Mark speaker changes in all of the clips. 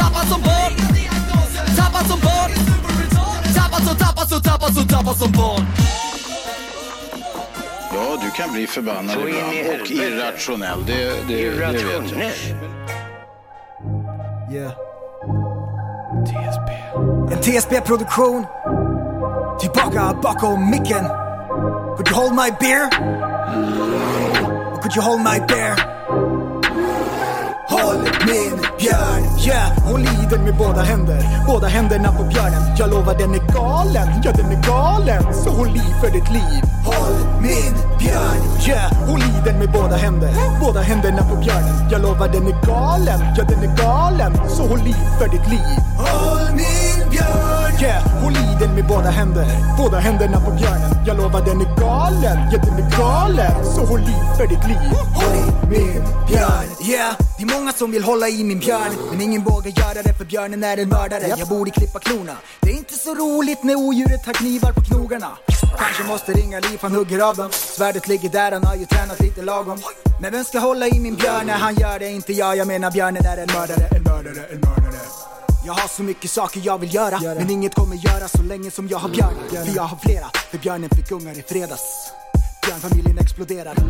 Speaker 1: Tappad som barn Tappad som barn Tappad som, tappad som, tappad som, tappad som barn
Speaker 2: Ja, du kan bli förbannad
Speaker 3: Så in i
Speaker 2: ibland och
Speaker 3: helvete.
Speaker 2: irrationell. Det, det, det vet jag.
Speaker 3: Irrationell.
Speaker 4: Yeah. En TSB-produktion. Tillbaka bakom micken. Could you hold my beer? Or could you hold my beer? Håll min björn, yeah! Hon lider med båda händer, båda händerna på björnen. Jag lovar den är galen, ja den är galen. Så hon liv för ditt liv. Håll min björn, yeah! Hon lider med båda händer, båda händerna på björnen. Jag lovar den är galen, ja den är galen. Så hon liv för ditt liv. Håll min björn, yeah! Hon lider med båda händer, båda händerna på björnen. Jag lovar den är galen, ja den är galen. Så hon liv för ditt liv. Håll min björn, yeah! Det är många som vill hålla i min björn Men ingen vågar göra det för björnen är en mördare Jag borde klippa klorna Det är inte så roligt när odjuret har knivar på knogarna Kanske måste ringa liv, han hugger av dem Svärdet ligger där, han har ju tränat lite lagom Men vem ska hålla i min björn när han gör det? Inte jag, jag menar björnen är en mördare, en mördare, en mördare jag har så mycket saker jag vill göra, Mm. men inget kommer göra så länge som jag har björnen. För jag har flera, för björnen fick ungar i fredags. Björnfamiljen exploderade.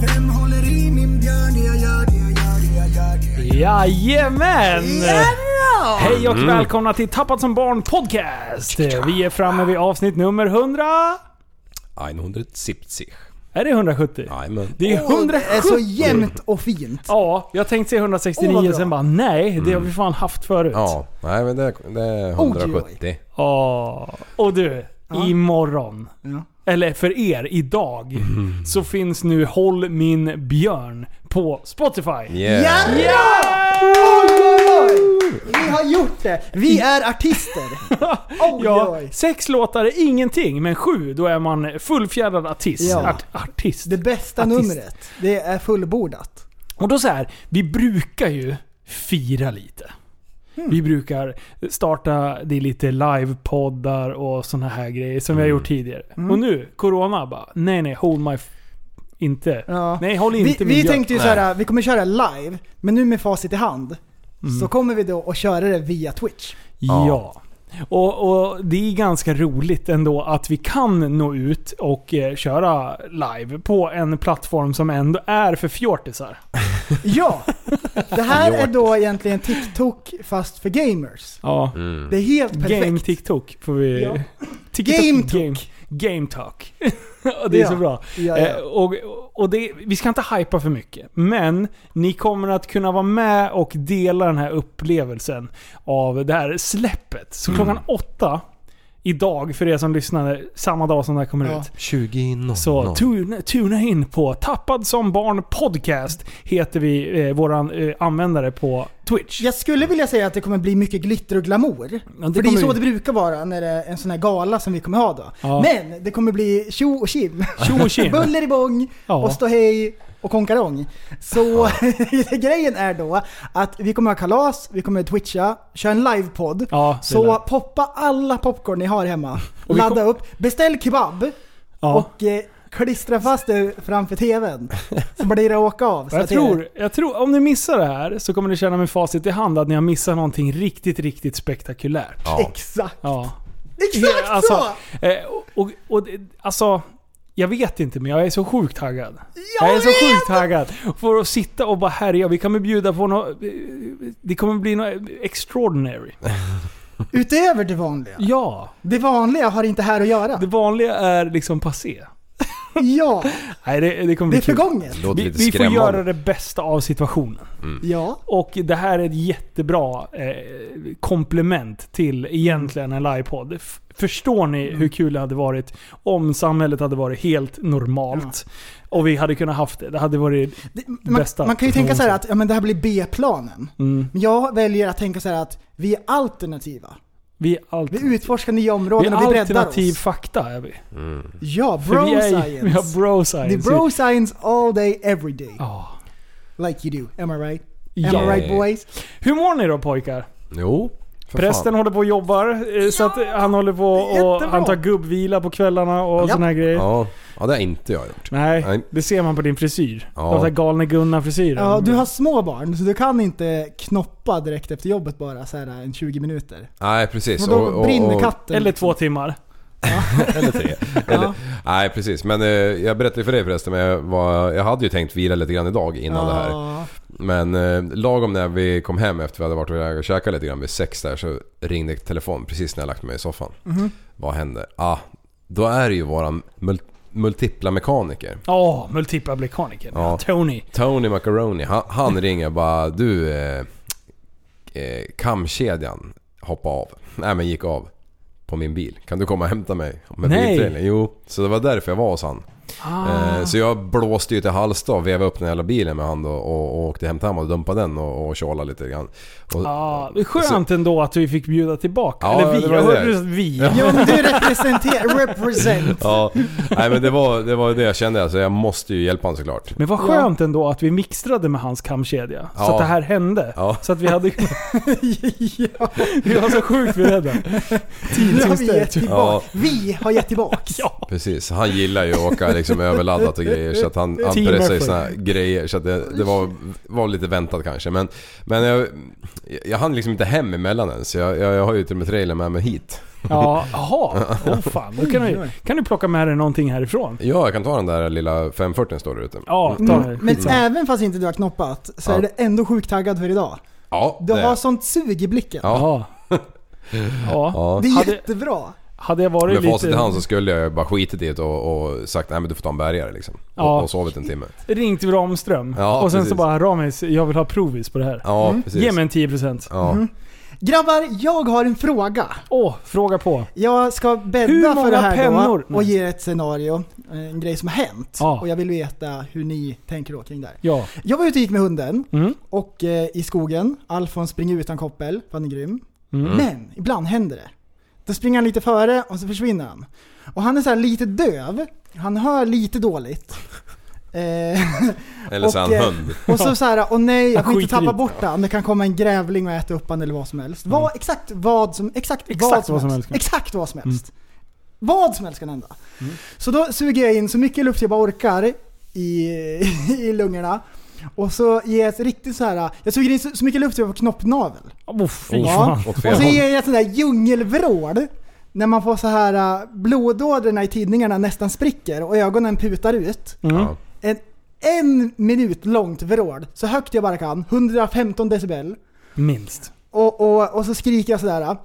Speaker 4: Vem håller i min björn? Det jag gör, det jag gör, det jag gör, det jag gör.
Speaker 5: Jajamän! Hej och välkomna till Tappat som barn podcast! Vi är framme vid avsnitt nummer 100...
Speaker 6: 170.
Speaker 5: Är det 170?
Speaker 6: Jajamän.
Speaker 5: Det är
Speaker 4: Åh, det
Speaker 5: 170!
Speaker 4: är så jämnt och fint.
Speaker 5: Ja, jag tänkte säga
Speaker 4: Åh,
Speaker 5: 169
Speaker 4: vad bra.
Speaker 5: sen bara nej, det har vi fan haft förut.
Speaker 6: Ja, nej men det, det är 170.
Speaker 5: Ja. Och du, imorgon.
Speaker 4: Ja.
Speaker 5: Eller för er, idag. Så finns nu Håll min björn på Spotify.
Speaker 6: Yeah.
Speaker 4: Vi har gjort det! Vi är artister. Oj,
Speaker 5: Ja,
Speaker 4: oj.
Speaker 5: sex låtar är ingenting, men sju, då är man fullfjädrad artist.
Speaker 4: Ja.
Speaker 5: Art, artist.
Speaker 4: Det bästa
Speaker 5: Artist.
Speaker 4: numret, det är fullbordat.
Speaker 5: Och då så här, vi brukar ju fira lite.
Speaker 4: Hmm.
Speaker 5: Vi brukar starta, det är lite livepoddar och såna här grejer som
Speaker 4: Mm.
Speaker 5: vi har gjort tidigare. Och nu, Corona bara, nej nej, hold my... F- inte.
Speaker 4: Ja.
Speaker 5: Nej, håll inte
Speaker 4: vi,
Speaker 5: min
Speaker 4: vi
Speaker 5: björn.
Speaker 4: tänkte ju
Speaker 6: Nej.
Speaker 4: såhär, vi kommer köra live, men nu med facit i hand.
Speaker 5: Mm.
Speaker 4: Så kommer vi då att köra det via Twitch.
Speaker 5: Ja. Och, och det är ganska roligt ändå att vi kan nå ut och eh, köra live på en plattform som ändå är för fjortisar.
Speaker 4: Ja! Det här är då egentligen TikTok fast för gamers.
Speaker 5: Ja.
Speaker 6: Mm,
Speaker 4: Det är helt perfekt.
Speaker 5: Game TikTok får vi...
Speaker 4: Ja.
Speaker 5: TikTok,
Speaker 4: Game
Speaker 5: Game, game talk. Och det är
Speaker 4: Ja.
Speaker 5: så bra.
Speaker 4: Ja, ja.
Speaker 5: Eh, och och det, vi ska inte hypa för mycket. Men ni kommer att kunna vara med och dela den här upplevelsen av det här släppet. Så klockan åtta idag, för er som lyssnar, samma dag som det här kommer
Speaker 4: Ja.
Speaker 5: ut.
Speaker 6: 20
Speaker 5: Så tuna, tuna in på Tappad som barn podcast heter vi eh, våran eh, användare på Twitch.
Speaker 4: Jag skulle vilja säga att det kommer bli mycket glitter och glamour.
Speaker 5: Ja, det
Speaker 4: För det är
Speaker 5: kommer
Speaker 4: så
Speaker 5: ju-
Speaker 4: det brukar vara när det är en sån här gala som vi kommer ha då.
Speaker 5: Ja.
Speaker 4: Men det kommer bli tjo och tjim.
Speaker 5: Tjo och tjim.
Speaker 4: Buller i bång
Speaker 5: Ja.
Speaker 4: och stå hej och konkarong. Så grejen är då att vi kommer ha kalas, vi kommer twitcha, köra en livepodd.
Speaker 5: Ja, det
Speaker 4: så
Speaker 5: lär.
Speaker 4: poppa alla popcorn ni har hemma.
Speaker 5: Och vi
Speaker 4: Ladda
Speaker 5: kom-
Speaker 4: upp, beställ kebab
Speaker 5: Ja.
Speaker 4: och eh, klistra fast det framför tvn. Så blir det åka av. Så
Speaker 5: Jag
Speaker 4: att det är-
Speaker 5: tror, jag tror, om ni missar det här så kommer ni känna med facit i hand att ni har missat någonting riktigt, riktigt spektakulärt.
Speaker 6: Ja.
Speaker 4: Exakt!
Speaker 5: Ja.
Speaker 4: Exakt
Speaker 5: alltså,
Speaker 4: så!
Speaker 5: eh, och, och, och, det- alltså, jag vet inte men jag är så sjukt taggad.
Speaker 4: Jag
Speaker 5: Jag, är så
Speaker 4: vet!
Speaker 5: sjukt taggad. För att sitta och bara herja, vi kommer bjuda på något... Det kommer bli något extraordinary.
Speaker 4: Utöver det vanliga.
Speaker 5: Ja.
Speaker 4: Det vanliga har inte här att göra.
Speaker 5: Det vanliga är liksom passé.
Speaker 4: Ja,
Speaker 5: Nej, det, det kommer
Speaker 4: det
Speaker 5: bli
Speaker 4: är
Speaker 5: kul.
Speaker 4: förgånget.
Speaker 6: Låter
Speaker 5: Vi,
Speaker 6: lite
Speaker 5: vi får
Speaker 6: skrämmande.
Speaker 5: göra det bästa av situationen.
Speaker 4: Ja.
Speaker 5: Och det här är ett jättebra eh, komplement till egentligen en livepodd. F- Förstår ni
Speaker 4: Mm.
Speaker 5: hur kul det hade varit om samhället hade varit helt normalt? Och vi hade kunnat haft det. Det hade varit...
Speaker 4: Det- Man,
Speaker 5: Bästa
Speaker 4: man kan ju tänka så här
Speaker 5: personen.
Speaker 4: att ja, men det här blir B-planen.
Speaker 5: Mm,
Speaker 4: Men jag väljer att tänka så här att vi är alternativa.
Speaker 5: vi är allt...
Speaker 4: Vi utforskar nya
Speaker 5: Vi
Speaker 4: områden
Speaker 5: är
Speaker 4: och vi breddar
Speaker 5: alternativ
Speaker 4: oss.
Speaker 5: fakta är vi.
Speaker 4: Ja,
Speaker 5: För
Speaker 4: bro
Speaker 5: vi är, ju-
Speaker 4: science.
Speaker 5: Vi har bro
Speaker 4: Det är
Speaker 5: science.
Speaker 4: bro science all day, every day.
Speaker 5: Ja.
Speaker 4: Like you do. Am I right? Am
Speaker 5: Ja.
Speaker 4: I right boys?
Speaker 5: Hur mår ni då pojkar?
Speaker 6: Jo. För
Speaker 5: Prästen
Speaker 6: fan.
Speaker 5: håller på och jobbar, eh, så att eh, han håller på
Speaker 4: det är
Speaker 5: och
Speaker 4: jättebra.
Speaker 5: han tar gubbvila på kvällarna och
Speaker 4: Ja.
Speaker 5: såna här grejer.
Speaker 6: Ja. ja, det har inte jag gjort.
Speaker 5: Nej,
Speaker 6: Nej.
Speaker 5: det ser man på din frisyr.
Speaker 6: Ja.
Speaker 5: Ja. Den där galne Gunnar-frisyren.
Speaker 4: Ja, du har små barn så du kan inte knoppa direkt efter jobbet bara så här en 20 minuter.
Speaker 6: Nej, precis.
Speaker 4: Men då brinner katten.
Speaker 5: Eller två timmar.
Speaker 6: Eller tre. Eller, nej, precis. Men eh, jag berättade ju för dig förresten, men jag, var, jag hade ju tänkt vila lite grann idag
Speaker 5: Ah.
Speaker 6: innan det här.
Speaker 4: Ja.
Speaker 6: Men eh, lagom när vi kom hem efter vi hade varit iväg och käkat lite grann vid sex där så ringde telefon precis när jag lagt mig i soffan. Vad hände? Ah, då är det ju våran mul- multipla mekaniker.
Speaker 5: Ja, multipla blekaniken.
Speaker 6: Ja.
Speaker 5: Tony.
Speaker 6: Tony Macaroni, han, han ringer bara du... Eh, eh, kamkedjan hoppade av. Nej men gick av. På min bil. Kan du komma och hämta mig? Med
Speaker 5: Nej. Ah.
Speaker 6: biltrailer. Jo, så det var därför jag var hos han. Eh, så jag blåste ju till Halsta och vevade upp den jävla bilen med han då och, och åkte hem till honom och dumpade den och, och tjålade lite grann. Och,
Speaker 5: Ja, det är skönt ändå att vi fick bjuda tillbaka.
Speaker 6: Ja,
Speaker 5: Eller vi.
Speaker 6: det var
Speaker 5: jag
Speaker 6: det.
Speaker 5: hörde du vi.
Speaker 4: Ja men du representerar, represent.
Speaker 6: Ja, nej men det var det, var det jag kände alltså. Jag måste ju hjälpa honom såklart.
Speaker 5: Men vad skönt ändå att vi mixtrade med hans kamkedja. Så
Speaker 6: Ja.
Speaker 5: att det här hände.
Speaker 6: Ja.
Speaker 5: Så att vi hade... Vi var så sjukt beredda.
Speaker 4: Nu har vi gett
Speaker 6: Ja.
Speaker 4: tillbaka. Vi har gett tillbaks.
Speaker 5: Ja.
Speaker 6: Precis, han gillar ju att åka liksom överladdat och grejer så att han, han
Speaker 5: Team
Speaker 6: pressar ju
Speaker 5: effort.
Speaker 6: såna grejer så att det, det var, var lite väntat kanske. Men, men jag, jag hann liksom inte hem emellan än så jag, jag, jag har ju till och med trailern med mig hit.
Speaker 5: Ja, jaha. Åh fan. Då kan, du, kan du plocka med dig någonting härifrån?
Speaker 6: Ja, jag kan ta den där lilla 540 n står där ute.
Speaker 5: Ja, ta
Speaker 4: Mm,
Speaker 5: det.
Speaker 4: Men
Speaker 5: Skitsamma.
Speaker 4: även fast inte du har knoppat så
Speaker 6: Ja.
Speaker 4: är du ändå sjukt taggad för idag.
Speaker 6: Ja,
Speaker 4: Du
Speaker 6: det-
Speaker 4: har sånt sug i blicken.
Speaker 6: Ja.
Speaker 5: Jaha. Ja.
Speaker 6: Ja.
Speaker 4: Det är
Speaker 5: Hade-
Speaker 4: jättebra.
Speaker 5: Hade jag varit
Speaker 6: Med facit i
Speaker 5: lite...
Speaker 6: hand så skulle jag ju bara skitit i det och, och sagt nej men du får ta en bärgare liksom.
Speaker 5: Ja.
Speaker 6: Och, och sovit en timme.
Speaker 5: Ringt Ramström.
Speaker 6: Ja,
Speaker 5: och sen så
Speaker 6: precis.
Speaker 5: bara Ramis, jag vill ha provis på det här.
Speaker 6: Ja, precis.
Speaker 5: Mm. Ge mig Mm. en 10%.
Speaker 6: Ja.
Speaker 4: Grabbar, jag har en fråga.
Speaker 5: Åh, fråga på.
Speaker 4: Jag ska bädda
Speaker 5: Hur många
Speaker 4: för det här
Speaker 5: pennor?
Speaker 4: då och ge ett scenario, en grej som har hänt.
Speaker 5: Ja.
Speaker 4: Och jag vill veta hur ni tänker då kring det här.
Speaker 5: Ja.
Speaker 4: Jag var ute och gick med hunden
Speaker 5: Mm.
Speaker 4: och eh, i skogen. Alfons springer utan koppel, för han är grym.
Speaker 5: Mm.
Speaker 4: Men ibland händer det. Då springer han lite före och så försvinner han. Och han är så här lite döv, han hör lite dåligt. Eh,
Speaker 6: Eller så är han
Speaker 4: eh,
Speaker 6: hund.
Speaker 4: Och så såhär, åh nej, jag
Speaker 5: Han
Speaker 4: får inte
Speaker 5: skiter i
Speaker 4: tappa
Speaker 5: det."
Speaker 4: bort han. Det kan komma en grävling och äta upp han eller vad som helst. Vad, exakt vad som, exakt, vad som, helst. Mm. Exakt vad som helst. Vad som helst kan hända. Så då suger jag in så mycket luft jag bara orkar i, i lungorna. Och så ger jag ett riktigt så här. jag suger in så, så mycket luft jag får knoppnavel.
Speaker 5: Oh, fy
Speaker 4: Ja.
Speaker 5: fan.
Speaker 6: Åt fel
Speaker 4: Och så
Speaker 6: håll.
Speaker 4: ger jag ett sånt där djungelvrål. När man får så här äh, blodådrorna i tidningarna nästan spricker och ögonen putar ut.
Speaker 5: Mm.
Speaker 6: Ja.
Speaker 4: En, en minut långt vrål, så högt jag bara kan, 115 decibel.
Speaker 5: Minst.
Speaker 4: Och, och, och så skriker jag sådär.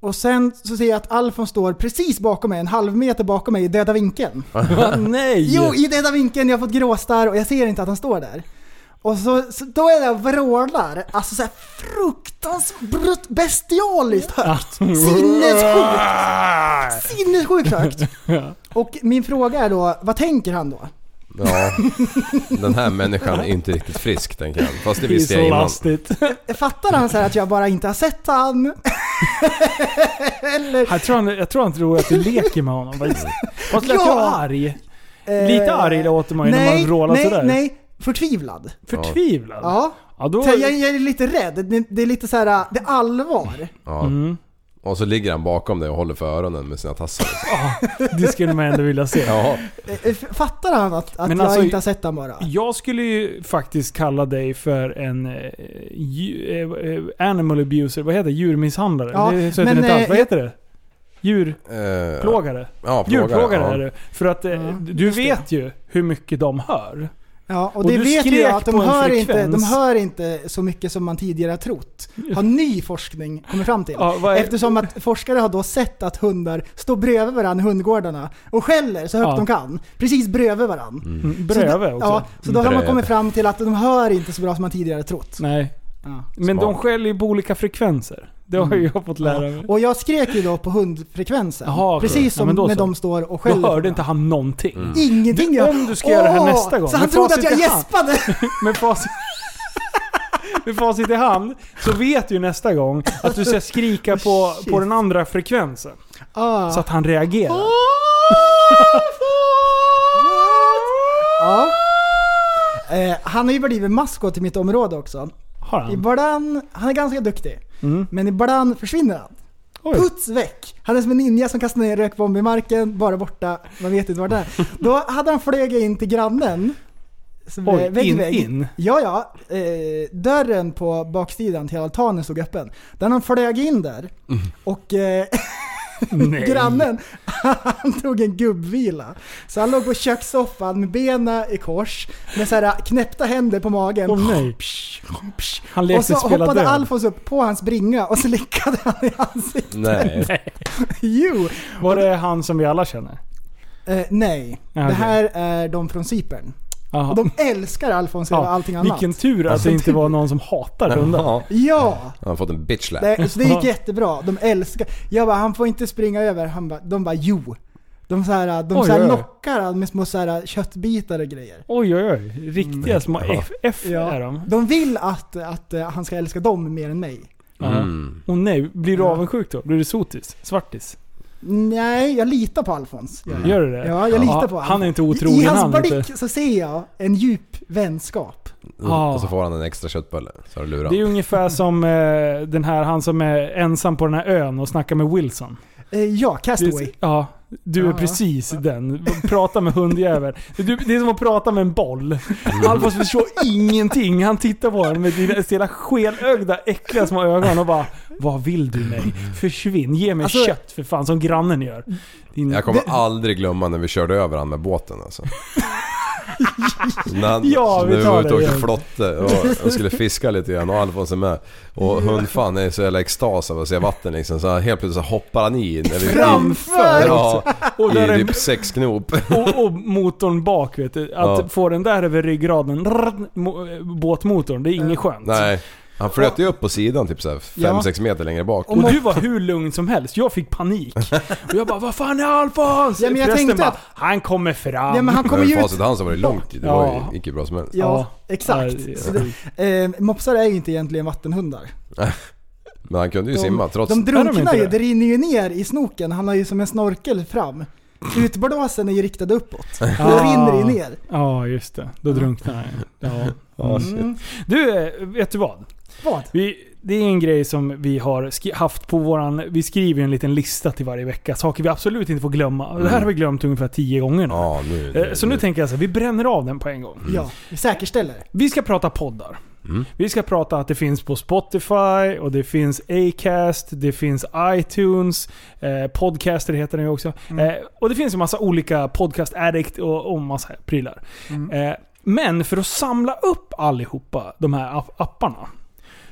Speaker 4: Och sen så ser jag att Alfons står precis bakom mig, en halv meter bakom mig i döda vinkeln.
Speaker 5: Va, nej!
Speaker 4: Jo, i döda vinkeln, jag har fått gråstarr och jag ser inte att han står där. Och så, så då är det och vrålar, alltså såhär fruktansvärt bestialiskt högt. Sinnessjukt! Sinnessjukt högt. Och min fråga är då, vad tänker han då?
Speaker 6: ja. Den här människan är inte riktigt frisk tänker jag. Fast det
Speaker 5: det är
Speaker 6: visste jag
Speaker 5: så
Speaker 6: innan.
Speaker 5: lastigt.
Speaker 4: Fattar han så här att jag bara inte har sett han? Eller?
Speaker 5: Jag tror, han, jag tror han tror att du leker med honom faktiskt. Fast lät
Speaker 4: Ja!
Speaker 5: jag arg? Lite
Speaker 4: eh,
Speaker 5: arg låter man ju när
Speaker 4: nej,
Speaker 5: man vrålar
Speaker 4: nej,
Speaker 5: sådär.
Speaker 4: Nej, förtvivlad.
Speaker 5: Förtvivlad?
Speaker 4: Ja.
Speaker 5: Ja, då...
Speaker 4: Så jag, jag är lite rädd. Det, det är lite så här, det är allvar.
Speaker 6: Ja.
Speaker 5: Mm.
Speaker 6: Och så ligger han bakom dig och håller för öronen med sina tassar.
Speaker 5: Det skulle man ändå vilja se.
Speaker 6: Ja.
Speaker 4: Eh, Fattar han att, att
Speaker 5: Men
Speaker 4: jag
Speaker 5: alltså-
Speaker 4: inte har sett han bara?
Speaker 5: Jag skulle ju faktiskt kalla dig för en eh, dju- eh, eh, animal abuser, vad heter det? Djurmisshandlare?
Speaker 4: Ja,
Speaker 5: det, så heter
Speaker 4: men,
Speaker 5: det inte alls.
Speaker 4: eh,
Speaker 5: Vad heter det? Djurplågare?
Speaker 6: Eh, Ja,
Speaker 5: Djurplågare
Speaker 6: ja.
Speaker 5: är du. För att eh,
Speaker 4: Ja,
Speaker 5: du
Speaker 4: just det.
Speaker 5: vet ju hur mycket de hör.
Speaker 4: Ja, och
Speaker 5: Och
Speaker 4: det
Speaker 5: du
Speaker 4: vet ju
Speaker 5: skrek
Speaker 4: jag att de
Speaker 5: på en
Speaker 4: hör, inte, de
Speaker 5: frekvens.
Speaker 4: hör inte så mycket som man tidigare har trott. Har ny forskning kommit fram till.
Speaker 5: Ja, vad är-
Speaker 4: Eftersom att forskare har då sett att hundar står bredvid varandra i hundgårdarna och skäller så högt
Speaker 5: Ja.
Speaker 4: de kan. Precis bredvid varandra.
Speaker 5: Mm. Bröve
Speaker 4: så,
Speaker 5: också.
Speaker 4: ja, så då har man
Speaker 6: Bredvid.
Speaker 4: kommit fram till att de hör inte så bra som man tidigare trott.
Speaker 5: Nej.
Speaker 4: Ja.
Speaker 5: Men de
Speaker 6: Smart.
Speaker 5: skäller ju på olika frekvenser. Det har
Speaker 4: Mm.
Speaker 5: ju jag fått lära mig.
Speaker 4: Och jag skrek ju då på hundfrekvensen.
Speaker 5: Jaha, okej.
Speaker 4: precis
Speaker 5: Ja,
Speaker 4: som
Speaker 5: men då
Speaker 4: när
Speaker 5: så.
Speaker 4: de står och
Speaker 5: Då
Speaker 4: skäller.
Speaker 5: hörde inte han någonting.
Speaker 6: Mm.
Speaker 4: Ingenting.
Speaker 5: Du,
Speaker 4: jag-
Speaker 5: om du ska göra det här
Speaker 4: Åh!
Speaker 5: nästa gång,
Speaker 4: Så han
Speaker 5: med
Speaker 4: trodde att
Speaker 5: facit
Speaker 4: jag
Speaker 5: i hand.
Speaker 4: gäspade.
Speaker 5: Med facit, med facit i hand så vet ju nästa gång att du ska skrika på,
Speaker 4: Shit.
Speaker 5: på den andra frekvensen.
Speaker 4: Ah.
Speaker 5: Så att han reagerar.
Speaker 4: ja. eh, han har ju blivit maskot i mitt område också.
Speaker 5: Har han?
Speaker 4: Ibland, han är ganska duktig,
Speaker 5: Mm.
Speaker 4: men ibland försvinner han.
Speaker 5: Oj.
Speaker 4: Puts väck! Han är som en ninja som kastar ner en rökbomb i marken, bara borta. Man vet inte var det är. Då hade han flugit in till grannen. som
Speaker 5: Oj,
Speaker 4: är vägg i
Speaker 5: in,
Speaker 4: vägg.
Speaker 5: in?
Speaker 4: Ja, ja. Eh, dörren på baksidan till altanen stod öppen. Den han flög in där. Och eh,
Speaker 5: Nej.
Speaker 4: grannen, han tog en gubbvila. Så han låg på kökssoffan med benen i kors, med så här eh, knäppta händer på magen.
Speaker 5: Åh, nej.
Speaker 4: Psch, psch.
Speaker 5: Han lekte
Speaker 4: Och så
Speaker 5: spela
Speaker 4: hoppade
Speaker 5: död.
Speaker 4: Alfons upp på hans bringa och så lickade han i ansiktet.
Speaker 6: Nej.
Speaker 4: Jo!
Speaker 5: Var det han som vi alla känner?
Speaker 4: Eh, nej,
Speaker 5: Ja,
Speaker 4: det
Speaker 5: okej.
Speaker 4: här är de från Cypern.
Speaker 5: Jaha.
Speaker 4: Och de älskar Alfons över allting annat.
Speaker 5: Vilken tur att det inte var någon som hatar hundar.
Speaker 6: Ja.
Speaker 4: Ja!
Speaker 6: Han har fått en bitch slap.
Speaker 4: Det, så det gick jättebra. De älskar... Jag bara, han får inte springa över. Han bara, de bara, jo. De, så här, de
Speaker 5: Oj,
Speaker 4: så här
Speaker 5: oj, oj.
Speaker 4: lockar han med små så här, köttbitar och grejer.
Speaker 5: Oj oj oj. Riktiga små F, F
Speaker 4: Ja.
Speaker 5: är de.
Speaker 4: De vill att, att eh, han ska älska dem mer än mig.
Speaker 6: Mm.
Speaker 5: Och nej, blir du avundsjuk då? Blir du sotis? Svartis?
Speaker 4: Nej, jag litar på Alfons. Gör jag.
Speaker 5: Gör du det?
Speaker 4: Ja, jag litar på
Speaker 5: Han är inte
Speaker 4: I
Speaker 5: otrogen han.
Speaker 4: hans
Speaker 5: Inte.
Speaker 4: blick så ser jag en djup vänskap.
Speaker 5: Ja.
Speaker 6: Och så får han en extra köttbulle. Så har du lurat.
Speaker 5: Det är ungefär som eh, den här, han som är ensam på den här ön och snackar med Wilson.
Speaker 4: Eh, ja, Castaway.
Speaker 5: Det- Ja, du är
Speaker 4: Ja.
Speaker 5: precis den. Prata med hundjäveln. Du- Det är som att prata med en boll. Alfons förstår ingenting. Han tittar på den med dina sina skelögda, äckliga små ögon och bara Vad vill du mig? Försvinn. Ge mig
Speaker 4: Alltså-
Speaker 5: kött för fan, som grannen gör. Din,
Speaker 6: Jag kommer aldrig glömma när vi körde över han med båten alltså. när han,
Speaker 5: Ja, vi
Speaker 6: när vi
Speaker 5: tar
Speaker 6: var ute och
Speaker 5: det
Speaker 6: åkte
Speaker 5: igen.
Speaker 6: flotte och, och skulle fiska lite grann och Alfons är med.
Speaker 5: Mm.
Speaker 6: Och hundfan är i så jävla extas av att se vatten liksom. Så han- helt plötsligt så hoppar han i. När vi,
Speaker 4: Framför!
Speaker 6: Ja,
Speaker 5: Och där
Speaker 6: i
Speaker 5: är-
Speaker 6: typ sex knop.
Speaker 5: och, och motorn bak vet du. Att
Speaker 6: Ja.
Speaker 5: få den där över ryggraden. Rrrr, mo- båtmotorn. Det är inget skönt.
Speaker 6: Nej. Han flöt ju upp på sidan typ såhär 5-6 meter längre bak.
Speaker 5: Och du var hur lugn som helst. Jag fick panik. Och jag bara Vad fan är Alfons?
Speaker 4: Ja, men jag
Speaker 5: Förresten
Speaker 4: tänkte
Speaker 5: bara,
Speaker 4: att-
Speaker 5: Han kommer fram.
Speaker 4: Ja, men han kommer
Speaker 6: Men
Speaker 4: ju ut...
Speaker 6: facit i hand så var det långt Det
Speaker 5: Ja.
Speaker 6: var ju, gick ju bra som helst.
Speaker 4: Ja,
Speaker 5: Ja.
Speaker 4: exakt.
Speaker 5: Ja, det-
Speaker 4: Så det, eh, mopsar är ju inte egentligen vattenhundar.
Speaker 6: Men han kunde ju simma trots...
Speaker 4: de
Speaker 5: Är de
Speaker 4: drunknar
Speaker 5: inte
Speaker 4: ju,
Speaker 5: det?
Speaker 4: det rinner ju ner i snoken. Han har ju som en snorkel fram. Utblåsen är ju riktad uppåt. Då
Speaker 5: Ah.
Speaker 4: rinner det ju ner.
Speaker 5: Ja, just det. Då drunknar han ju. ja.
Speaker 4: Mm.
Speaker 5: Du, eh, vet du vad?
Speaker 4: Vad?
Speaker 5: Vi, det är en grej som vi har skri- haft på våran... Vi skriver ju en liten lista till varje vecka. Saker vi absolut inte får glömma. Det här
Speaker 4: Mm.
Speaker 5: har vi glömt ungefär tio gånger nu.
Speaker 6: Ja, nu...
Speaker 5: Eh, Så nu tänker jag så här, vi bränner av den på en gång.
Speaker 4: Ja, vi säkerställer.
Speaker 5: Vi ska prata poddar. Vi ska prata att det finns på Spotify och det finns Acast, det finns iTunes, eh, Podcaster heter den ju också.
Speaker 4: Mm.
Speaker 5: Eh, och det finns en massa olika Podcast Addict och, och massa prylar.
Speaker 4: Mm.
Speaker 5: Eh, men för att samla upp allihopa de här app- apparna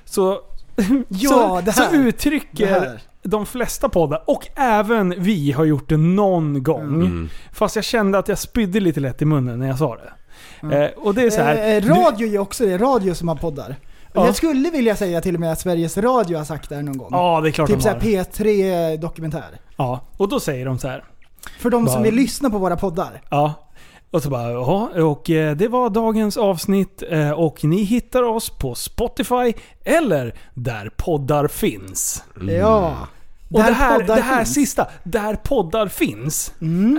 Speaker 5: så,
Speaker 4: Ja,
Speaker 5: så,
Speaker 4: det här.
Speaker 5: så uttrycker
Speaker 4: Det här.
Speaker 5: de flesta poddar, och även vi har gjort det någon gång.
Speaker 6: Mm.
Speaker 5: Fast jag kände att jag spydde lite lätt i munnen när jag sa det. Eh, och det är så här,
Speaker 4: Mm. Eh,
Speaker 5: du-
Speaker 4: radio är ju också det, radio som har poddar.
Speaker 5: Ja.
Speaker 4: Jag skulle vilja säga till och med att Sveriges Radio har sagt det här någon gång.
Speaker 5: Ja, det är klart
Speaker 4: typ
Speaker 5: de har.
Speaker 4: såhär P3 Dokumentär.
Speaker 5: Ja, och då säger de så här.
Speaker 4: För de som
Speaker 5: Bara-
Speaker 4: vill lyssna på våra poddar.
Speaker 5: Ja. Och så bara, jaha. Och eh, det var dagens avsnitt. eh, Och ni hittar oss på Spotify eller där poddar finns.
Speaker 4: Ja.
Speaker 5: Och det här,
Speaker 4: poddar
Speaker 5: det här
Speaker 4: finns. Mm.
Speaker 5: sista, där poddar finns,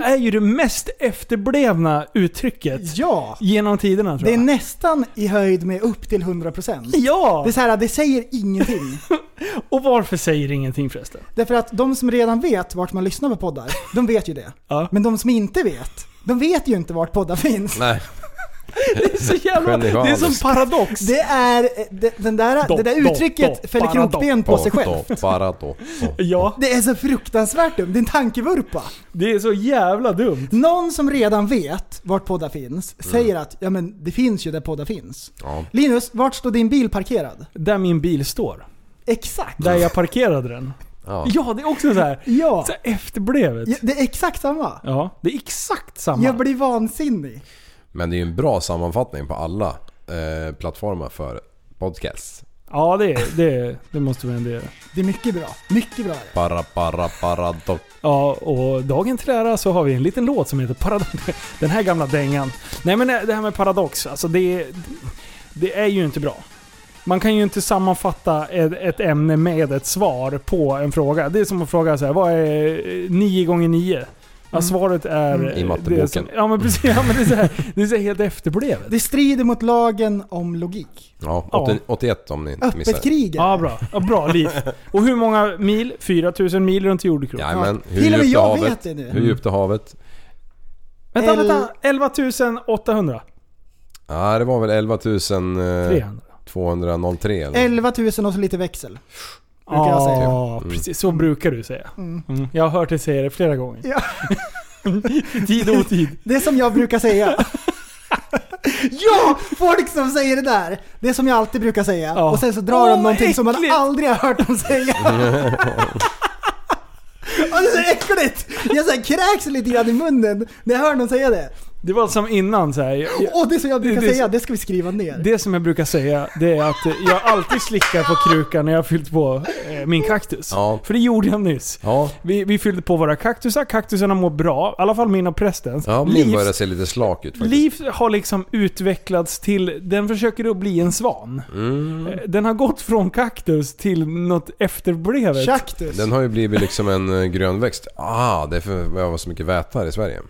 Speaker 5: är ju det mest efterblivna uttrycket
Speaker 4: Ja.
Speaker 5: genom tiderna tror
Speaker 4: Det är
Speaker 5: jag.
Speaker 4: nästan i höjd med upp till 100%.
Speaker 5: Ja!
Speaker 4: Det, är så här, det säger ingenting.
Speaker 5: Och varför säger ingenting förresten?
Speaker 4: Därför att de som redan vet vart man lyssnar på poddar, de vet ju det.
Speaker 5: Ja.
Speaker 4: Men de som inte vet, de vet ju inte vart poddar finns.
Speaker 6: Nej.
Speaker 5: Det är så jävla... Det är
Speaker 6: Genialiskt.
Speaker 5: som paradox.
Speaker 4: Det är, eh, det, den där,
Speaker 5: Dopp,
Speaker 4: det där
Speaker 5: dopp,
Speaker 4: uttrycket
Speaker 5: dopp,
Speaker 4: fäller
Speaker 5: bara dopp.
Speaker 4: krokben på sig själv.
Speaker 6: Bara då.
Speaker 5: Ja,
Speaker 4: Det är så fruktansvärt dumt, det är en tankevurpa.
Speaker 5: det är så jävla dumt.
Speaker 4: Någon som redan vet vart poddar finns
Speaker 5: Mm.
Speaker 4: säger att ja men det finns ju där poddar finns.
Speaker 6: Ja.
Speaker 4: Linus, vart står din bil parkerad?
Speaker 5: Där min bil står.
Speaker 4: Exakt!
Speaker 5: Där jag parkerade den.
Speaker 6: Ja.
Speaker 5: Ja, det är också så här.
Speaker 4: Ja.
Speaker 5: Så här efterblevet.
Speaker 4: Ja, Det är exakt samma.
Speaker 5: Ja, det är exakt samma.
Speaker 4: Jag blir vansinnig.
Speaker 6: Men det är ju en bra sammanfattning på alla eh, plattformar för podcast.
Speaker 5: Ja, det, det, det måste vi ändå göra.
Speaker 4: Det är mycket bra. Mycket bra är det.
Speaker 6: Para, para, para, do.
Speaker 5: Ja, och dagen till ära så har vi en liten låt som heter Paradox. Den här gamla dängan. Nej men det här med paradox, alltså det, det är ju inte bra. Man kan ju inte sammanfatta ett, ett ämne med ett svar på en fråga. Det är som att fråga så här, vad är 9 gånger 9? Ja, svaret är...
Speaker 4: Mm.
Speaker 6: I matteboken.
Speaker 5: det är så- Ja men precis, ja, men det är så här, det är så här helt efterblivet.
Speaker 4: Det strider mot lagen om logik.
Speaker 6: Ja,
Speaker 5: Ja.
Speaker 6: 80, 81 om ni inte missar.
Speaker 4: Öppet krig. är
Speaker 5: Ja,
Speaker 4: det.
Speaker 5: bra. Ja, bra liv. Och hur många mil? 4000 mil runt jordklotet.
Speaker 6: Jajamän. Hur
Speaker 4: Till och med
Speaker 6: djupt är
Speaker 4: jag vet
Speaker 6: havet?
Speaker 4: det nu.
Speaker 6: Hur djupt är havet?
Speaker 5: Vänta,
Speaker 4: El-
Speaker 5: vänta. 11 800.
Speaker 6: Ja, det var väl eh, 11 300.
Speaker 5: 300.
Speaker 6: 203 eller?
Speaker 4: 11 000 och så lite växel. Brukar jag säga.
Speaker 5: Ja, precis. Så brukar du säga. Mm. Jag har hört dig säga det flera gånger.
Speaker 4: Ja.
Speaker 5: Tid och otid.
Speaker 4: Det är som jag brukar säga. ja! Folk som säger det där. Det är som jag alltid brukar säga.
Speaker 5: Ja.
Speaker 4: Och sen så drar
Speaker 5: Åh,
Speaker 4: de någonting som man
Speaker 5: äckligt!
Speaker 4: aldrig har hört dem säga. Och det är så äckligt! Jag så här kräks lite grann i munnen när jag hör någon säga det.
Speaker 5: Det var som innan så här. Jag, jag,
Speaker 4: Och det som jag brukar
Speaker 5: Det- det-
Speaker 4: säga, det ska vi skriva ner.
Speaker 5: det som jag brukar säga, det är att jag alltid slickar på krukan när jag har fyllt på eh, min kaktus.
Speaker 6: Ja.
Speaker 5: För det gjorde jag nyss.
Speaker 6: Ja.
Speaker 5: Vi, vi fyllde på våra kaktusar, kaktusarna mår bra. I alla fall min och prästens.
Speaker 6: Ja, min
Speaker 5: Livs-
Speaker 6: börjar se lite slak ut faktiskt.
Speaker 5: Liv har liksom utvecklats till, den försöker att bli en svan.
Speaker 6: Mm.
Speaker 5: Eh, Den har gått från kaktus till något efterblevet.
Speaker 4: Kaktus.
Speaker 6: Den har ju blivit liksom en eh, grönväxt. Ah, det är för vi har så mycket väta här i Sverige.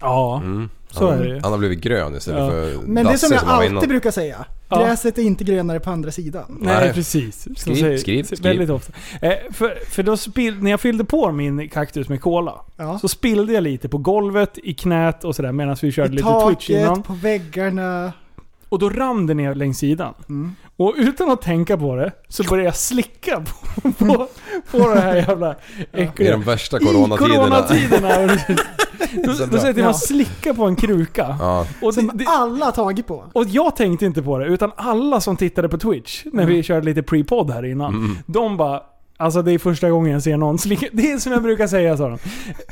Speaker 5: Ja,
Speaker 6: Mm.
Speaker 5: så är det ju.
Speaker 6: Han har blivit grön istället
Speaker 5: Ja.
Speaker 6: för
Speaker 4: Men det
Speaker 6: Dasse
Speaker 4: som jag
Speaker 6: han var
Speaker 4: alltid
Speaker 6: innan.
Speaker 4: brukar säga.
Speaker 5: Ja.
Speaker 4: Gräset är inte grönare på andra sidan.
Speaker 5: Nej,
Speaker 6: Nej.
Speaker 5: precis. Som
Speaker 6: Skriv, skriv, skriv.
Speaker 5: Väldigt ofta. Eh, för, för då spill, när jag fyllde på min kaktus med cola,
Speaker 4: Ja.
Speaker 5: så spillde jag lite på golvet, i knät och sådär medan vi körde
Speaker 4: I
Speaker 5: lite Twitch innan.
Speaker 4: taket, på väggarna. Mm.
Speaker 5: Och då rann det ner längs sidan. Och utan att tänka på det så började jag slicka på, på, på det här jävla
Speaker 6: I
Speaker 5: äckliga...
Speaker 6: de värsta
Speaker 5: I
Speaker 6: coronatiderna.
Speaker 5: coronatiderna. då då sätter
Speaker 4: Ja.
Speaker 5: man slicka på en kruka.
Speaker 6: Ja.
Speaker 5: Och, det,
Speaker 4: Som
Speaker 5: det,
Speaker 4: alla har tagit på.
Speaker 5: och jag tänkte inte på det, utan alla som tittade på Twitch när
Speaker 6: Mm.
Speaker 5: vi körde lite pre-podd här innan. De bara Alltså det är första gången jag ser någon slicka... Det är som jag brukar säga sa de.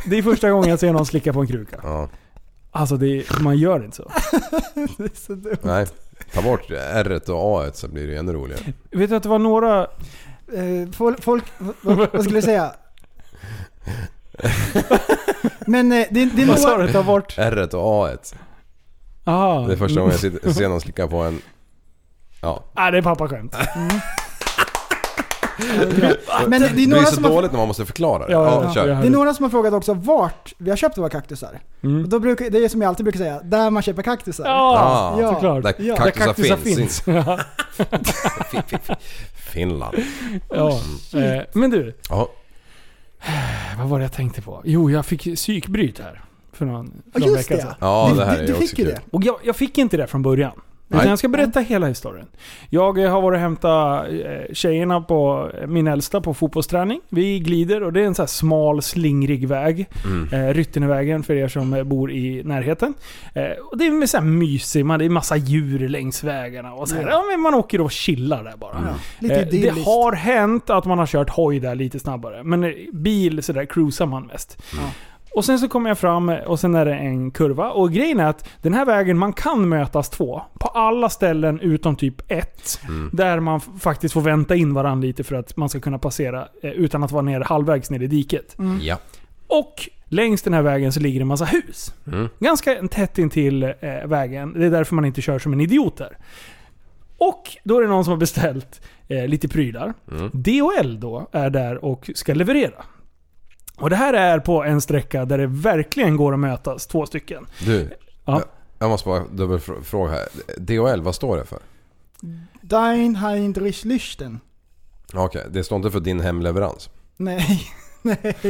Speaker 5: Det är första gången jag ser någon slicka på en kruka.
Speaker 6: Ja.
Speaker 5: Alltså det, man gör inte så.
Speaker 6: Nej. Ta bort r och a så blir det ännu roligare.
Speaker 5: Vet du att det var några...
Speaker 4: Eh, fol- folk, vad, vad skulle jag säga? Men eh, det, det är
Speaker 5: Vad sa
Speaker 4: några...
Speaker 5: du? Ta bort...
Speaker 6: r och a
Speaker 5: Aha.
Speaker 6: Det är första gången jag sitter- ser någon slicka på en... Ja.
Speaker 5: Nej, Ah, det är pappaskämt.
Speaker 4: Ah, Men eh, det är
Speaker 6: Det är
Speaker 4: några
Speaker 6: så
Speaker 4: som har,
Speaker 6: dåligt när man måste förklara det.
Speaker 5: Ja,
Speaker 6: Ja,
Speaker 5: ja,
Speaker 6: kör.
Speaker 5: ja.
Speaker 4: det är några som har frågat också vart vi har köpt våra kaktusar.
Speaker 5: Mm.
Speaker 4: Och då brukar, det är som jag alltid brukar säga, där man köper kaktusar.
Speaker 5: Ja,
Speaker 6: Ja.
Speaker 5: såklart.
Speaker 6: Ah, Där
Speaker 4: Ja.
Speaker 5: Där
Speaker 6: kaktusar,
Speaker 5: kaktusar
Speaker 6: finns.
Speaker 5: finns.
Speaker 6: Fin- fin- fin- Finland.
Speaker 5: Ja.
Speaker 4: Mm.
Speaker 5: Eh, Men du,
Speaker 6: Ja.
Speaker 5: vad var det jag tänkte på? Jo, jag fick psykbryt här. För någon, för
Speaker 4: Ja,
Speaker 5: någon
Speaker 4: just
Speaker 5: vecka
Speaker 4: det
Speaker 5: sedan.
Speaker 6: Ja,
Speaker 4: Du-
Speaker 6: det här
Speaker 4: du,
Speaker 6: är
Speaker 4: du
Speaker 6: också
Speaker 4: fick ju
Speaker 6: kul.
Speaker 4: det.
Speaker 5: Och jag, jag fick inte det från början. Utan
Speaker 6: Nej.
Speaker 5: jag ska berätta hela historien. Jag eh, har varit och hämtat eh, tjejerna på, eh, min äldsta på fotbollsträning. Vi glider och det är en så här smal slingrig väg. Eh, Ryttenevägen för er som eh, bor i närheten. Eh, och det är så här mysig, man, det är massa djur längs vägarna. Och så här, ja.
Speaker 4: Ja.
Speaker 5: men man åker och chillar där bara.
Speaker 4: Lite
Speaker 5: Eh, det
Speaker 4: idylliskt.
Speaker 5: har hänt att man har kört hoj där lite snabbare. Men eh, bil sådär cruisar man mest.
Speaker 4: Mm.
Speaker 5: Och sen så kommer jag fram eh, och sen är det en kurva. Och grejen är att den här vägen, man kan mötas två. På alla ställen utom typ ett.
Speaker 4: Mm.
Speaker 5: Där man f- faktiskt får vänta in varandra lite för att man ska kunna passera eh, utan att vara ner halvvägs ner i diket.
Speaker 6: Ja.
Speaker 5: Och längs den här vägen så ligger det en massa hus.
Speaker 6: Mm.
Speaker 5: Ganska tätt intill eh, vägen. Det är därför man inte kör som en idiot där. Och då är det någon som har beställt eh, lite prylar.
Speaker 6: mm.
Speaker 5: DHL då är där och ska leverera. Och det här är på en sträcka där det verkligen går att mötas, två stycken.
Speaker 6: Du.
Speaker 5: Ja.
Speaker 6: jag- Jag måste bara dubbelfråga här. DHL, vad står det för?
Speaker 4: Dein Heinrich Lüchten.
Speaker 6: Okej, det står inte för din hemleverans?
Speaker 4: Nej, nej, nej. Det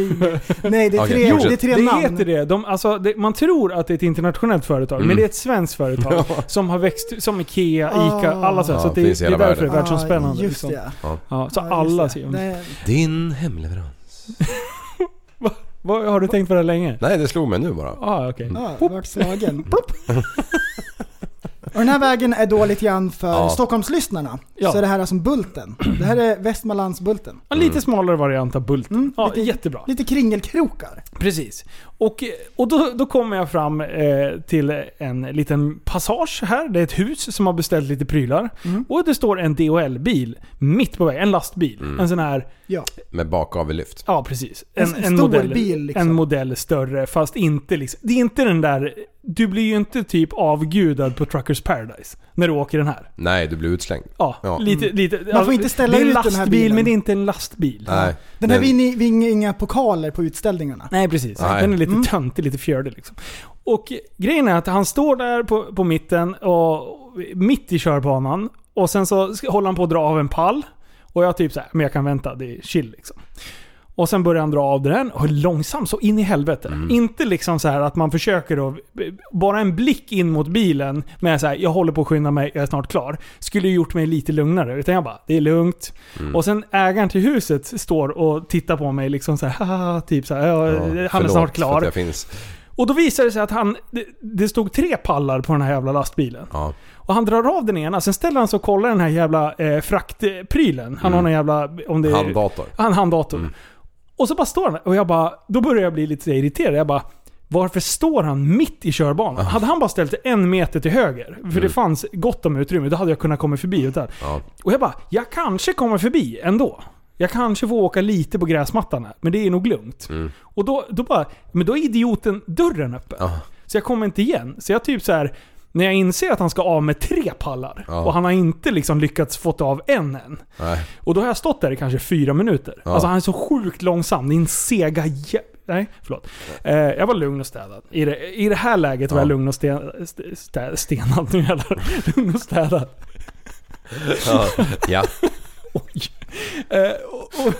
Speaker 4: är
Speaker 6: Okej,
Speaker 4: tre,
Speaker 6: fortsätt.
Speaker 4: det är tre
Speaker 5: det
Speaker 4: namn.
Speaker 5: heter det. De, alltså, det. Man tror att det är ett internationellt företag,
Speaker 4: Mm.
Speaker 5: men det är ett svenskt företag som har växt som Ikea, Ica,
Speaker 4: Ah.
Speaker 5: alla så, här. så
Speaker 6: Ja,
Speaker 5: att det,
Speaker 6: finns i
Speaker 5: det är
Speaker 6: hela
Speaker 5: därför det är
Speaker 6: världen.
Speaker 5: världsomspännande.
Speaker 4: Ah, just
Speaker 5: liksom.
Speaker 4: det.
Speaker 5: Ja, så
Speaker 4: Ja, just
Speaker 5: alla
Speaker 4: det.
Speaker 5: ser
Speaker 4: Nej,
Speaker 6: Din hemleverans?
Speaker 5: Vad, Har du tänkt på det länge?
Speaker 6: Nej, det slog mig nu bara.
Speaker 5: Ah, okej.
Speaker 6: Mm.
Speaker 4: Ja, vart slagen. Plopp. Och den här vägen är då lite grann för
Speaker 6: Ja.
Speaker 4: Stockholmslyssnarna.
Speaker 5: Ja.
Speaker 4: Så är det här är som Bulten. Det här är Västmanlandsbulten.
Speaker 5: En lite smalare variant av Bulten.
Speaker 4: Mm,
Speaker 5: Mm. ja,
Speaker 4: lite-
Speaker 5: jättebra.
Speaker 4: Lite kringelkrokar.
Speaker 5: Precis. Och, eh, och då, då kommer jag fram eh, till en liten passage här. Det är ett hus som har beställt lite prylar.
Speaker 4: Mm.
Speaker 5: Och det står en DHL-bil mitt på vägen. En lastbil.
Speaker 6: Mm.
Speaker 5: En sån här...
Speaker 4: Ja.
Speaker 6: Med bakavellyft.
Speaker 5: Ja, precis.
Speaker 4: En stor bil, liksom.
Speaker 5: En modell större, fast inte liksom... Det är inte den där... Du blir ju inte typ avgudad på Truckers Paradise när du åker den här.
Speaker 6: Nej, du blir utslängd.
Speaker 5: Ja,
Speaker 6: Ja. Mm.
Speaker 5: lite... lite alltså,
Speaker 4: får inte ställa
Speaker 5: Det är en
Speaker 4: ut den här
Speaker 5: lastbil,
Speaker 4: bilen.
Speaker 5: men det är inte en lastbil.
Speaker 6: Nej.
Speaker 4: Den här
Speaker 6: Men-
Speaker 4: vinner vinner inga pokaler på utställningarna.
Speaker 5: Nej, precis.
Speaker 6: Nej.
Speaker 5: Den är lite töntig, lite fjördig liksom. Och grejen är att han står där på, på mitten, och, mitt i körbanan. Och sen så ska- håller han på att dra av en pall. Och jag typ så här, men jag kan vänta, det är chill liksom. Och sen börjar han dra av den och långsamt så in i helvete.
Speaker 6: Mm.
Speaker 5: Inte liksom så här att man försöker att... Bara en blick in mot bilen med så här, jag håller på att skynda mig, jag är snart klar. Skulle ju gjort mig lite lugnare. Utan jag bara, det är lugnt.
Speaker 6: Mm.
Speaker 5: Och sen ägaren till huset står och tittar på mig liksom så här, "Haha", typ så här, "Ja,
Speaker 6: Ja,
Speaker 5: han är
Speaker 6: förlåt
Speaker 5: snart
Speaker 6: för att
Speaker 5: klar.
Speaker 6: Jag finns.
Speaker 5: Och då visar det sig att han, det, det stod tre pallar på den här jävla lastbilen.
Speaker 6: Ja.
Speaker 5: Och han drar av den ena, sen ställer han sig och kollar den här jävla eh, fraktprylen. Han
Speaker 6: Mm.
Speaker 5: har någon jävla... Om det är,
Speaker 6: Handdator.
Speaker 5: Han handdator.
Speaker 6: Mm.
Speaker 5: Och så bara står han där. och jag bara... Då börjar jag bli lite irriterad. Jag bara... Varför står han mitt i körbanan? Hade han bara ställt sig en meter till höger, för det fanns gott om utrymme, då hade jag kunnat komma förbi. Utan.
Speaker 6: Mm. Ja.
Speaker 5: Och jag bara, jag kanske kommer förbi ändå. Jag kanske får åka lite på gräsmattan här, men det är nog lugnt. Och då, då bara, men då är idioten dörren öppen.
Speaker 6: Mm. Ja.
Speaker 5: Så jag kommer inte igen. Så jag typ så här. När jag inser att han ska av med tre pallar
Speaker 6: Ja.
Speaker 5: och han har inte liksom lyckats fått av en än.
Speaker 6: Nej.
Speaker 5: Och då har jag stått där i kanske fyra minuter.
Speaker 6: Ja.
Speaker 5: Alltså han är så sjukt långsam. Det är en sega jä- Nej, förlåt. Eh, jag var lugn och städad. I det, i det här läget var
Speaker 6: Ja.
Speaker 5: jag lugn och sten, st- stä, stenad. Nu jävlar. lugn och städad.
Speaker 6: Ja. ja.
Speaker 5: Oj. Eh, och, och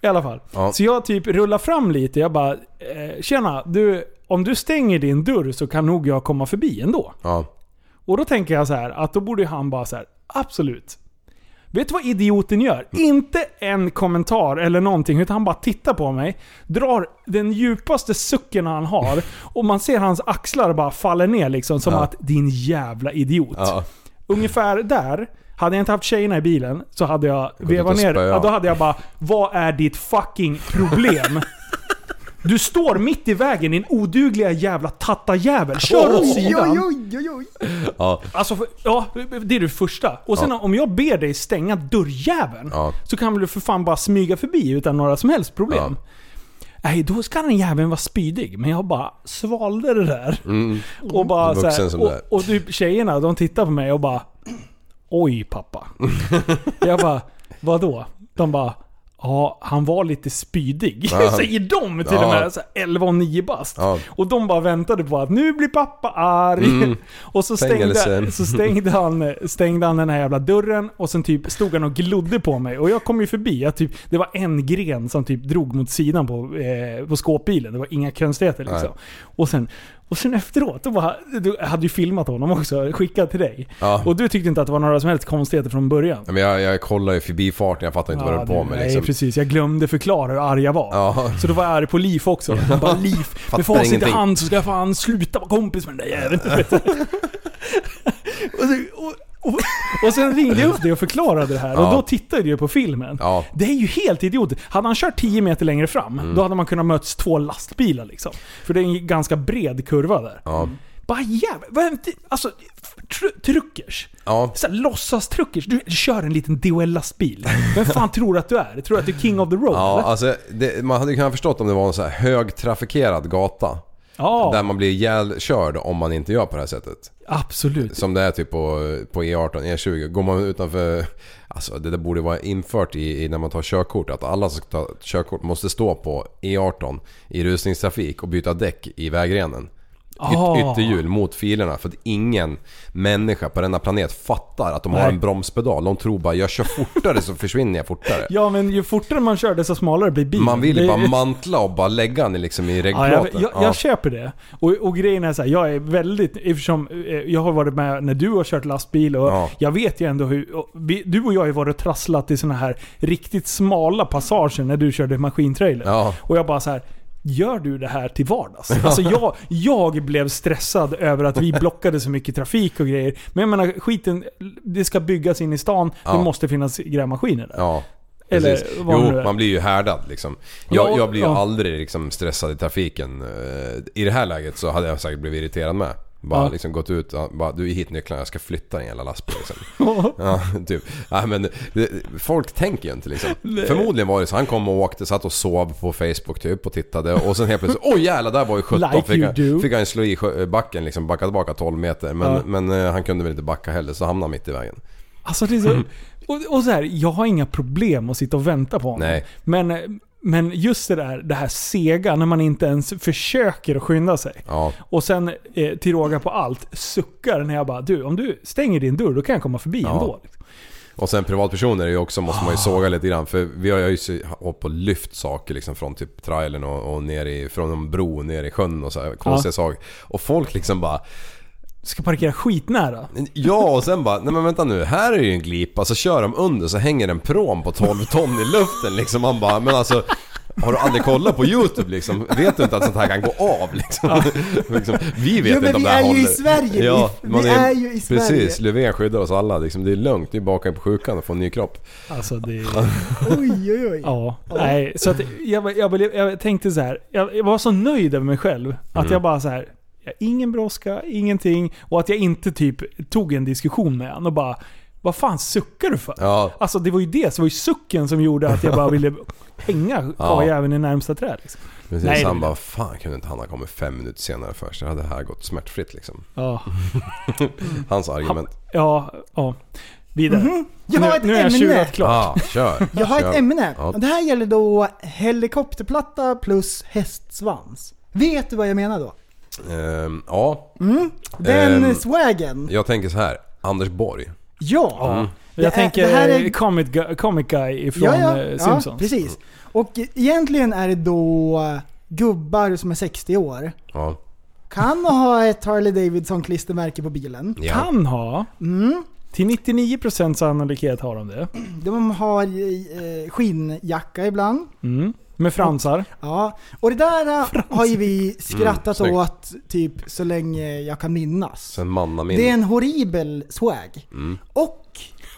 Speaker 5: I alla fall.
Speaker 6: Ja.
Speaker 5: Så jag typ rullar fram lite. Jag bara, eh, tjena, du, om du stänger din dörr så kan nog jag komma förbi ändå.
Speaker 6: ja.
Speaker 5: Och då tänker jag så här, att då borde ju han bara så här, absolut. Vet du vad idioten gör? Inte en kommentar eller någonting, utan han bara tittar på mig, drar den djupaste sucken han har och man ser hans axlar bara faller ner liksom som
Speaker 6: Ja.
Speaker 5: att din jävla idiot.
Speaker 6: ja.
Speaker 5: Ungefär där, hade jag inte haft tjejerna i bilen så hade jag
Speaker 6: ut
Speaker 5: vevat
Speaker 6: och
Speaker 5: ner.
Speaker 6: spöat.
Speaker 5: Ja, då hade jag bara, vad är ditt fucking problem? Du står mitt i vägen din odugliga jävla tattarjävel. Kör åt sidan.
Speaker 4: Oj, oj, oj, oj.
Speaker 6: ja.
Speaker 5: Alltså, för, ja, det är det första. Och sen
Speaker 6: Ja.
Speaker 5: om jag ber dig stänga dörrjäveln,
Speaker 6: Ja.
Speaker 5: så kan väl du för fan bara smyga förbi utan några som helst problem. Nej, då ska den jäveln vara spydig. Men jag bara svalde det där. Och bara så
Speaker 6: Mm. Vuxen
Speaker 5: här,
Speaker 6: som
Speaker 5: och,
Speaker 6: du är.
Speaker 5: och typ tjejerna, de tittar på mig och bara Oj pappa. jag bara, vadå? De bara, ja han var lite spydig.
Speaker 6: Ja.
Speaker 5: Säger de till
Speaker 6: Ja.
Speaker 5: och med. Så här, 11 och 9 bast.
Speaker 6: Ja. Mm.
Speaker 5: Och de bara väntade på att nu blir pappa arg. Och så stängde,
Speaker 6: Fängelse.
Speaker 5: så stängde, han, stängde han den här jävla dörren och sen typ stod han och glodde på mig. Och jag kom ju förbi. Jag typ, det var en gren som typ drog mot sidan på, eh, på skåpbilen. Det var inga konstigheter liksom.
Speaker 6: Nej.
Speaker 5: Och sen, och sen efteråt, då bara, du jag hade ju filmat honom också, skickat till dig.
Speaker 6: Ja.
Speaker 5: Och du tyckte inte att det var några som helst konstigheter från början.
Speaker 6: Men jag, jag kollar ju förbi farten, jag fattar inte vad du höll på
Speaker 5: du,
Speaker 6: med
Speaker 5: Nej
Speaker 6: liksom.
Speaker 5: precis, jag glömde förklara hur arg jag var.
Speaker 6: Ja.
Speaker 5: Så då var jag arg på Liv också. Jag Bara, Liv, med facit i
Speaker 6: ingenting.
Speaker 5: hand så ska jag fan sluta vara kompis med den där jäveln. och, så- och, och, och sen ringde jag upp dig och förklarade det här och
Speaker 6: Ja.
Speaker 5: då tittade du på filmen.
Speaker 6: Ja. Mm.
Speaker 5: Det är ju helt idiotiskt. Hade han kört 10 meter längre fram, då hade man kunnat möts två lastbilar liksom. För det är en ganska bred kurva där.
Speaker 6: Ja.
Speaker 5: Bara jävlar, vad är det- alltså tr- truckers.
Speaker 6: Ja.
Speaker 5: Så här, Låtsas-truckers. Du kör en liten DHL-lastbil. Vem fan tror du att du är? Tror du att du är king of the road?
Speaker 6: Ja,
Speaker 5: eller?
Speaker 6: alltså, det, man hade ju kunnat förstått om det var en så här högtrafikerad gata.
Speaker 5: ja
Speaker 6: Där man blir ihjälkörd om man inte gör på det här sättet.
Speaker 5: absolut.
Speaker 6: Som det är typ på, på E18, E20. Går man utanför... Alltså det där borde vara infört i, i när man tar körkort. Att alla som tar körkort måste stå på E18 i rusningstrafik och byta däck i vägrenen. Yt,
Speaker 5: Ah.
Speaker 6: Ytterhjul mot filerna. För att ingen människa på denna planet fattar att de har
Speaker 5: Nej.
Speaker 6: en bromspedal. De tror bara jag kör fortare så försvinner jag fortare.
Speaker 5: Ja, men ju fortare man kör desto smalare blir bilen.
Speaker 6: Man vill
Speaker 5: Det-
Speaker 6: ju bara mantla och bara lägga den liksom i
Speaker 5: Ja,
Speaker 6: regplåten.
Speaker 5: jag, jag, jag köper det. Och, och grejen är så här, jag är väldigt... Eftersom eh, jag har varit med när du har kört lastbil och
Speaker 6: Ja.
Speaker 5: jag vet ju ändå hur... Och vi, du och jag har ju varit och trasslat i såna här riktigt smala passager när du körde maskintrailer.
Speaker 6: Ja.
Speaker 5: Och jag bara så här. Gör du det här till vardags? Alltså jag, jag blev stressad över att vi blockade så mycket trafik och grejer. Men jag menar skiten, det ska byggas in i stan.
Speaker 6: Ja.
Speaker 5: Det måste finnas grävmaskiner där.
Speaker 6: Ja.
Speaker 5: Eller
Speaker 6: Precis.
Speaker 5: vad det nu
Speaker 6: Jo,
Speaker 5: är.
Speaker 6: man blir ju härdad liksom.
Speaker 5: Ja, och-
Speaker 6: Jag, jag blir ju
Speaker 5: ja.
Speaker 6: aldrig liksom stressad i trafiken. Eh, I det här läget så hade jag säkert blivit irriterad med. Bara
Speaker 5: Ja.
Speaker 6: liksom gått ut och bara du hit nycklarna, jag ska flytta en jävla lastbil liksom. ja, typ. Nej men det, folk tänker ju inte liksom. Förmodligen var det så, han kom och åkte, satt och sov på Facebook typ och tittade och sen helt plötsligt, oj jävlar där var ju 17
Speaker 5: Like
Speaker 6: fick,
Speaker 5: you do.
Speaker 6: han, fick han slå i sjö- backen liksom, backa tillbaka 12 meter. Men,
Speaker 5: Ja.
Speaker 6: men eh, han kunde väl inte backa heller så hamnade han mitt i vägen.
Speaker 5: Alltså det är
Speaker 6: Mm.
Speaker 5: så, och, och så här, jag har inga problem att sitta och vänta på honom.
Speaker 6: Nej.
Speaker 5: Men, men just det där, det här sega, när man inte ens försöker att skynda sig.
Speaker 6: Ja,
Speaker 5: Och sen eh, till råga på allt suckar när jag bara du, om du stänger din dörr då kan jag komma förbi
Speaker 6: Ja.
Speaker 5: ändå.
Speaker 6: Och sen privatpersoner är ju också, måste
Speaker 5: Ah.
Speaker 6: man ju såga lite grann. För vi har ju så- hållit på och lyft saker liksom från typ trailern och, och ner i, från en bro ner i sjön och så här, konstiga
Speaker 5: Ja.
Speaker 6: saker. Och folk liksom bara
Speaker 5: Ska parkera skitnära.
Speaker 6: Ja och sen bara, nej men vänta nu, här är ju en glipa, så kör de under så hänger en pråm på 12 ton i luften liksom. Man bara, men alltså har du aldrig kollat på YouTube liksom? Vet du inte att sånt här kan gå av liksom? liksom vi vet
Speaker 4: Jo, men
Speaker 6: inte om
Speaker 4: vi
Speaker 6: det här
Speaker 4: är ju i
Speaker 6: håller.
Speaker 4: Sverige. Vi- vi är ju i Sverige.
Speaker 6: Precis, Löfven skyddar oss alla liksom. Det är lugnt, det är bara att åka in på sjukan och få en ny kropp.
Speaker 5: Alltså det...
Speaker 4: Oj, oj, oj.
Speaker 5: Ja. Nej, så att jag, var- jag, blev- jag tänkte så här. Jag, jag var så nöjd över mig själv. Att
Speaker 6: Mm.
Speaker 5: jag bara så här. Jag, ingen brådska, ingenting. Och att jag inte typ tog en diskussion med honom och bara Vad fan suckar du för?
Speaker 6: Ja.
Speaker 5: Alltså det var ju det, så det var ju sucken som gjorde att jag bara ville hänga
Speaker 6: Ja.
Speaker 5: karljäveln i närmsta träd. Liksom.
Speaker 6: Precis,
Speaker 5: Nej,
Speaker 6: han
Speaker 5: det-
Speaker 6: bara fan kunde inte han ha kommit fem minuter senare först? Det hade det här gått smärtfritt liksom.
Speaker 5: Ja.
Speaker 6: Hans argument.
Speaker 5: Ja, ja. Vidare.
Speaker 4: Mhm. Jag har ett
Speaker 5: nu, nu är jag
Speaker 4: ämne.
Speaker 5: tjurat klart.
Speaker 6: Ah, kör!
Speaker 4: Jag har
Speaker 6: kör.
Speaker 4: ett ämne.
Speaker 6: Ja.
Speaker 4: Det här gäller då helikopterplatta plus hästsvans. Vet du vad jag menar då?
Speaker 6: Ehm, ja,
Speaker 4: Den
Speaker 6: Ehm,
Speaker 4: swagen.
Speaker 6: jag tänker så här. Anders Borg.
Speaker 4: Ja.
Speaker 5: Jag
Speaker 4: Det är-
Speaker 5: tänker
Speaker 4: det här är-
Speaker 5: comic, Gu- comic Guy ifrån eh,
Speaker 4: Ja,
Speaker 5: Simpsons.
Speaker 4: precis. Och egentligen är det då gubbar som är 60 år.
Speaker 6: Ja.
Speaker 4: Kan ha ett Harley Davidson klistermärke på bilen.
Speaker 6: ja.
Speaker 5: Kan ha.
Speaker 4: Mm.
Speaker 5: Till 99% sannolikhet har de det.
Speaker 4: De har eh, skinnjacka ibland.
Speaker 5: Mm. Med fransar.
Speaker 4: Ja, och det där eh, har ju vi skrattat
Speaker 6: Mm,
Speaker 4: åt typ så länge jag kan minnas.
Speaker 6: Sen manna min. Mm.
Speaker 4: Det är en horribel swag. Och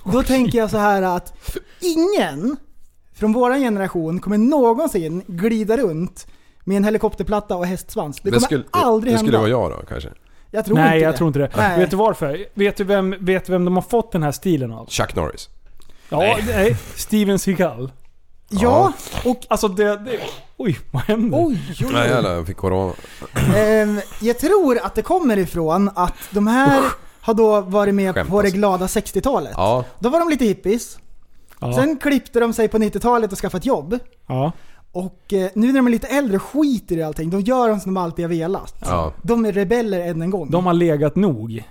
Speaker 4: då tänker jag så här att ingen från våran generation kommer någonsin glida runt med en helikopterplatta och hästsvans. Det kommer aldrig
Speaker 6: det,
Speaker 4: hända.
Speaker 6: skulle vara jag då kanske.
Speaker 4: Jag tror
Speaker 5: Nej,
Speaker 4: inte
Speaker 5: jag
Speaker 4: det.
Speaker 5: tror inte det.
Speaker 4: Nej.
Speaker 5: Vet du varför? Vet du vem, vet vem de har fått den här stilen av?
Speaker 6: Chuck Norris.
Speaker 5: Ja, nej. Steven Seagal.
Speaker 4: Ja, och
Speaker 5: Alltså det, det... Oj, vad händer?
Speaker 4: oj, oj,
Speaker 6: Nej
Speaker 4: oj.
Speaker 6: jävlar, jag fick corona.
Speaker 4: Ehm, Jag tror att det kommer ifrån att de här har då varit med på
Speaker 6: Skämtas.
Speaker 4: det glada 60-talet.
Speaker 6: alltså. Ja,
Speaker 4: Då var de lite hippies.
Speaker 5: ja.
Speaker 4: Sen klippte de sig på 90-talet och skaffade ett jobb.
Speaker 5: ja.
Speaker 4: Och eh, nu när de är lite äldre skiter i allting. De gör de som de alltid har velat.
Speaker 6: Ja.
Speaker 4: De är rebeller än en gång.
Speaker 5: De har legat nog.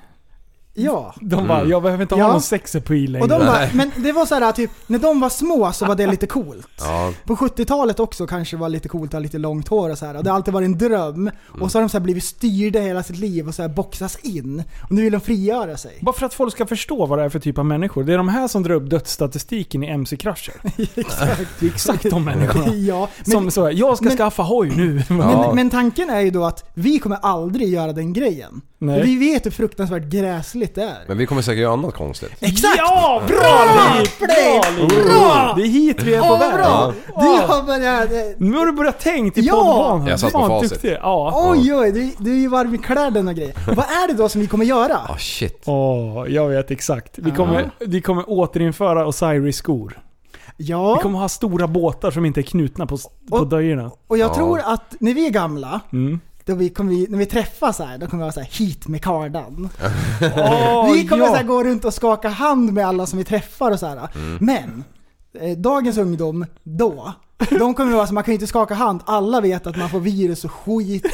Speaker 4: ja.
Speaker 5: De
Speaker 6: Mm.
Speaker 5: bara, jag behöver inte
Speaker 4: Ja.
Speaker 5: ha någon sexappeal längre.
Speaker 4: Och de bara, men det var så här typ, när de var små så var det lite coolt.
Speaker 6: ja.
Speaker 4: På 70-talet också kanske det var lite coolt att ha lite långt hår och så här. Och det har alltid varit en dröm. Och så har de så här blivit styrda hela sitt liv och så här boxas in. Och nu vill de frigöra sig.
Speaker 5: Bara för att folk ska förstå vad det är för typ av människor. Det är de här som drar upp dödsstatistiken i MC-krascher.
Speaker 4: Exakt.
Speaker 5: Det är exakt de människorna.
Speaker 4: ja, men,
Speaker 5: Som så här, jag ska
Speaker 4: men-
Speaker 5: skaffa hoj nu.
Speaker 4: men, men tanken är ju då att vi kommer aldrig göra den grejen.
Speaker 5: Nej.
Speaker 4: För Vi vet hur fruktansvärt gräsligt det är.
Speaker 6: Men vi kommer säkert göra annat konstigt.
Speaker 4: Exakt!
Speaker 5: Ja, bra,
Speaker 4: Bra,
Speaker 5: Liv!
Speaker 4: Blake!
Speaker 5: Bra, Liv!
Speaker 4: Bra!
Speaker 5: Det är hit vi är på
Speaker 4: Åh vad
Speaker 5: väg.
Speaker 4: bra! Du
Speaker 5: Ja.
Speaker 4: har börjat... eh,
Speaker 5: Nu har du börjat tänkt i
Speaker 4: Ja!
Speaker 5: poddbanan.
Speaker 6: Jag satt på
Speaker 5: Fan,
Speaker 6: facit.
Speaker 5: duktig. Ja.
Speaker 4: Oj oj, du, du är ju varm i kläderna och grejer. Vad är det då som vi kommer
Speaker 6: Ah
Speaker 4: göra?
Speaker 6: shit.
Speaker 5: Åh, jag vet exakt. Vi kommer, vi kommer återinföra Osiris-skor. Vi
Speaker 4: Ja,
Speaker 5: kommer ha stora båtar som inte är knutna på, på
Speaker 4: Och-
Speaker 5: dojorna.
Speaker 4: och jag
Speaker 6: Ja.
Speaker 4: tror att när vi är gamla,
Speaker 5: Mm.
Speaker 4: då vi kommer vi, när vi träffas här, då kommer vi vara så här hit med kardan.
Speaker 5: Åh,
Speaker 4: vi kommer
Speaker 5: ja.
Speaker 4: så här gå runt och skaka hand med alla som vi träffar och så här.
Speaker 5: Mm.
Speaker 4: Men, eh, dagens ungdom, då, de kommer vara så man kan ju inte skaka hand. Alla vet att man får virus och skit.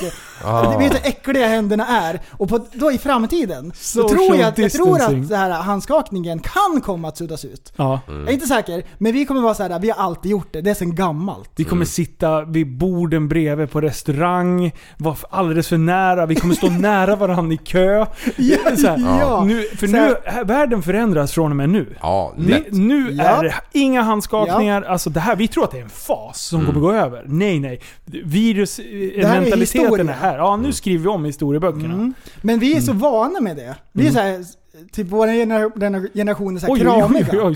Speaker 4: Ah. Vet du hur äckliga händerna är? Och på, då i framtiden, så
Speaker 5: Social
Speaker 4: tror jag, att- jag tror
Speaker 5: distancing.
Speaker 4: att det här handskakningen kan komma att suddas ut.
Speaker 5: Ja.
Speaker 4: Jag är inte säker, men vi kommer vara så här. vi har alltid gjort det. Det är sedan gammalt.
Speaker 5: Vi kommer sitta vid borden bredvid på restaurang, vara f- alldeles för nära, vi kommer stå nära varandra i kö.
Speaker 4: Ja,
Speaker 5: Så här,
Speaker 4: ja.
Speaker 5: Nu, för
Speaker 4: Så
Speaker 5: nu,
Speaker 4: här-
Speaker 5: här, världen förändras från och med nu.
Speaker 6: Ja,
Speaker 5: Nu,
Speaker 6: lätt.
Speaker 5: nu
Speaker 4: Ja.
Speaker 5: är det inga handskakningar. Alltså det här, vi tror att det är en fas som kommer gå över. Nej, nej. Virus, eh,
Speaker 4: här är
Speaker 5: mentaliteten är,
Speaker 4: historia. Mm.
Speaker 5: här. Ja, nu skriver vi om historieböckerna.
Speaker 4: Men vi är så vana med det. Vi är så här, typ vår gener- den generationen är så här
Speaker 5: Mm. Oj, oj, oj,
Speaker 4: kramiga.
Speaker 5: oj, oj,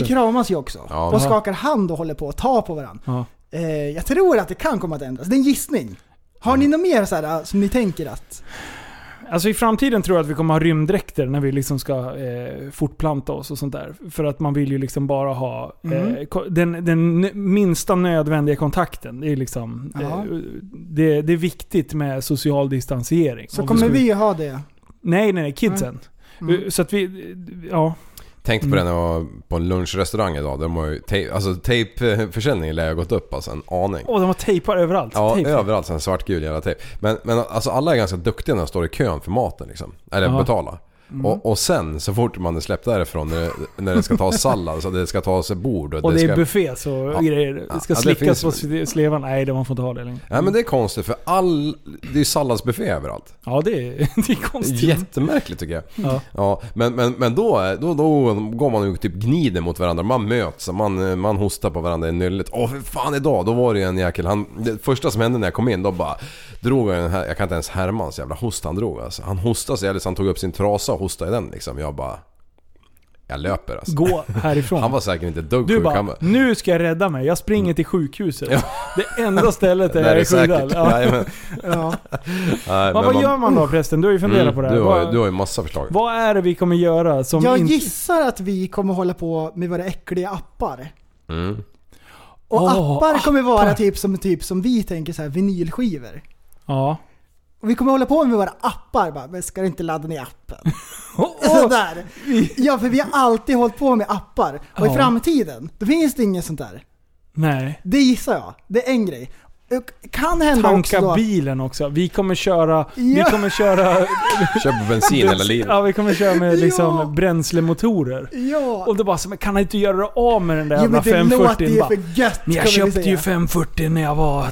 Speaker 4: Vi kramas ju också.
Speaker 6: Ja.
Speaker 4: och skakar hand och håller på att ta på varandra.
Speaker 5: Ja.
Speaker 4: Eh, jag tror att det kan komma att ändras. Det är en gissning. Har
Speaker 5: Mm.
Speaker 4: ni något mer så här, som ni tänker att...
Speaker 5: Alltså i framtiden tror jag att vi kommer ha rymddräkter när vi liksom ska eh, fortplanta oss och sånt där. För att man vill ju liksom bara ha eh,
Speaker 4: Mm.
Speaker 5: ko- den, den n- minsta nödvändiga kontakten. Det är, liksom, eh,
Speaker 4: Ja.
Speaker 5: det, det är viktigt med social distansering.
Speaker 4: Så
Speaker 5: Om
Speaker 4: kommer
Speaker 5: skulle-
Speaker 4: vi ha det.
Speaker 5: Nej, nej, nej. Kidsen.
Speaker 4: Mm.
Speaker 5: Eh, Så att vi... Ja.
Speaker 6: Tänkte på det när jag var på en lunchrestaurang idag. De har ju te- alltså tejpförsäljningen lär ju ha gått upp alltså en aning.
Speaker 5: Åh, de har tejpar överallt.
Speaker 6: Ja,
Speaker 5: Tejp.
Speaker 6: överallt sån här svartgul jävla tejp. Men, men alltså alla är ganska duktiga när de står i kön för maten liksom. Eller
Speaker 5: Ja.
Speaker 6: betala.
Speaker 4: Mm.
Speaker 6: Och, och sen så fort man är släppt därifrån när det, när det ska tas sallad, så det ska tas ett bord och,
Speaker 5: Och
Speaker 6: det
Speaker 5: det
Speaker 6: ska...
Speaker 5: är buffé så grejer.
Speaker 6: Ja,
Speaker 5: Det ska
Speaker 6: ja, det
Speaker 5: slickas
Speaker 6: finns-
Speaker 5: på sle- slevan. Nej, det man får inte ha det längre.
Speaker 6: Nej men det är konstigt för all... Det är ju salladsbuffé överallt.
Speaker 5: Ja, det är, det är
Speaker 6: Det är
Speaker 5: konstigt.
Speaker 6: jättemärkligt tycker jag.
Speaker 5: Ja.
Speaker 6: Ja, men, men, men då, är- då, då går man ju typ gnider mot varandra. Man möts, man, man hostar på varandra i nyllet. Åh för fan idag, då var det ju en jäkel. Han, det första som hände när jag kom in, då bara drog han den här, jag kan inte ens härma hans jävla host han drog alltså. Han hostade så jävligt så han tog upp sin trasa och hostade i den liksom. Jag bara... Jag löper alltså.
Speaker 5: Gå härifrån.
Speaker 6: Han var säkert inte ett dugg
Speaker 5: Du
Speaker 6: sjuk. Han
Speaker 5: bara,
Speaker 6: var-
Speaker 5: nu ska jag rädda mig. Jag springer till sjukhuset. Det enda stället där
Speaker 6: Nej,
Speaker 5: jag
Speaker 6: Mm. det
Speaker 5: är
Speaker 6: är säkert.
Speaker 5: skyddad. Ja.
Speaker 6: Nej, men,
Speaker 4: Ja.
Speaker 6: nej,
Speaker 5: Men
Speaker 6: men
Speaker 5: vad gör man då förresten? Du har ju funderat
Speaker 6: Mm,
Speaker 5: på det här.
Speaker 6: du, har, ju-
Speaker 5: Vad,
Speaker 6: du har ju massa förslag.
Speaker 5: vad är det vi kommer göra som
Speaker 4: Jag
Speaker 5: inte...
Speaker 4: gissar att vi kommer hålla på med våra äckliga appar.
Speaker 6: Mm.
Speaker 4: Och
Speaker 5: Åh,
Speaker 4: appar kommer
Speaker 5: appar.
Speaker 4: vara typ som, typ som vi tänker så här vinylskivor.
Speaker 5: Ja.
Speaker 4: Och vi kommer hålla på med våra appar bara, men ska du inte ladda ner appen?
Speaker 5: Åh,
Speaker 4: Sådär. Ja, för vi har alltid hållit på med appar. Och
Speaker 5: Ja.
Speaker 4: i framtiden, då finns det inget sånt där.
Speaker 5: nej.
Speaker 4: Det gissar jag. Det är en grej. Och kan hända också
Speaker 5: Tanka
Speaker 4: då.
Speaker 5: bilen också. Vi kommer köra... Vi
Speaker 4: Ja.
Speaker 5: kommer köra...
Speaker 6: Köp bensin hela livet.
Speaker 5: Ja, vi kommer köra med liksom
Speaker 4: Ja.
Speaker 5: bränslemotorer.
Speaker 4: Ja.
Speaker 5: Och det bara så, men kan han inte göra av med den där
Speaker 4: ja,
Speaker 5: jävla
Speaker 4: men det låter
Speaker 5: 540
Speaker 4: ju
Speaker 5: bara,
Speaker 4: för gött
Speaker 5: Men jag
Speaker 4: kommer vi
Speaker 5: köpte ju
Speaker 4: säga.
Speaker 5: 540 när jag var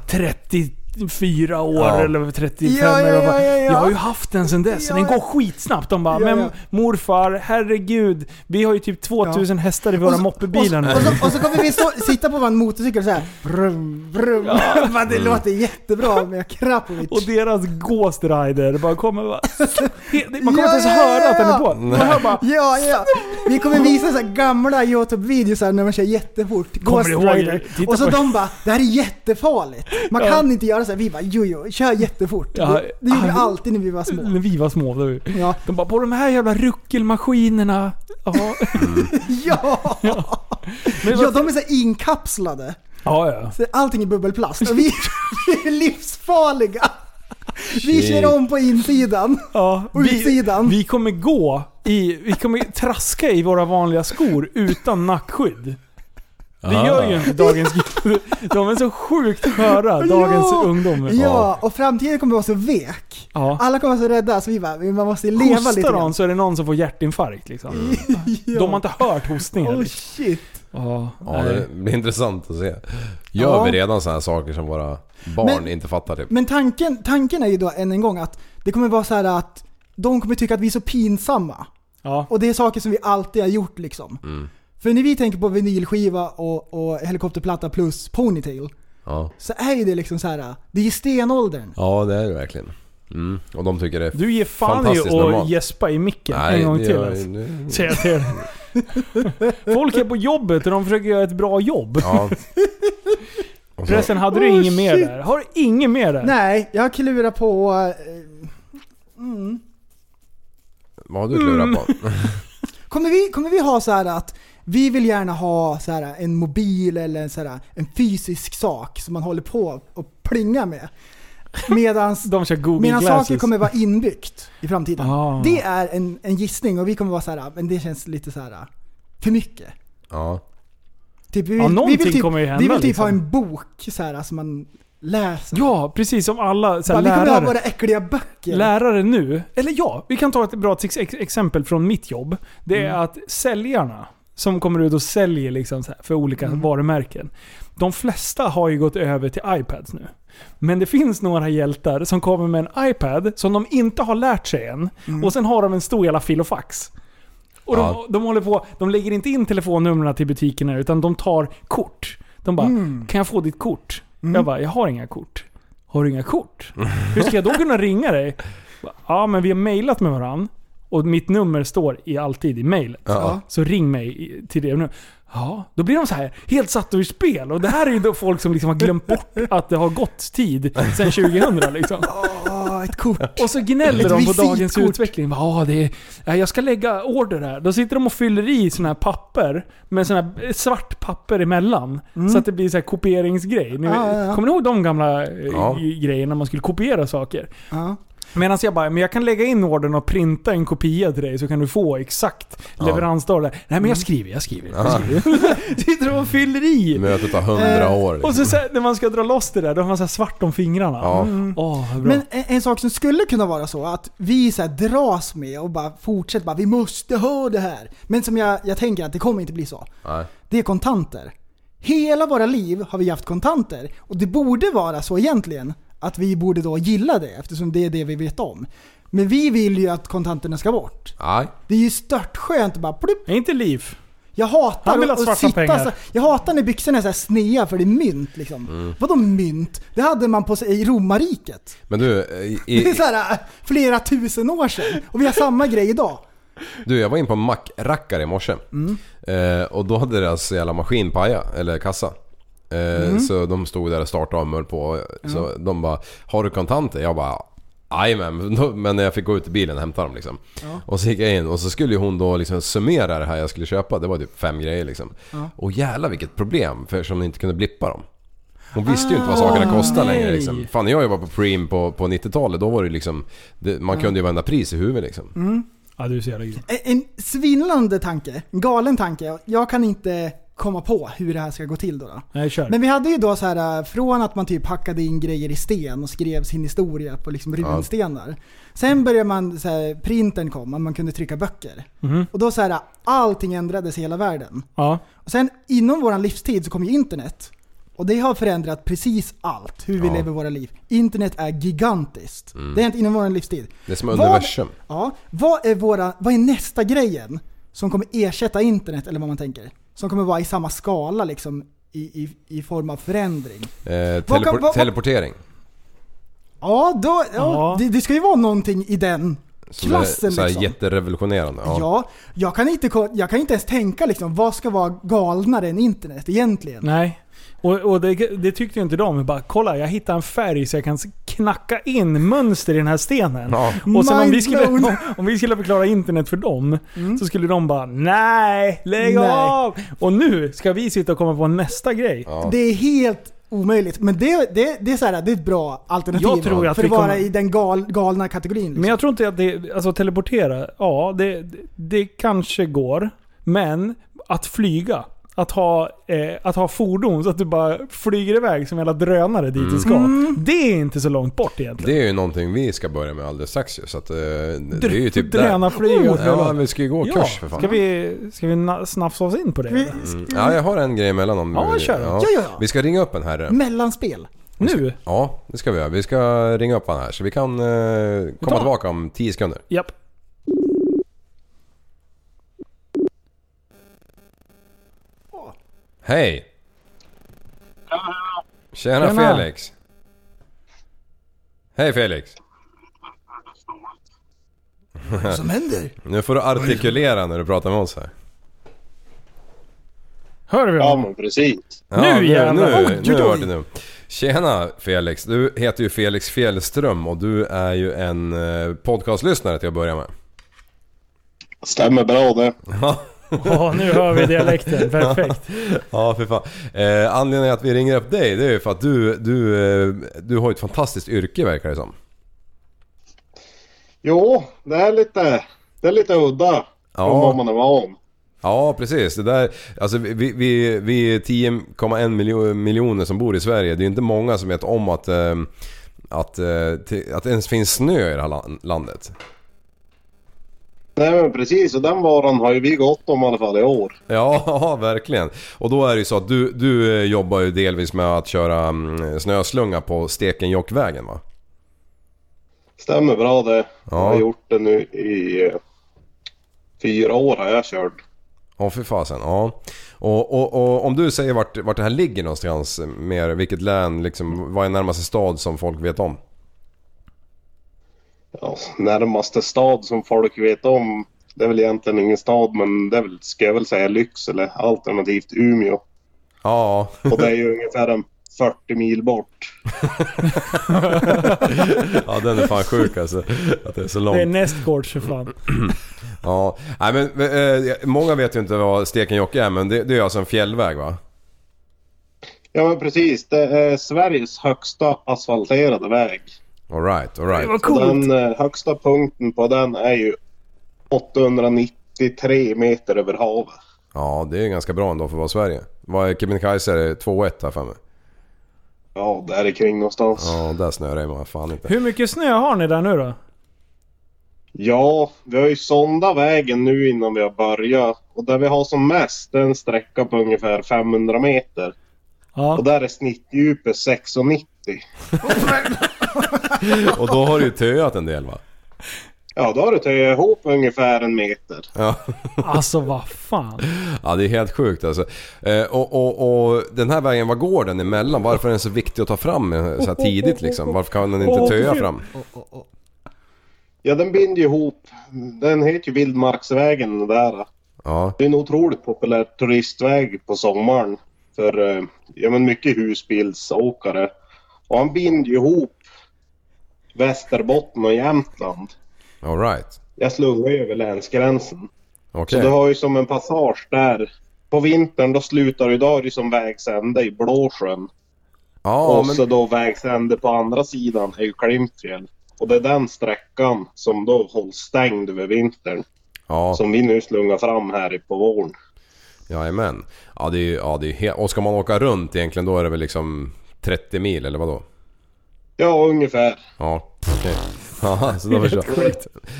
Speaker 5: 34 år
Speaker 6: Ja.
Speaker 5: eller 35
Speaker 4: Ja, ja,
Speaker 5: eller vad.
Speaker 4: ja, ja, ja.
Speaker 5: Jag har ju haft den sedan dess.
Speaker 4: Ja,
Speaker 5: Den
Speaker 4: ja.
Speaker 5: går skitsnabbt. De bara,
Speaker 4: Ja,
Speaker 5: men
Speaker 4: ja.
Speaker 5: morfar, herregud. Vi har ju typ 2000 hästar i våra moppebilar
Speaker 4: och,
Speaker 5: nu.
Speaker 4: så- och, så, och så kommer vi stå, sitta på en motorcykel och såhär brum, brum. Fan, det låter jättebra med Krapovic.
Speaker 5: Mm. Och deras Ghost Rider bara kommer bara... Man kommer inte ens
Speaker 4: Ja, ja,
Speaker 5: höra att den är
Speaker 4: ja.
Speaker 5: på. Man hör bara...
Speaker 4: Ja, ja. Vi kommer visa så här gamla Youtube-videos här när man kör jättefort.
Speaker 5: Kommer
Speaker 4: Ghost
Speaker 5: du ihåg?
Speaker 4: Rider.
Speaker 5: Titta
Speaker 4: Och så
Speaker 5: på-
Speaker 4: de bara, det här är jättefarligt. Man
Speaker 5: Ja.
Speaker 4: kan inte göra så här. Vi bara, jo, jo, kör jättefort.
Speaker 5: Ja.
Speaker 4: Det, det gjorde vi
Speaker 5: Ah.
Speaker 4: alltid när vi var små.
Speaker 5: När vi var små. Då.
Speaker 4: Ja.
Speaker 5: De bara, på de här jävla ruckelmaskinerna. Ja,
Speaker 4: Ja.
Speaker 5: Men
Speaker 4: ja,
Speaker 5: vad-
Speaker 4: de är så här inkapslade.
Speaker 5: ja. ja.
Speaker 4: Så allting är bubbelplast. Och vi, vi är livsfarliga. Vi kör om på insidan.
Speaker 5: Ja,
Speaker 4: Och utsidan.
Speaker 5: Vi kommer gå i, vi kommer traska i våra vanliga skor utan nackskydd. Det
Speaker 6: Ah.
Speaker 5: gör ju inte dagens De är så sjukt sköra, dagens
Speaker 4: Ja.
Speaker 5: ungdom.
Speaker 4: Ja, och framtiden kommer vara så vek.
Speaker 5: Ja.
Speaker 4: Alla kommer vara så rädda så vi bara, man måste leva lite
Speaker 5: Hostar de
Speaker 4: grann. Mm.
Speaker 5: så är det någon som får hjärtinfarkt liksom.
Speaker 4: Ja.
Speaker 5: De har inte hört hostningar.
Speaker 4: Oh
Speaker 5: liksom.
Speaker 4: shit.
Speaker 5: ja,
Speaker 6: Ja,
Speaker 5: nej.
Speaker 6: det blir intressant att se. Gör
Speaker 4: Ja.
Speaker 6: vi redan sådana här saker som våra barn
Speaker 4: Men-
Speaker 6: inte fattar typ?
Speaker 4: Men tanken, tanken är ju då än en gång att det kommer vara så här att de kommer tycka att vi är så pinsamma.
Speaker 5: ja.
Speaker 4: Och det är saker som vi alltid har gjort liksom. För när vi tänker på vinylskiva och, och helikopterplatta plus ponytail
Speaker 6: Ja.
Speaker 4: så är ju det liksom så här. det är ju stenåldern.
Speaker 6: ja, det är det verkligen. Mm. Och de tycker det är
Speaker 5: Du ger fan i
Speaker 6: Fantastiskt
Speaker 5: att
Speaker 6: normalt.
Speaker 5: gäspa i micken en gång
Speaker 6: det
Speaker 5: till.
Speaker 6: gör-
Speaker 5: Alltså.
Speaker 6: det-
Speaker 5: Säger jag till dig. Folk är på jobbet och de försöker göra ett bra jobb.
Speaker 6: Ja. Och så-
Speaker 5: Förresten, hade du
Speaker 4: Oh,
Speaker 5: inget mer
Speaker 4: shit.
Speaker 5: där? Har du inget mer där?
Speaker 4: Nej, jag klurar på... eh,
Speaker 6: vad har du klurat på?
Speaker 5: Mm.
Speaker 4: Kommer vi, kommer vi ha så här att vi vill gärna ha så här en mobil eller en, så här, en fysisk sak som man håller på och plingar med. Medans
Speaker 5: De kör Google
Speaker 4: Mina
Speaker 5: Glasses.
Speaker 4: saker kommer vara inbyggt i framtiden.
Speaker 5: Ah.
Speaker 4: Det är en, en gissning och vi kommer vara så här, men det känns lite så här för mycket.
Speaker 6: Ja.
Speaker 4: Typ, vi vill,
Speaker 5: Ja, någonting
Speaker 4: vi vill typ,
Speaker 5: kommer ju hända,
Speaker 4: Vi vill typ
Speaker 5: liksom.
Speaker 4: ha en bok så här som man läser.
Speaker 5: Ja, precis som alla så
Speaker 4: Bara,
Speaker 5: här,
Speaker 4: vi kommer ha
Speaker 5: lärare.
Speaker 4: våra äckliga böcker.
Speaker 5: Lärare nu, eller ja, vi kan ta ett bra ex- ex- exempel från mitt jobb. Det är
Speaker 4: Mm.
Speaker 5: att säljarna som kommer ut och säljer liksom så här för olika
Speaker 4: Mm.
Speaker 5: varumärken. De flesta har ju gått över till iPads nu. Men det finns några hjältar som kommer med en iPad som de inte har lärt sig än. Och sen har de en stor jävla filofax. Och de,
Speaker 6: Ja.
Speaker 5: de håller på, de lägger inte in telefonnumren till butikerna utan de tar kort. De bara “Kan jag få ditt kort?” Jag bara “Jag har inga kort”. Har du inga kort? Hur ska jag då kunna ringa dig? Ja, men vi har mejlat med varandra. Och mitt nummer står i alltid i mejlet.
Speaker 6: Ja.
Speaker 5: Så ring mig i- till det nu. Ja, då blir de så här helt satt ur spel. Och det här är ju då folk som liksom har glömt bort att det har gått tid sedan 2000 liksom.
Speaker 4: Åh, ett kort.
Speaker 5: Och så gnäller
Speaker 4: Ett
Speaker 5: de på
Speaker 4: visitkort.
Speaker 5: dagens utveckling. Ja, det är, ja, jag ska lägga order här. Då sitter de och fyller i såna här papper med såna här eh, svart papper emellan. Så att det blir så här kopieringsgrej. Ni,
Speaker 4: Mm. Ja, ja, ja.
Speaker 5: Kommer ni ihåg de gamla eh,
Speaker 6: Ja.
Speaker 5: grejerna när man skulle kopiera saker?
Speaker 4: Ja.
Speaker 5: Medan jag bara, men jag kan lägga in ordern och printa en kopia till dig så kan du få exakt leveransdag. där. Nej men
Speaker 4: Mm.
Speaker 5: jag skriver, jag skriver. Jag skriver. Sitter och fyller i.
Speaker 6: Mötet har hundra
Speaker 5: Eh,
Speaker 6: år. liksom.
Speaker 5: Och så, så här, när man ska dra loss det där, då har man så här svart om fingrarna. Mm.
Speaker 6: Ja.
Speaker 5: Åh, vad bra.
Speaker 4: Men en, en sak som skulle kunna vara så att vi så här dras med och bara fortsätter bara vi måste ha det här. Men som jag, jag tänker att det kommer inte bli så.
Speaker 6: Nej.
Speaker 4: Det är kontanter. Hela våra liv har vi haft kontanter och det borde vara så egentligen att vi borde då gilla det eftersom det är det vi vet om. Men vi vill ju att kontanterna ska bort.
Speaker 6: Nej.
Speaker 4: Det är ju störtskönt att bara plupp.
Speaker 5: Är inte liv.
Speaker 4: Jag hatar
Speaker 5: Han vill ha svarta pengar.
Speaker 4: så, Jag hatar när byxorna är så här snea för det är mynt liksom. Vadå mynt? Det hade man på sig i romarriket.
Speaker 6: Men du, eh, i,
Speaker 4: Det är
Speaker 6: i,
Speaker 4: så här, äh, flera tusen år sedan och vi har samma grej idag.
Speaker 6: du jag var in på en mackrackare i morse. Eh, och då hade deras jävla maskin pajat, eller kassa. Eh, Så de stod där och startade om och höll på. Så de bara, har du kontanter? Jag bara, Jajamän, men då- men när jag fick gå ut i bilen och hämta dem liksom. Och så gick jag in och så skulle ju hon då liksom summera det här jag skulle köpa. Det var typ fem grejer liksom. Och jävlar vilket problem för som inte kunde blippa dem. Hon visste ju inte vad sakerna kostade längre liksom. Fan när jag jobbade på Preem på, på 90-talet då var det liksom... Det, man kunde ju vända pris i huvudet liksom.
Speaker 5: Ja, du är så jävla grym.
Speaker 4: En, E- en svindlande tanke, en galen tanke. Jag kan inte komma på hur det här ska gå till då. då.
Speaker 5: Nej, kör.
Speaker 4: Men vi hade ju då så här äh, från att man typ hackade in grejer i sten och skrev sin historia på liksom runstenar. Sen började man, så här, printen kom och man kunde trycka böcker. Och då så här, allting ändrades i hela världen.
Speaker 5: ja.
Speaker 4: Och sen inom vår livstid så kom ju internet. Och det har förändrat precis allt, hur vi
Speaker 6: Ja. Mm.
Speaker 4: lever våra liv. Internet är gigantiskt. Det har hänt inom vår livstid.
Speaker 6: Det är som
Speaker 4: Vad-
Speaker 6: universum.
Speaker 4: Ja, vad är, våra, vad är nästa grejen som kommer ersätta internet, eller vad man tänker? Som kommer vara i samma skala liksom, i, i, i form av förändring.
Speaker 6: Eh,
Speaker 4: Vad kan-
Speaker 6: telepor-
Speaker 4: vad-
Speaker 6: teleportering.
Speaker 4: Ja, då, ja,
Speaker 5: Ja.
Speaker 4: Det, det ska ju vara någonting i den
Speaker 6: Som
Speaker 4: klassen
Speaker 6: är, så här,
Speaker 4: liksom.
Speaker 6: Jätterevolutionerande. Ja.
Speaker 4: Ja, jag kan, inte, ko- jag kan inte ens tänka liksom, vad ska vara galnare än internet egentligen?
Speaker 5: Nej. Och, och det, det tyckte ju inte de. Men bara, kolla jag hittade en färg så jag kan knacka in mönster i den här stenen.
Speaker 6: Ja.
Speaker 5: Och sen om vi,
Speaker 4: Mind
Speaker 5: skulle,
Speaker 4: blown.
Speaker 5: om, om vi skulle förklara internet för dem, så skulle de bara nej, lägg
Speaker 4: Nej.
Speaker 5: av! Och nu ska vi sitta och komma på nästa grej.
Speaker 6: Ja.
Speaker 4: Det är helt omöjligt. Men det, det, det, är, så här, det är ett bra alternativ
Speaker 5: Jag tror att
Speaker 4: för
Speaker 5: vi
Speaker 4: att vara
Speaker 5: kommer-
Speaker 4: i den gal, galna kategorin. Liksom.
Speaker 5: Men jag tror inte att det, alltså teleportera, ja det, det kanske går. Men att flyga, att ha, eh, att ha fordon så att du bara flyger iväg som en jävla drönare dit
Speaker 6: Mm.
Speaker 5: du ska. Det är inte så långt bort egentligen.
Speaker 6: Det är ju någonting vi ska börja med alldeles strax ju. Så att, eh, det är ju typ där.
Speaker 5: Drönarflyg och
Speaker 6: Ja, vi ska ju gå
Speaker 5: Ja,
Speaker 6: kurs för fan.
Speaker 5: Ska
Speaker 6: Mm.
Speaker 5: vi, ska vi na- snafsa oss in på det? Mm. eller?
Speaker 6: Ja, jag har en grej emellan om
Speaker 5: Ja,
Speaker 6: vi-
Speaker 5: kör.
Speaker 4: Ja, ja, ja.
Speaker 6: Vi ska ringa upp en herre.
Speaker 4: Mellanspel.
Speaker 5: Nu?
Speaker 6: Ja, det ska vi göra. Vi ska ringa upp han här så vi kan eh, komma
Speaker 5: tar-
Speaker 6: tillbaka om 10 sekunder.
Speaker 5: Japp.
Speaker 6: Hej! Tjena,
Speaker 5: Tjena.
Speaker 6: Felix! Hej Felix!
Speaker 4: Vad som händer?
Speaker 6: Nu får du artikulera när du pratar med oss här.
Speaker 5: Hör vi
Speaker 7: Ja,
Speaker 5: honom?
Speaker 7: men precis.
Speaker 6: Ja,
Speaker 5: Nu
Speaker 6: nu,
Speaker 5: jävlar. Oj,
Speaker 6: nu,
Speaker 5: oj,
Speaker 6: nu
Speaker 5: oj.
Speaker 6: var det nu. Tjena Felix! Du heter ju Felix Fjällström och du är ju en eh, podcastlyssnare till att börja med.
Speaker 7: Stämmer bra det.
Speaker 5: Ja, nu hör vi dialekten. Perfekt.
Speaker 6: Ja, för fan. Eh, anledningen att vi ringer upp dig det är ju för att du, du, eh, du har ju ett fantastiskt yrke verkar det som.
Speaker 7: Jo, det är lite, det är lite udda.
Speaker 6: Ja.
Speaker 7: Om vad man är van.
Speaker 6: Ja, precis. Det där, alltså, vi, vi, vi är 10,1 miljo- miljoner som bor i Sverige. Det är ju inte många som vet om att, eh, att, eh, till- att det ens finns snö i det här lan- landet.
Speaker 7: Nej men precis, och den varan har ju vi gått om i alla fall i år.
Speaker 6: Ja, verkligen. Och då är det ju så att du, du eh, jobbar ju delvis med att köra mm, snöslunga på Stekenjokkvägen va?
Speaker 7: Stämmer bra det. Jag har
Speaker 6: Ja.
Speaker 7: gjort det nu i eh, fyra år har jag kört.
Speaker 6: Ja, för fasen. Ja. Och, och, och om du säger vart, vart det här ligger någonstans eh, mer, vilket län, liksom, vad är närmaste stad som folk vet om?
Speaker 7: ja, närmaste stad som folk vet om. Det är väl egentligen ingen stad men det är väl, ska jag väl säga Lycksele alternativt Umeå.
Speaker 6: Ja,
Speaker 7: Och det är ju ungefär en 40 mil bort.
Speaker 6: ja den är fan sjuk alltså. Att det är så långt.
Speaker 5: Det är nästgårds för fan.
Speaker 6: Ja, nej men eh, många vet ju inte vad Stekenjokk är men det, det är alltså en fjällväg va?
Speaker 7: Ja men precis, det är Sveriges högsta asfalterade väg.
Speaker 6: Alright,
Speaker 5: Det
Speaker 6: alright.
Speaker 5: var
Speaker 7: Och
Speaker 5: coolt.
Speaker 7: Den eh, högsta punkten på den är ju 893 meter över havet.
Speaker 6: Ja det är ganska bra ändå för att vara Sverige. Vad är Kebnekaise? Är det 2-1 här för mig?
Speaker 7: Ja, där är kring någonstans. Ja.
Speaker 6: Ja där snöar det man fan inte.
Speaker 5: Hur mycket snö har ni där nu då?
Speaker 7: vi har ju sondat vägen nu innan vi har börjat. Och där vi har som mest, det är en sträcka på ungefär 500 meter. Och
Speaker 5: Ja.
Speaker 7: där är snittdjupet 6,90.
Speaker 6: Och då har du ju töat en del va?
Speaker 7: Ja, då har du töjat ihop ungefär en meter.
Speaker 6: Ja.
Speaker 5: Alltså vad fan.
Speaker 6: Ja det är helt sjukt alltså. Eh, och, och, och den här vägen, vad går den emellan? Varför är den så viktig att ta fram eh, så här tidigt liksom? Varför kan den inte töa fram?
Speaker 7: Ja, den binder ju ihop. Den heter ju Vildmarksvägen den där.
Speaker 6: Ja,
Speaker 7: Det är en otroligt populär turistväg på sommaren för eh, ja, men mycket husbilsåkare. Och han binder ju ihop Västerbotten och Jämtland.
Speaker 6: alright.
Speaker 7: Jag slungar ju över länsgränsen. Så
Speaker 6: Okej.
Speaker 7: du har ju som en passage där. På vintern då slutar du idag är det som vägs ände i Blåsjön.
Speaker 6: Ja
Speaker 7: och så
Speaker 6: men...
Speaker 7: då vägs ände på andra sidan är ju Klimpfjäll. Och det är den sträckan som då hålls stängd över vintern.
Speaker 6: Ja,
Speaker 7: Som vi nu slungar fram här i- på våren.
Speaker 6: jajamän. Ja det är ju... Ja, det är he- och ska man åka runt egentligen då är det väl liksom 30 mil eller vadå?
Speaker 7: Ja, ungefär.
Speaker 6: Ja, okej. Jaha, så då förstår jag.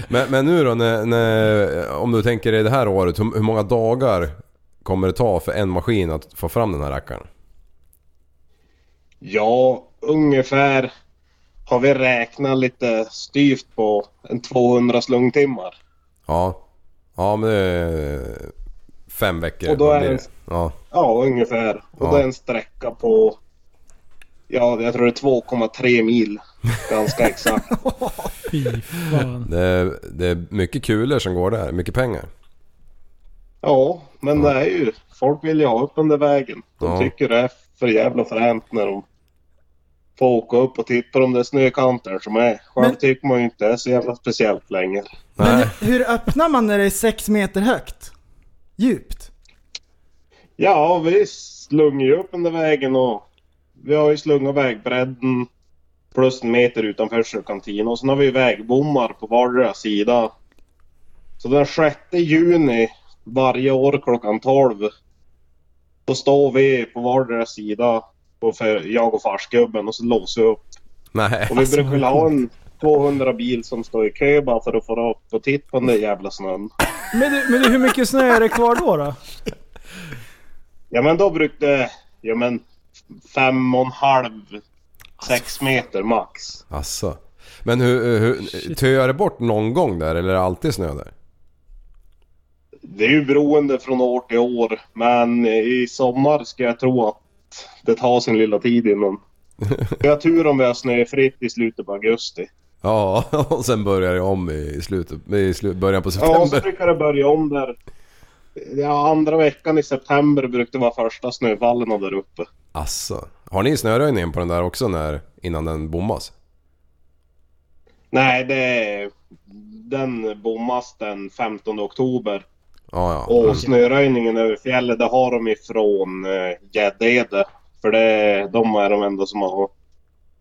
Speaker 6: Men, men nu då, när, när, om du tänker dig det här året, hur, hur många dagar kommer det ta för en maskin att få fram den här rackaren?
Speaker 7: Ja, ungefär har vi räknat lite styvt på en 200 slungtimmar.
Speaker 6: Ja, ja men det är fem veckor.
Speaker 7: Och då
Speaker 6: Vad
Speaker 7: är
Speaker 6: blir
Speaker 7: det-
Speaker 6: Ja,
Speaker 7: Ja, ungefär. Och
Speaker 6: Ja.
Speaker 7: det är en sträcka på, ja, jag tror det är 2,3 mil. Ganska exakt.
Speaker 5: Fy fan.
Speaker 6: det, är, det är mycket kulor som går där, mycket pengar.
Speaker 7: Ja, men det är ju, folk vill ju ha upp den där vägen. De
Speaker 6: Ja.
Speaker 7: tycker det är för jävla fränt när de får åka upp och titta om det är snökanter som är. Själv
Speaker 4: Men-
Speaker 7: tycker man ju inte det är så jävla speciellt längre.
Speaker 4: Men
Speaker 6: Nej.
Speaker 4: hur, hur öppnar man när det är sex meter högt? Djupt?
Speaker 7: Ja, vi slungar ju upp den där vägen och vi har ju slungat vägbredden plus en meter utanför Sjökantin och sen har vi ju vägbommar på vardera sida. Så den 6 juni varje år klockan 12 då står vi på vardera sida, på för jag och farsgubben, och så låser vi upp.
Speaker 6: Nej.
Speaker 7: Och vi brukar väl ha en 200 bil som står i kö bara för att få upp och titta på den där jävla snön.
Speaker 5: Men du, men du, hur mycket snö är det kvar då? då?
Speaker 7: Ja men då brukade ja men fem och en halv, sex meter max.
Speaker 6: Alltså. Men hur, hur töar det bort någon gång där eller är det alltid snö där?
Speaker 7: Det är ju beroende från år till år men i sommar ska jag tro att det tar sin lilla tid innan. Vi har tur om vi har snöfritt i slutet på augusti.
Speaker 6: Ja, och sen börjar det om i slutet, i slu- början på
Speaker 7: Ja, och så
Speaker 6: september.
Speaker 7: brukar det börja om där. Ja, andra veckan i september brukar det vara första snöfallen av där uppe.
Speaker 6: Asså. Har ni snöröjningen på den där också när, innan den bommas?
Speaker 7: Nej, det den bommas den 15 oktober.
Speaker 6: Ja, ja.
Speaker 7: Och snöröjningen över fjället det har de ifrån eh, Gäddede. För det, de är de enda som har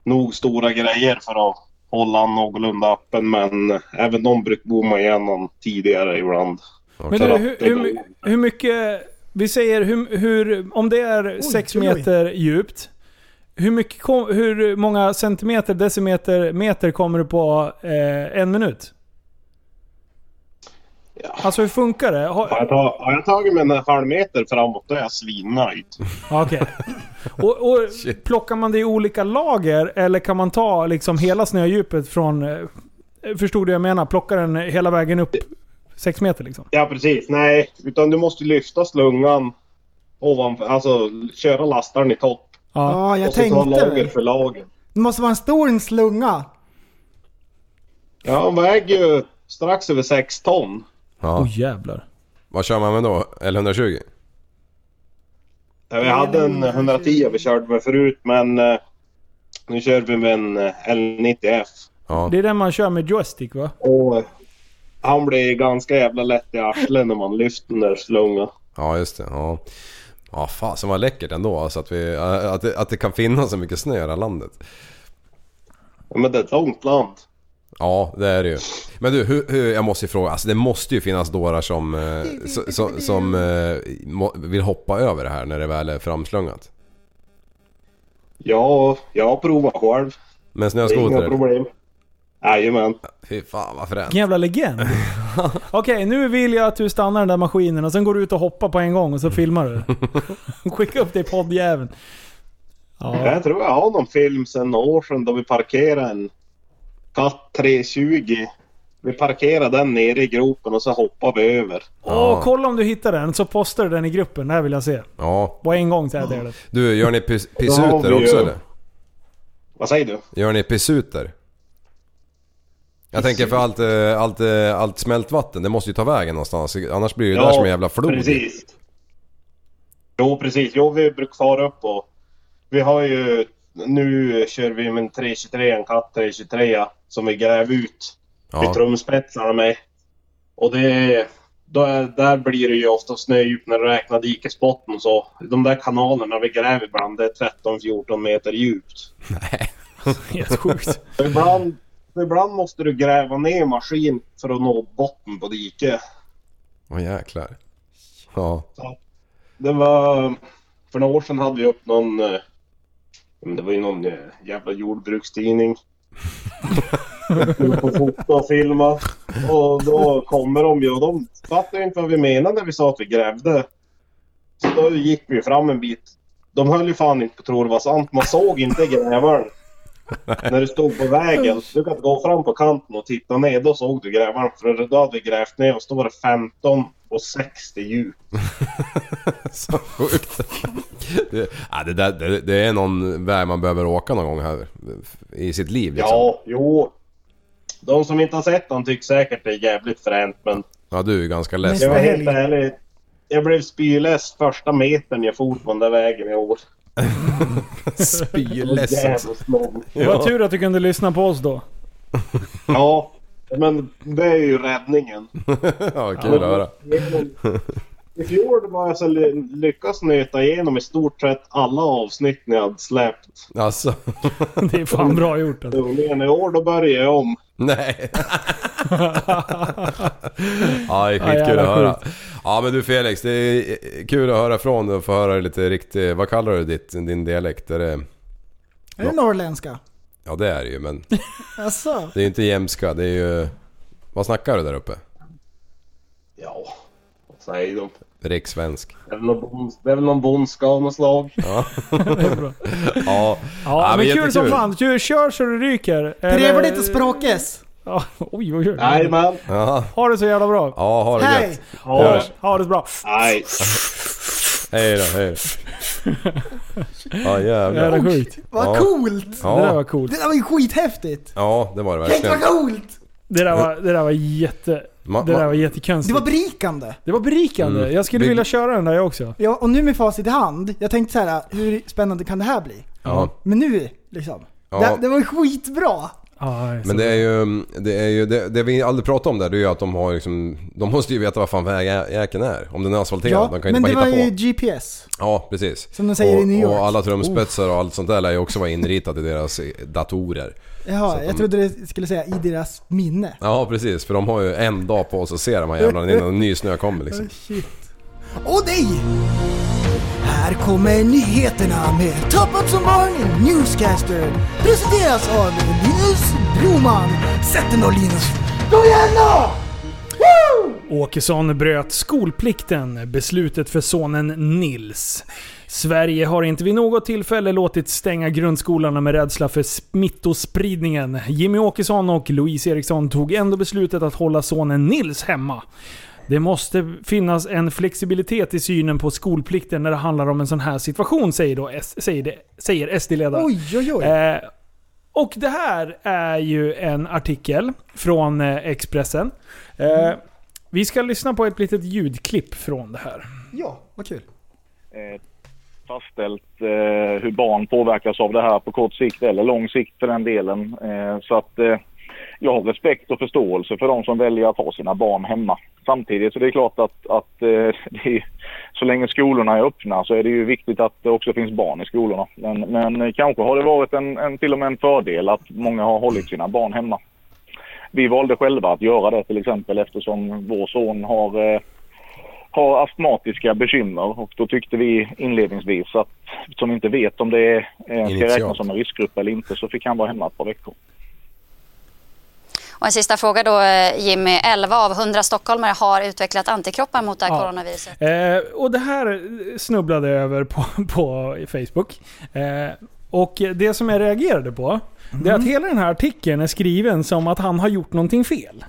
Speaker 7: nog stora grejer för att hålla han någorlunda öppen. Men eh, även de brukar bomma igenom tidigare ibland.
Speaker 5: Men du, hur, hur, my- hur mycket... Vi säger hur, hur om det är 6
Speaker 4: oj, oj.
Speaker 5: meter djupt. Hur, mycket, kom- hur många centimeter, decimeter, meter kommer du på eh, en minut? Alltså hur funkar det? Har,
Speaker 7: Har jag, ta, har jag tagit mig en halv meter framåt då är jag svinnöjd.
Speaker 5: Ja, Okej. Och, och
Speaker 6: Shit.
Speaker 5: plockar man det i olika lager eller kan man ta liksom hela snödjupet från... eh, Förstod du vad jag menar? Plocka den hela vägen upp 6 meter liksom?
Speaker 7: Ja precis, nej. Utan du måste lyfta slungan ovanför, alltså köra lastaren i topp.
Speaker 5: Ja.
Speaker 4: Ja, jag
Speaker 7: och så ta
Speaker 4: tänkte
Speaker 7: lager
Speaker 4: väl.
Speaker 7: för lager.
Speaker 4: Det måste vara en stor slunga.
Speaker 7: Ja, han väger ju strax över 6 ton.
Speaker 6: Ja.
Speaker 5: Åh jävlar.
Speaker 6: Vad kör man med då? L120?
Speaker 7: Ja, vi hade en 110 vi körde med förut men eh, nu kör vi med en eh, L90F.
Speaker 6: Ja.
Speaker 5: Det är den man kör med joystick va?
Speaker 7: Och eh, han blir ganska jävla lätt i arslet när man lyfter den där slungan.
Speaker 6: Ja, just det. Ja. Ja, fasen vad läckert ändå alltså att, vi, äh, att, det, att det kan finnas så mycket snö i det här landet.
Speaker 7: Ja, Men det är ett långt land.
Speaker 6: Ja, det är det ju. Men du, hur, hur, jag måste ju fråga. Alltså det måste ju finnas dårar som, eh, so- so- som eh, må- vill hoppa över det här när det väl är framslungat.
Speaker 7: Ja, jag har provat själv.
Speaker 6: Med en
Speaker 7: Det är inga
Speaker 6: snöskoter?
Speaker 7: problem. Jajamän.
Speaker 6: Fy fan vad fränt.
Speaker 5: Vilken jävla legend. Okej, nu vill jag att du stannar den där maskinen och sen går du ut och hoppar på en gång och så filmar du. Skicka upp det i poddjäveln. Ja.
Speaker 7: Jag tror jag har någon film sen några år sedan då vi parkerade en katt 320. Vi parkerade den nere i gropen och så hoppade vi över.
Speaker 5: Och kolla om du hittar den så postar du den i gruppen. Det här vill jag se.
Speaker 6: Ja.
Speaker 5: På en gång säger jag till dig.
Speaker 6: Du, gör ni pis-
Speaker 7: Ja,
Speaker 6: pissuter
Speaker 7: vi
Speaker 6: också
Speaker 7: gör.
Speaker 6: eller?
Speaker 7: Vad säger du?
Speaker 6: Gör ni pissuter? Jag tänker för allt, eh, allt, eh, allt smältvatten, det måste ju ta vägen någonstans. Annars blir det där som en jävla flod.
Speaker 7: Precis. Jo, precis. Jo, vi brukar fara upp och vi har ju... Nu kör vi med en 323, en katt 323 som vi gräver ut
Speaker 6: Ja.
Speaker 7: i trumspetsarna med. Och det... Då är, där blir det ju ofta snödjup när du räknar dikesbotten och så. De där kanalerna vi gräver ibland, det är 13-14 meter djupt.
Speaker 5: Helt sjukt.
Speaker 7: Och Ibland, ibland måste du gräva ner maskin för att nå botten på diket.
Speaker 6: Åh jäklar. Ja.
Speaker 7: Det var... För några år sedan hade vi upp någon... eh, men Det var ju någon eh, jävla jordbrukstidning. på fota och filma. Och då kommer de ju och de fattade ju inte vad vi menade när vi sa att vi grävde. Så då gick vi ju fram en bit. De höll ju fan inte på att tro det var sant. Man såg inte grävaren. När du stod på vägen. Du kan gå fram på kanten och titta ner. Då såg du grävaren. För då hade vi grävt ner oss. Då var det 15 och 60 djup.
Speaker 6: Så sjukt. Det, ja, det, där, det, det är någon väg man behöver åka någon gång här i sitt liv liksom.
Speaker 7: Ja, jo. De som inte har sett den tycker säkert det är jävligt fränt men
Speaker 6: Ja, du är ju ganska less.
Speaker 7: jag var
Speaker 4: helg.
Speaker 7: helt ärlig. Jag blev spyless första metern jag for på den där vägen i år.
Speaker 6: Spyless. alltså.
Speaker 7: Jävligt lång.
Speaker 5: Det var tur att du kunde lyssna på oss då.
Speaker 7: Ja, men det är ju räddningen.
Speaker 6: Ja, kul att höra.
Speaker 7: I fjol var jag så ly- lyckas nöta igenom i stort sett alla avsnitt ni hade släppt.
Speaker 6: Alltså,
Speaker 5: Det är fan bra gjort alltså.
Speaker 7: Men i år då börjar jag om.
Speaker 6: nej. Ja, det är
Speaker 5: Ja,
Speaker 6: skitkul
Speaker 5: jävla
Speaker 6: att höra. Ja, men du Felix, det är kul att höra från dig och få höra lite riktigt... Vad kallar du ditt, din dialekt? Är det,
Speaker 4: Är det norrländska?
Speaker 6: ja, det är det ju, men
Speaker 4: Alltså,
Speaker 6: det är ju inte jämska. Det är ju... Vad snackar du där uppe?
Speaker 7: Ja, vad säger de?
Speaker 6: Rikssvensk.
Speaker 7: Det är väl någon bonds- det är väl någon bondska av något slag.
Speaker 6: Ja,
Speaker 5: Ja,
Speaker 6: Ja,
Speaker 5: men kul
Speaker 6: men
Speaker 5: som
Speaker 6: jättekul.
Speaker 5: fan. Du kör så du ryker.
Speaker 4: trevligt att språkes!
Speaker 5: Ja, Oj, oj, oj.
Speaker 7: Jajamän.
Speaker 6: ja,
Speaker 5: Ha det så jävla bra.
Speaker 6: ja ha det
Speaker 4: Hej!
Speaker 6: gött.
Speaker 7: Ja.
Speaker 5: Ha det så bra.
Speaker 7: Nej.
Speaker 6: Hej då, hej då. Ja jävlar.
Speaker 5: Jävla sjukt.
Speaker 4: Vad
Speaker 6: Ja.
Speaker 4: coolt!
Speaker 5: Det där
Speaker 6: Ja,
Speaker 5: var coolt.
Speaker 4: Det där var ju skithäftigt!
Speaker 6: ja, det var det
Speaker 4: Tänk
Speaker 6: verkligen.
Speaker 4: vad coolt!
Speaker 5: Det där var, det där var jätte...
Speaker 6: Ma-
Speaker 5: Det där
Speaker 6: ma-
Speaker 5: var
Speaker 4: Det
Speaker 5: jättekonstigt.
Speaker 4: var berikande.
Speaker 5: Det var berikande.
Speaker 6: Mm.
Speaker 5: Jag skulle
Speaker 6: Vi-
Speaker 5: vilja köra den där jag också.
Speaker 4: Ja, och nu med facit i hand. Jag tänkte så här, hur spännande kan det här bli?
Speaker 6: Ja.
Speaker 4: Men nu liksom.
Speaker 6: Ja.
Speaker 4: Det, det var ju skitbra!
Speaker 5: Ja,
Speaker 6: Men det är ju, det, är ju det, det vi aldrig pratar om där det är ju att de har liksom, de måste ju veta vad fan vägjäkeln är. Om den är asfalterad, de kan ju
Speaker 4: men
Speaker 6: inte
Speaker 4: det
Speaker 6: bara
Speaker 4: var
Speaker 6: hitta
Speaker 4: ju
Speaker 6: på.
Speaker 4: GPS.
Speaker 6: Ja, precis.
Speaker 4: Som de säger
Speaker 6: och,
Speaker 4: i New York.
Speaker 6: Och alla trumspetsar och allt sånt där lär ju också vara inritat i deras eh, datorer.
Speaker 4: Jaha,
Speaker 6: att
Speaker 4: jag
Speaker 6: de-
Speaker 4: trodde det skulle säga i deras minne.
Speaker 6: Ja, precis. För de har ju en dag på sig att se de här jävlarna innan en ny snö kommer liksom.
Speaker 4: Åh nej! Här kommer nyheterna med Top Up som barn Newscaster. Presenteras av Linus Broman. Sätt den då Linus! Kom igen då! Woo!
Speaker 5: Åkesson bröt skolplikten, beslutet för sonen Nils. Sverige har inte vid något tillfälle låtit stänga grundskolorna med rädsla för smittospridningen. Jimmy Åkesson och Louise Eriksson tog ändå beslutet att hålla sonen Nils hemma. Det måste finnas en flexibilitet i synen på skolplikten när det handlar om en sån här situation, säger, då S- säger, det- säger SD-ledaren.
Speaker 4: Oj, oj, oj.
Speaker 5: Eh, Och det här är ju en artikel från eh, Expressen. Eh,
Speaker 4: Mm.
Speaker 5: Vi ska lyssna på ett litet ljudklipp från det här.
Speaker 4: Ja, vad kul.
Speaker 8: eh, fastställt eh, hur barn påverkas av det här på kort sikt eller lång sikt för den delen. Eh, så att eh, jag har respekt och förståelse för de som väljer att ha sina barn hemma. Samtidigt så det är klart att, att eh, det är, så länge skolorna är öppna så är det ju viktigt att det också finns barn i skolorna. Men, men eh, kanske har det varit en, en, till och med en fördel att många har hållit sina barn hemma. Vi valde själva att göra det till exempel eftersom vår son har eh, har astmatiska bekymmer och då tyckte vi inledningsvis att som inte vet om det eh, ska
Speaker 6: Initialt.
Speaker 8: räknas som en riskgrupp eller inte så fick han vara hemma ett par veckor.
Speaker 9: Och en sista fråga då eh, Jimmy. 11 av 100 stockholmare har utvecklat antikroppar mot det här
Speaker 5: Ja.
Speaker 9: coronaviruset.
Speaker 5: Eh, och det här snubblade jag över på, på Facebook. Eh, och det som jag reagerade på, det är
Speaker 4: Mm.
Speaker 5: att hela den här artikeln är skriven som att han har gjort någonting fel.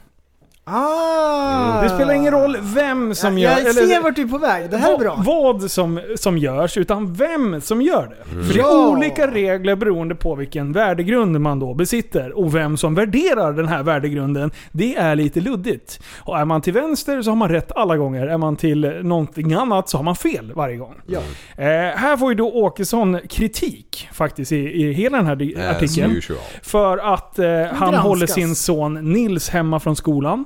Speaker 4: Ah!
Speaker 5: Mm, Det spelar ingen roll vem som gör...
Speaker 4: Jag, jag
Speaker 5: eller-
Speaker 4: ser vart du är på väg. Det här är
Speaker 5: vad-
Speaker 4: bra.
Speaker 5: Vad som, som görs, utan vem som gör det. För det är
Speaker 4: Ja.
Speaker 5: olika regler beroende på vilken värdegrund man då besitter. Och vem som värderar den här värdegrunden, det är lite luddigt. Och är man till vänster så har man rätt alla gånger. Är man till någonting annat så har man fel varje gång. Eh, här får ju då Åkesson kritik faktiskt i, i hela den här di-
Speaker 6: As
Speaker 5: artikeln.
Speaker 6: usual.
Speaker 5: För att eh, han
Speaker 4: granskas.
Speaker 5: håller sin son Nils hemma från skolan.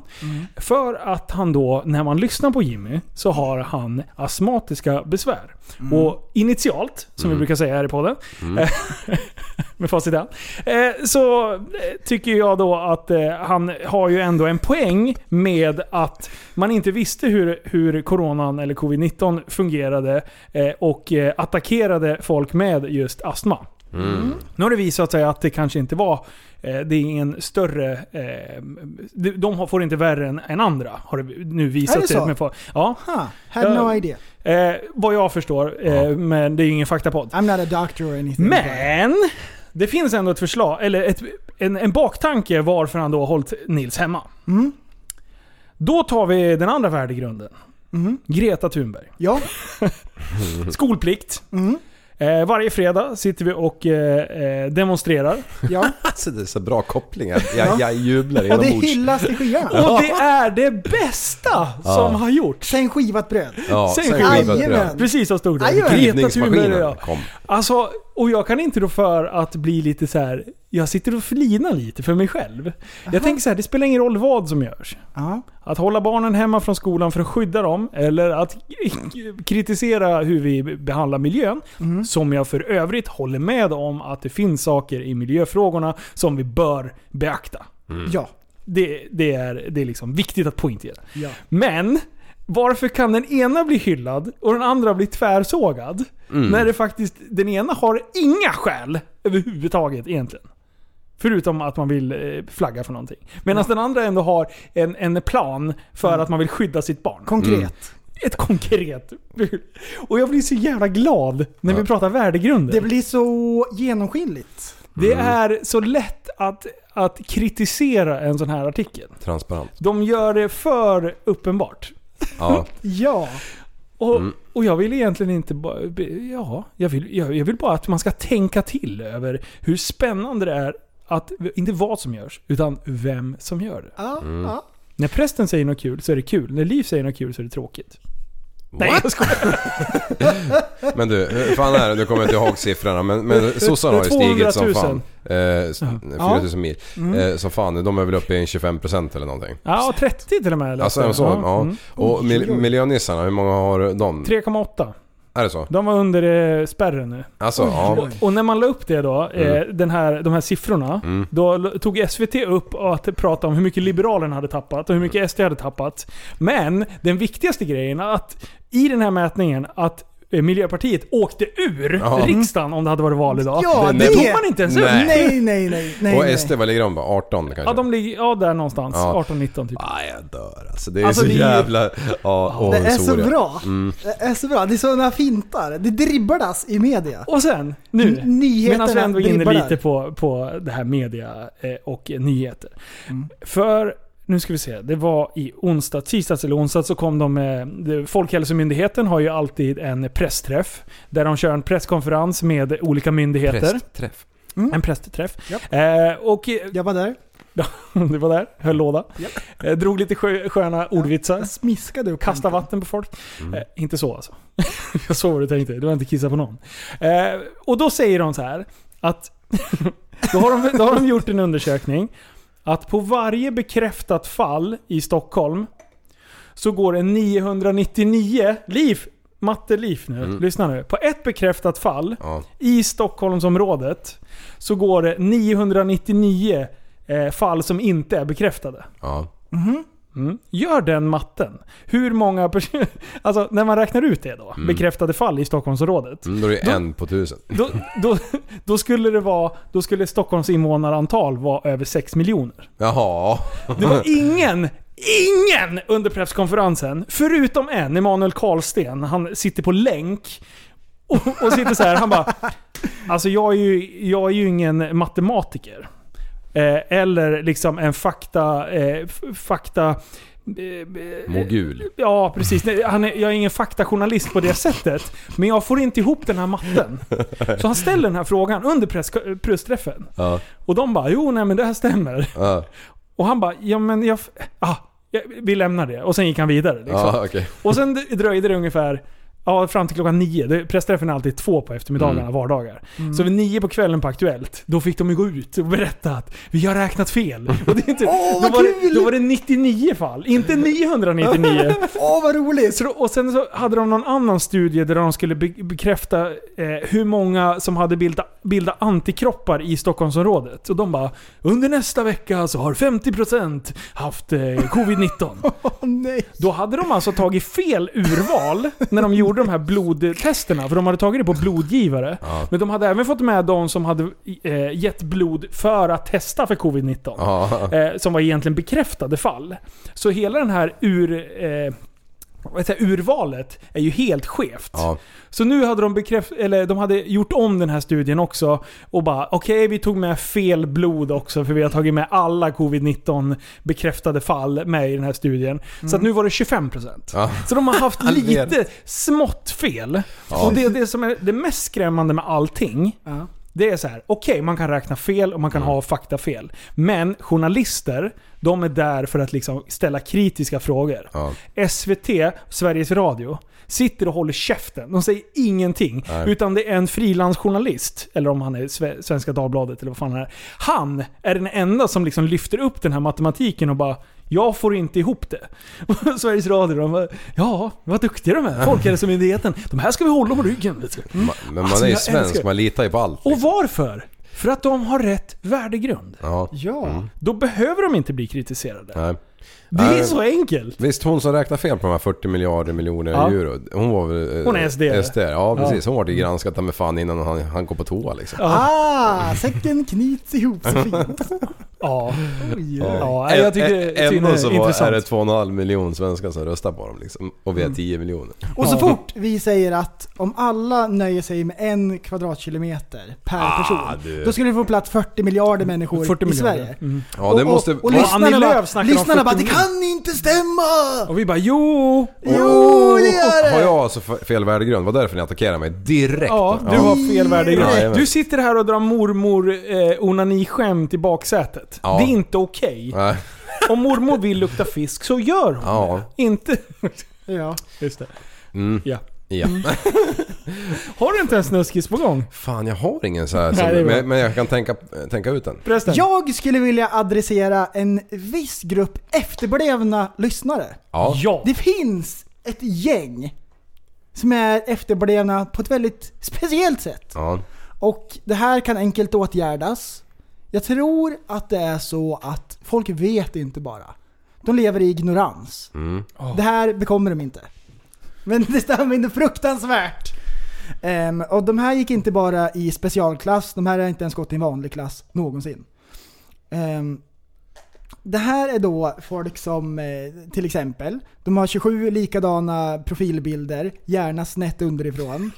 Speaker 5: För att han då, när man lyssnar på Jimmy, så har han astmatiska besvär. Och initialt, som vi brukar säga här i podden, med facit i hand, eh, så eh, tycker jag då att eh, han har ju ändå en poäng med att man inte visste hur, hur coronan eller covid-19 fungerade eh, och eh, attackerade folk med just astma.
Speaker 4: Mm.
Speaker 5: Nu har det visat sig att det kanske inte var... Eh, det är ingen större... Eh, de, de har- får inte värre än, än andra, har det nu
Speaker 4: Är
Speaker 5: visat
Speaker 4: det
Speaker 5: sig.
Speaker 4: så?
Speaker 5: med fa- ja.
Speaker 4: Huh, had no
Speaker 5: Ja.
Speaker 4: idea.
Speaker 5: Eh, vad jag förstår, eh, men det är ju ingen faktapodd.
Speaker 4: I'm not a doctor or anything.
Speaker 5: Men! Det finns ändå ett förslag, eller ett, en, en baktanke varför han då har hållit Nils hemma. Då tar vi den andra värdegrunden. Greta Thunberg.
Speaker 4: Ja,
Speaker 5: Skolplikt. Eh, varje fredag sitter vi och eh, eh, demonstrerar.
Speaker 4: ja.
Speaker 6: Alltså det är så bra kopplingar. Jag, jag jublar
Speaker 4: Och det
Speaker 6: inombords.
Speaker 4: hyllas till skyarna.
Speaker 5: Och det är det bästa som har gjorts.
Speaker 4: Sen skivat bröd.
Speaker 6: Ja,
Speaker 5: Säg
Speaker 6: sen
Speaker 5: skit.
Speaker 6: skivat bröd.
Speaker 4: Jajamän.
Speaker 5: Precis så stod det.
Speaker 4: Ajö.
Speaker 5: Greta Thunberg och
Speaker 6: Rivningsmaskinen
Speaker 5: jag.
Speaker 6: kom.
Speaker 5: Alltså, och jag kan inte då för att bli lite så här. Jag sitter och flinar lite för mig själv. Jag tänker så här, det spelar ingen roll vad som görs.
Speaker 4: Ja.
Speaker 5: Att hålla barnen hemma från skolan för att skydda dem, eller att kritisera hur vi behandlar miljön. Som jag för övrigt håller med om att det finns saker i miljöfrågorna som vi bör beakta.
Speaker 4: Ja.
Speaker 5: Det, det, är, det är liksom viktigt att poängtera.
Speaker 4: Ja.
Speaker 5: Men varför kan den ena bli hyllad och den andra bli tvärsågad? När det faktiskt, den ena har inga skäl överhuvudtaget egentligen. Förutom att man vill eh, flagga för någonting. Medan den andra ändå har en, en plan för att man vill skydda sitt barn.
Speaker 4: Konkret.
Speaker 5: Ett konkret... Och jag blir så jävla glad när vi pratar värdegrunder.
Speaker 4: Det blir så genomskinligt.
Speaker 5: Det är så lätt att, att kritisera en sån här artikel.
Speaker 6: Transparent.
Speaker 5: De gör det för uppenbart.
Speaker 6: Ja.
Speaker 4: Ja.
Speaker 5: Och,
Speaker 6: Mm.
Speaker 5: och jag vill egentligen inte bara... Ja, jag vill, jag, jag vill bara att man ska tänka till över hur spännande det är att, inte vad som görs, utan vem som gör det.
Speaker 4: ja.
Speaker 6: Mm.
Speaker 4: ja.
Speaker 5: När prästen säger något kul så är det kul. När Liv säger något kul så är det tråkigt. Nej, jag skojar.
Speaker 6: Men du, hur fan är det? Nu kommer jag inte ihåg siffrorna men, men sossarna har ju stigit som
Speaker 5: 200 000.
Speaker 6: fan. Eh, s- 4000 mil. Eh, som fan, de är väl uppe i en 25% eller någonting.
Speaker 5: Ja, 30 till och med. läste
Speaker 6: Alltså
Speaker 5: jag.
Speaker 6: en sån, ja.
Speaker 5: Mm.
Speaker 6: Och mil, miljönissarna, hur många har de?
Speaker 5: 3,8.
Speaker 6: Är det så?
Speaker 5: De var under eh, spärren nu.
Speaker 6: Alltså, ja.
Speaker 5: Och, och när man la upp det då,
Speaker 6: Mm.
Speaker 5: eh, den här, de här siffrorna, då l- tog SVT upp att prata om hur mycket Liberalerna hade tappat och hur mycket SD hade tappat. Men den viktigaste grejen är att i den här mätningen att eh, Miljöpartiet åkte ur
Speaker 6: Ja. Mm.
Speaker 5: riksdagen om det hade varit val idag.
Speaker 4: Ja,
Speaker 6: Men
Speaker 5: det
Speaker 4: det...
Speaker 5: tog man inte ens upp.
Speaker 6: Nej.
Speaker 4: Nej, nej, nej. nej
Speaker 6: Och
Speaker 4: nej.
Speaker 6: SD, vad ligger de på? 18 kanske?
Speaker 5: Ja, de ligger ja, där någonstans.
Speaker 6: Ja.
Speaker 5: 18-19 typ.
Speaker 6: Ah, jag dör alltså. Det är
Speaker 5: Alltså,
Speaker 6: så
Speaker 5: det är ju-
Speaker 6: jävla... Ja, åh,
Speaker 4: Det är så
Speaker 6: Soria.
Speaker 4: bra.
Speaker 5: Mm.
Speaker 4: Det är så bra. Det är sådana fintar. Det dribblas i media.
Speaker 5: Och sen, nu,
Speaker 6: Mm.
Speaker 4: N- nyheterna
Speaker 5: medan vi ändå är inne
Speaker 4: dribbar där.
Speaker 5: lite på, på det här media eh, och eh, nyheter.
Speaker 4: Mm.
Speaker 5: För, nu ska vi se, det var i onsdag, tisdags eller onsdag så kom de med, det- Folkhälsomyndigheten har ju alltid en pressträff. Där de kör en presskonferens med olika myndigheter. Mm.
Speaker 6: Prästträff.
Speaker 5: En prästträff. Eh, och eh,
Speaker 4: Jag var där,
Speaker 5: det var där, höll låda. Eh, drog lite sjö, sköna ordvitsar.
Speaker 4: smiskade och
Speaker 5: Kasta vatten på folk. Eh, inte så alltså. jag såg vad du tänkte. Du har inte kissat på någon. Eh, och då säger de så här att... då, har de, då har de gjort en undersökning. Att på varje bekräftat fall i Stockholm så går en 999... Liv! Matte-Liv nu. Lyssna nu. På ett bekräftat fall
Speaker 6: Ja.
Speaker 5: i Stockholmsområdet så går det 999 eh, fall som inte är bekräftade.
Speaker 6: Ja.
Speaker 5: Mm. Gör den matten. Hur många personer... Alltså när man räknar ut det då, bekräftade fall i Stockholmsområdet.
Speaker 6: Mm, då är det en på tusen.
Speaker 5: Då, då, då skulle det vara... Då skulle Stockholms invånarantal vara över 6 miljoner.
Speaker 6: Jaha.
Speaker 5: Det var ingen, ingen under presskonferensen, förutom en, Emanuel Karlsten. Han sitter på länk och, och sitter så här. Han bara... Alltså jag är ju, jag är ju ingen matematiker. Eh, eller liksom en fakta... Eh, f- fakta... eh,
Speaker 6: Mogul.
Speaker 5: Ja, precis. Nej, Han är, jag är ingen faktajournalist på det sättet. Men jag får inte ihop den här matten. Så han ställer den här frågan under press, pressträffen.
Speaker 6: Ja.
Speaker 5: Och de bara “Jo, nej men det här stämmer”.
Speaker 6: Ja,
Speaker 5: Och han bara “Ja men jag... Ah, jag- vi lämnar det”. Och sen gick han vidare. Liksom.
Speaker 6: ja okej.
Speaker 5: Och sen dröjde det ungefär ja, fram till klockan nio. Det- Pressträffen är alltid två på eftermiddagarna vardagar. Så vid nio på kvällen på Aktuellt, då fick de ju gå ut och berätta att vi har räknat fel. Och det är inte, då, var det, då var det 99 fall, inte 999.
Speaker 4: Åh vad roligt!
Speaker 5: Så då, och sen så hade de någon annan studie där de skulle be bekräfta eh, hur många som hade bilda, bildat antikroppar i Stockholmsområdet. Och de bara “Under nästa vecka så har 50% haft eh, covid-19”.
Speaker 4: Åh nej!
Speaker 5: Då hade de alltså tagit fel urval när de gjorde de här blodtesterna. För de hade tagit det på blodgivare. Men de hade även fått med de som hade eh, gett blod för att testa för covid-19.
Speaker 6: Ja.
Speaker 5: Eh, som var egentligen bekräftade fall. Så hela den här ur... Eh, vad heter det, urvalet är ju helt skevt.
Speaker 6: Ja.
Speaker 5: Så nu hade de bekräft, eller de hade gjort om den här studien också och bara okej, vi tog med fel blod också för vi har tagit med alla covid-19 bekräftade fall med i den här studien. Så att nu var det 25%.
Speaker 6: Ja.
Speaker 5: Så de har haft
Speaker 6: Halverat.
Speaker 5: lite smått fel.
Speaker 6: Ja.
Speaker 5: Och det, det som är det mest skrämmande med allting
Speaker 4: Ja.
Speaker 5: det är så här, okej man kan räkna fel och man kan
Speaker 6: Mm.
Speaker 5: ha faktafel. Men journalister, de är där för att liksom ställa kritiska frågor.
Speaker 6: Ja.
Speaker 5: SVT, Sveriges Radio, sitter och håller käften. De säger ingenting. Utan det är en frilansjournalist, eller om han är Sve- Svenska Dagbladet eller vad fan han är. Han är den enda som liksom lyfter upp den här matematiken och bara jag får inte ihop det. Och Sveriges Radio, de bara, ja, vad duktiga de är. Folkhälsomyndigheten. De här ska vi hålla på ryggen. Vet du.
Speaker 6: Ma- Men man
Speaker 5: Alltså,
Speaker 6: är ju
Speaker 5: jag
Speaker 6: svensk,
Speaker 5: älskar-
Speaker 6: man litar ju på allt. liksom.
Speaker 5: Och varför? För att de har rätt värdegrund.
Speaker 6: Ja.
Speaker 4: Ja.
Speaker 5: Då behöver de inte bli kritiserade.
Speaker 6: Nej.
Speaker 5: Det är
Speaker 6: Nej.
Speaker 5: så enkelt.
Speaker 6: Visst, hon som räknar fel på de här 40 miljarder miljoner
Speaker 5: Ja.
Speaker 6: euro. Hon var väl... eh,
Speaker 5: Hon är SD.
Speaker 6: SD, ja precis. Hon var ju granskad med fan innan han, han går på toa liksom.
Speaker 4: Ah, säcken knyts ihop så fint.
Speaker 5: Ja.
Speaker 4: Oj.
Speaker 5: ja. nej, Jag tycker
Speaker 6: Ä-
Speaker 5: det
Speaker 6: Ändå så
Speaker 5: är
Speaker 6: var, är det
Speaker 5: intressant. Mm.
Speaker 6: 2,5 miljon svenskar som röstar på dem liksom. Och vi har 10 miljoner.
Speaker 4: Och så fort vi säger att om alla nöjer sig med en kvadratkilometer per person,
Speaker 6: du.
Speaker 4: då skulle vi få plats 40 miljarder människor
Speaker 5: 40
Speaker 4: i
Speaker 5: Ah, miljarder.
Speaker 4: Sverige.
Speaker 5: Mm.
Speaker 6: Ja, det
Speaker 4: och,
Speaker 6: måste...
Speaker 4: och, och
Speaker 5: Annie
Speaker 4: lyssnarna
Speaker 5: Lööf
Speaker 4: bara,
Speaker 5: snackar om
Speaker 4: lyssnarna bara
Speaker 5: 40
Speaker 4: det kan inte stämma!
Speaker 5: Och vi bara jo!
Speaker 4: Jo, det gör det!
Speaker 6: Har jag alltså f- fel värdegrund? Var det därför ni attackerade mig direkt?
Speaker 5: Ja, du
Speaker 6: ja.
Speaker 5: har fel värdegrund.
Speaker 6: Jajamän.
Speaker 5: du sitter här och drar mormor eh, onaniskämt i baksätet.
Speaker 6: Ja.
Speaker 5: Det är inte okej.
Speaker 6: Nej.
Speaker 5: Om mormor vill lukta fisk så gör hon
Speaker 6: Ja.
Speaker 5: det. Inte...
Speaker 4: Ja.
Speaker 5: Just det.
Speaker 6: Mm.
Speaker 5: Ja.
Speaker 6: Ja.
Speaker 5: Har du inte en snuskis på gång?
Speaker 6: Fan, jag har ingen så här
Speaker 5: Nej, det är
Speaker 6: som,
Speaker 5: bra.
Speaker 6: men, men jag kan tänka, tänka ut den.
Speaker 5: Förresten.
Speaker 4: Jag skulle vilja adressera en viss grupp efterblivna lyssnare.
Speaker 6: Ja.
Speaker 5: Ja.
Speaker 4: Det finns ett gäng som är efterblivna på ett väldigt speciellt sätt.
Speaker 6: Ja.
Speaker 4: Och det här kan enkelt åtgärdas. Jag tror att det är så att folk vet inte bara. De lever i ignorans. Det här bekommer de inte. Men det stämmer inte fruktansvärt. Ehm, och de här gick inte bara i specialklass, de här har inte ens gått i en vanlig klass någonsin. Ehm, det här är då folk som eh, till exempel, de har 27 likadana profilbilder, gärna snett underifrån.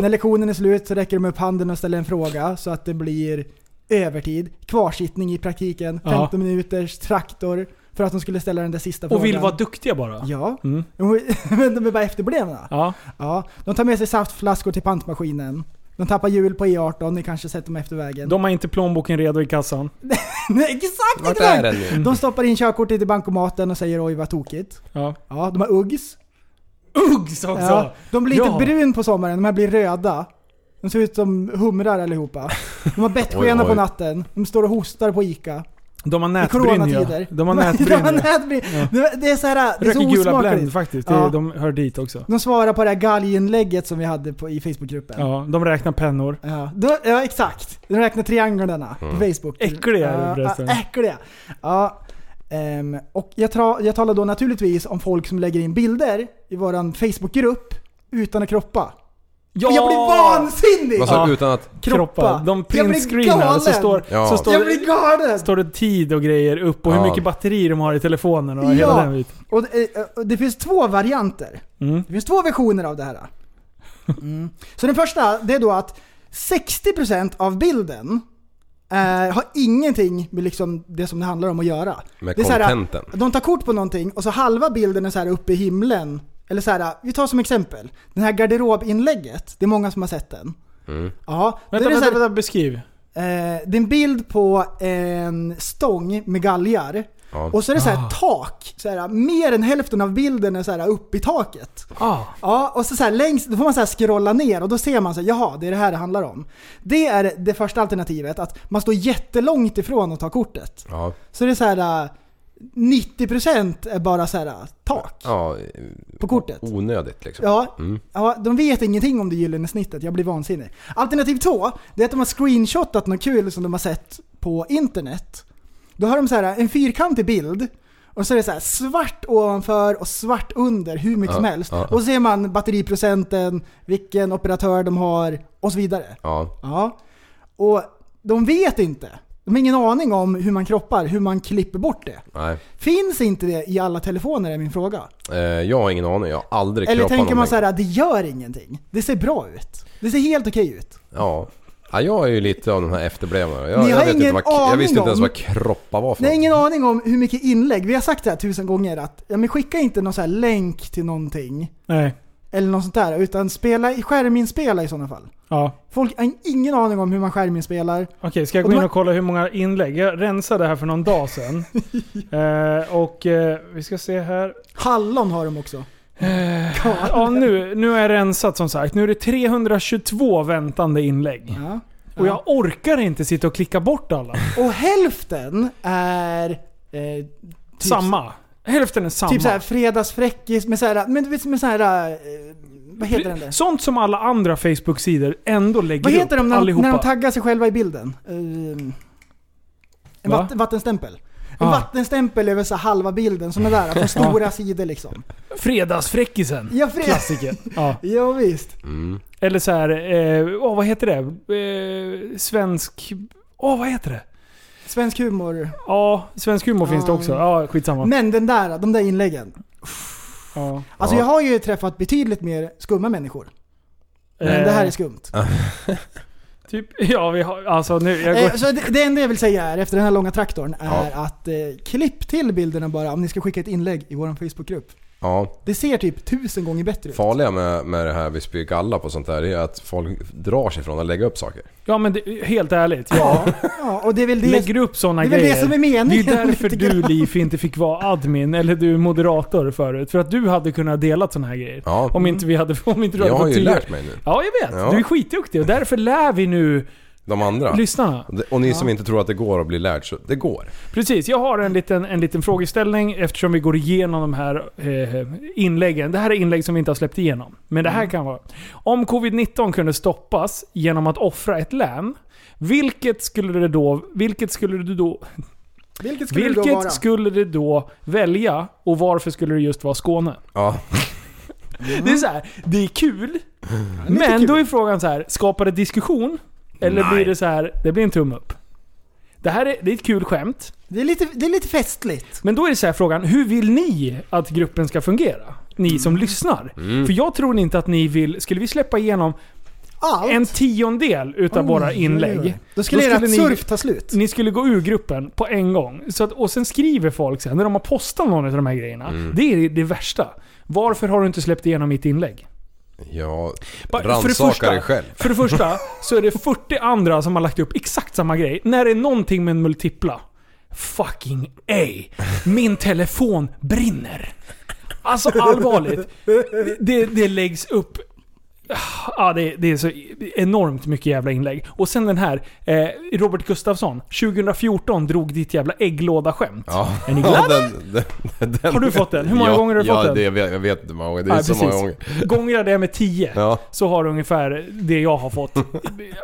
Speaker 4: När lektionen är slut så räcker de upp handen och ställer en fråga så att det blir övertid, kvarsittning i praktiken,
Speaker 5: Ja.
Speaker 4: 15 minuters traktor för att de skulle ställa den där sista frågan.
Speaker 5: Och vill vara duktiga bara.
Speaker 4: Ja,
Speaker 5: Mm.
Speaker 4: men de är bara efterblivna.
Speaker 5: Ja.
Speaker 4: Ja, de tar med sig saftflaskor till pantmaskinen. De tappar hjul på E18, ni kanske sett dem efter vägen.
Speaker 5: De har inte plånboken redo i kassan.
Speaker 4: Nej, exakt!
Speaker 6: Vart
Speaker 4: exakt.
Speaker 6: är den
Speaker 5: Mm.
Speaker 6: nu?
Speaker 4: De stoppar in körkortet i bankomaten och säger oj vad tokigt.
Speaker 5: Ja.
Speaker 4: Ja, de har Uggs.
Speaker 5: Uggs också!
Speaker 4: Ja, de blir
Speaker 5: Ja.
Speaker 4: inte brun på sommaren, de här blir röda. De ser ut som humrar allihopa. De har bettskena
Speaker 6: Oj,
Speaker 4: på
Speaker 6: oj.
Speaker 4: natten. De står och hostar på Ica.
Speaker 5: De har
Speaker 4: I
Speaker 5: nätbrynja.
Speaker 4: coronatider.
Speaker 5: De har
Speaker 4: De har
Speaker 5: nätbrynja.
Speaker 4: nätbryn. Det- Det är så här, det är så
Speaker 5: Röker gula Blend
Speaker 4: osmakligt.
Speaker 5: faktiskt. Det är-
Speaker 4: Ja.
Speaker 5: De hör dit också.
Speaker 4: De svarar på det här galginlägget som vi hade på, i Facebookgruppen. Ja.
Speaker 5: Ja, de räknar pennor.
Speaker 4: då- ja, exakt. De räknar trianglarna på
Speaker 6: Mm.
Speaker 4: Facebook.
Speaker 5: Äckliga är de
Speaker 4: Ja,
Speaker 5: förresten.
Speaker 4: ja, Äckliga. Ja. ehm, och jag, tra- jag talar då naturligtvis om folk som lägger in bilder i våran Facebookgrupp utan att kroppa.
Speaker 5: Ja!
Speaker 4: Och jag blir vansinnig!
Speaker 6: Vad sa du?
Speaker 5: Ja.
Speaker 6: Utan att...
Speaker 5: Kroppar.
Speaker 4: Kroppa.
Speaker 5: De
Speaker 4: Jag blir
Speaker 5: printscreenar så
Speaker 4: galen.
Speaker 5: står,
Speaker 6: Ja.
Speaker 5: så står,
Speaker 4: Jag blir galen!
Speaker 5: står det tid och grejer upp och hur
Speaker 6: Ja.
Speaker 5: mycket batteri de har i telefonen och
Speaker 4: Ja.
Speaker 5: hela den biten.
Speaker 4: Och det, eh, och det finns två varianter.
Speaker 5: Mm.
Speaker 4: Det finns två versioner av det här. Mm. Så den första, det är då att 60% av bilden eh, har ingenting med liksom det som det handlar om att göra.
Speaker 6: Med
Speaker 4: det är så
Speaker 6: contenten.
Speaker 4: här, de tar kort på någonting och så halva bilden är så här uppe i himlen. Eller så här, vi tar som exempel. Den här garderobinlägget, det är många som har sett den.
Speaker 6: Mm.
Speaker 4: Ja, då är
Speaker 5: Vänta,
Speaker 4: det, så
Speaker 5: vänta,
Speaker 4: här,
Speaker 5: vänta, beskriv.
Speaker 4: Eh, det är en bild på en stång med galgar.
Speaker 6: Ja.
Speaker 4: Och så är det så här tak. Så här, mer än hälften av bilden är så här upp i taket.
Speaker 5: Ah.
Speaker 4: Ja, och så, så här längst, då får man så här scrolla ner och då ser man så här, jaha, det är det här det handlar om. Det är det första alternativet, att man står jättelångt ifrån att ta kortet.
Speaker 6: Ja.
Speaker 4: Så det är så här eh, 90% är bara så här eh, tak
Speaker 6: ja.
Speaker 4: på kortet.
Speaker 6: Onödigt liksom.
Speaker 4: Ja,
Speaker 6: Mm.
Speaker 4: ja, de vet ingenting om det gyllene snittet. Jag blir vansinnig. Alternativ två, det är att de har screenshotat något kul som de har sett på internet. Då har de så här en fyrkantig bild och så är det så här svart ovanför och svart under hur mycket
Speaker 6: Ja,
Speaker 4: som helst.
Speaker 6: ja.
Speaker 4: Och så ser man batteriprocenten, vilken operatör de har och så vidare.
Speaker 6: Ja.
Speaker 4: Ja. Och de vet inte. De har ingen aning om hur man kroppar, hur man klipper bort det.
Speaker 6: Nej.
Speaker 4: Finns inte det i alla telefoner är min fråga.
Speaker 6: Eh, jag har ingen aning. Jag har aldrig
Speaker 4: Eller
Speaker 6: kroppat
Speaker 4: tänker man
Speaker 6: någonting.
Speaker 4: så här, det gör ingenting. Det ser bra ut. Det ser helt okej ut.
Speaker 6: Ja. ja. Jag är ju lite av de här efterblivna. Jag,
Speaker 4: Ni har
Speaker 6: jag, vet inte
Speaker 4: ingen
Speaker 6: vad, jag visste
Speaker 4: aning
Speaker 6: inte ens
Speaker 4: om-
Speaker 6: vad kroppa var för
Speaker 4: Jag har
Speaker 6: något.
Speaker 4: ingen aning om hur mycket inlägg, vi har sagt det här tusen gånger att ja, men skicka inte någon så här länk till någonting
Speaker 5: Nej.
Speaker 4: eller något sånt där utan spela, skärminspela i sådana fall.
Speaker 5: Ja.
Speaker 4: Folk har ingen aning om hur man skärminspelar.
Speaker 5: Okej, ska jag
Speaker 4: Och
Speaker 5: gå
Speaker 4: de
Speaker 5: in
Speaker 4: har-
Speaker 5: och kolla hur många inlägg? Jag rensade här för någon dag sedan. eh, och eh, vi ska se här.
Speaker 4: Hallon har de också.
Speaker 5: Ja, nu, nu har jag rensat som sagt. Nu är det 322 väntande inlägg.
Speaker 4: Ja.
Speaker 5: Och jag orkar inte sitta och klicka bort alla.
Speaker 4: Och hälften är eh, typ,
Speaker 5: samma. Hälften är samma.
Speaker 4: Typ såhär fredagsfräckis med såhär, men du vet med såhär, eh, vad heter den där?
Speaker 5: Sånt som alla andra Facebook-sidor ändå lägger
Speaker 4: Vad heter de
Speaker 5: upp
Speaker 4: när, de-
Speaker 5: allihopa.
Speaker 4: när de taggar sig själva i bilden? Ehm, en
Speaker 5: Va?
Speaker 4: vatt, vattenstämpel. En
Speaker 5: Ah.
Speaker 4: vattenstämpel över så halva bilden, såna där på stora sidor liksom.
Speaker 5: Fredagsfräckisen.
Speaker 4: Ja, fred...
Speaker 5: Klassiker. ja.
Speaker 4: ja visst.
Speaker 6: Mm.
Speaker 5: Eller så här, eh, åh, vad heter det? Eh, svensk... Åh, vad heter det?
Speaker 4: Svensk humor.
Speaker 5: Ja, svensk humor finns det också. Ja, skitsamma.
Speaker 4: Men den där, de där inläggen.
Speaker 5: ja.
Speaker 4: Alltså
Speaker 6: Ja.
Speaker 4: jag har ju träffat betydligt mer skumma människor. Men
Speaker 5: Eh,
Speaker 4: det här är skumt.
Speaker 5: Typ, ja vi har, alltså nu, jag går,
Speaker 4: Eh, så det, det enda jag vill säga är, efter den här långa traktorn, är
Speaker 6: Ja.
Speaker 4: att eh, klipp till bilderna bara om ni ska skicka ett inlägg i vår Facebookgrupp.
Speaker 6: Ja.
Speaker 4: Det ser typ tusen gånger bättre ut.
Speaker 6: farliga med, med det här vi spyr galla på sånt där det är att folk drar sig från att lägga upp saker.
Speaker 5: ja men det, helt ärligt. Ja.
Speaker 4: Ja, ja, och det är väl det
Speaker 5: Lägger upp sådana
Speaker 4: det är väl
Speaker 5: grejer.
Speaker 4: det som är meningen
Speaker 5: Det är därför
Speaker 4: lite
Speaker 5: du
Speaker 4: grann.
Speaker 5: Liv inte fick vara admin, eller du moderator förut. För att du hade kunnat dela sådana här grejer.
Speaker 6: Ja.
Speaker 5: Om inte vi hade, om inte du
Speaker 6: jag
Speaker 5: hade
Speaker 6: har
Speaker 5: fått
Speaker 6: ju
Speaker 5: tydligare.
Speaker 6: lärt mig nu.
Speaker 5: Ja, jag vet.
Speaker 6: Ja.
Speaker 5: Du är skitduktig och därför lär vi nu
Speaker 6: De andra.
Speaker 5: lyssnarna.
Speaker 6: Och ni som inte tror att det går att bli lärd, så det går.
Speaker 5: Precis, jag har en liten, en liten frågeställning eftersom vi går igenom de här eh, inläggen. Det här är inlägg som vi inte har släppt igenom. Men det här
Speaker 6: Mm.
Speaker 5: kan vara... Om Covid-19 kunde stoppas genom att offra ett län, vilket skulle det då... Vilket skulle du då...
Speaker 4: Vilket skulle det då vara?
Speaker 5: Vilket skulle det då välja och varför skulle det just vara Skåne?
Speaker 6: Ja.
Speaker 5: Det
Speaker 4: Mm.
Speaker 5: är så här, det är kul. men då är frågan så här, skapar det diskussion? Eller
Speaker 6: Nej.
Speaker 5: blir det så här, det blir en tumme upp? Det här är, det är ett kul skämt.
Speaker 4: Det är, lite, det är lite festligt.
Speaker 5: Men då är det så här frågan, hur vill ni att gruppen ska fungera? Ni
Speaker 4: Mm.
Speaker 5: som lyssnar. För jag tror inte att ni vill... Skulle vi släppa igenom
Speaker 4: Allt.
Speaker 5: en tiondel utav våra inlägg.
Speaker 4: Då skulle
Speaker 5: Då
Speaker 4: ert
Speaker 5: skulle ni- Mm.
Speaker 4: surf ta slut.
Speaker 5: Ni skulle gå ur gruppen på en gång. Så att, och sen skriver folk sen, när de har postat någon av de här grejerna. Det är det värsta. Varför har du inte släppt igenom mitt inlägg?
Speaker 6: Ja,
Speaker 5: Bara- för det
Speaker 6: rannsaka
Speaker 5: första-
Speaker 6: dig själv.
Speaker 5: För det första så är det 40 andra som har lagt upp exakt samma grej. När det är någonting med en multipla. Fucking ej. Min telefon brinner. Alltså allvarligt. Det- Det, det läggs upp... Ja, det, det är så enormt mycket jävla inlägg. Och sen den här. Eh, Robert Gustafsson. 2014 drog ditt jävla ägglåda-skämt.
Speaker 6: Ja.
Speaker 5: Är ni glada?
Speaker 6: den, den, den,
Speaker 5: Har du fått den? Hur många
Speaker 6: ja,
Speaker 5: gånger har du fått
Speaker 6: ja,
Speaker 5: den?
Speaker 6: Det, jag, vet, jag vet inte hur många gånger. Det är
Speaker 5: Nej,
Speaker 6: så
Speaker 5: precis.
Speaker 6: många gånger.
Speaker 5: Gångra det med 10
Speaker 6: Ja.
Speaker 5: så har du ungefär det jag har fått.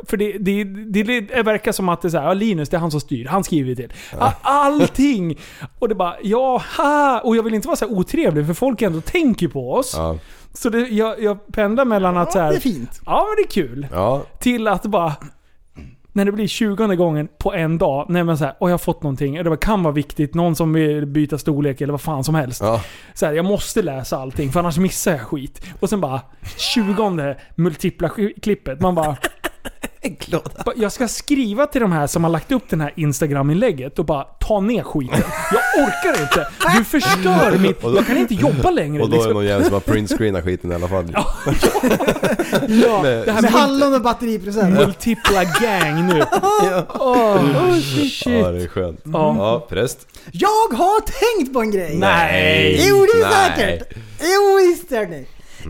Speaker 5: För det, det, det, det verkar som att det är så här, ja, Linus det är han som styr, han skriver till. Ja. Allting! Och det bara, ja, ha. Och jag vill inte vara så här otrevlig för folk ändå tänker på oss.
Speaker 6: Ja.
Speaker 5: Så det, jag, jag pendlar mellan att så här,
Speaker 4: Det är fint.
Speaker 5: ja men det är kul.
Speaker 6: Ja.
Speaker 5: Till att bara... När det blir 20 gången på en dag, när man säger åh jag har fått någonting, eller det kan vara viktigt, någon som vill byta storlek eller vad fan som helst.
Speaker 6: Ja.
Speaker 5: Så här, jag måste läsa allting för annars missar jag skit. Och sen bara 20 multipla sk- klippet. Man bara... Bara, Jag ska skriva till de här som har lagt upp den här Instagram-inlägget och bara ta ner skiten. Jag orkar inte. Du förstör mitt... Jag kan inte jobba längre.
Speaker 6: Och då är det
Speaker 5: Liksom.
Speaker 6: någon jävel som har printscreenat skiten i alla fall. Ja.
Speaker 4: Ja,
Speaker 6: Med-
Speaker 5: Det här
Speaker 4: med
Speaker 5: Mm. mul-
Speaker 4: hallon och batteripresent.
Speaker 5: multipla gang nu. Åh, oh,
Speaker 6: Ja,
Speaker 5: shit.
Speaker 6: det är skönt.
Speaker 5: Ja.
Speaker 6: Ja, präst.
Speaker 4: Jag har tänkt på en grej!
Speaker 5: Nej.
Speaker 4: Jo, det är
Speaker 6: Nej.
Speaker 4: säkert! Jo, visst är det.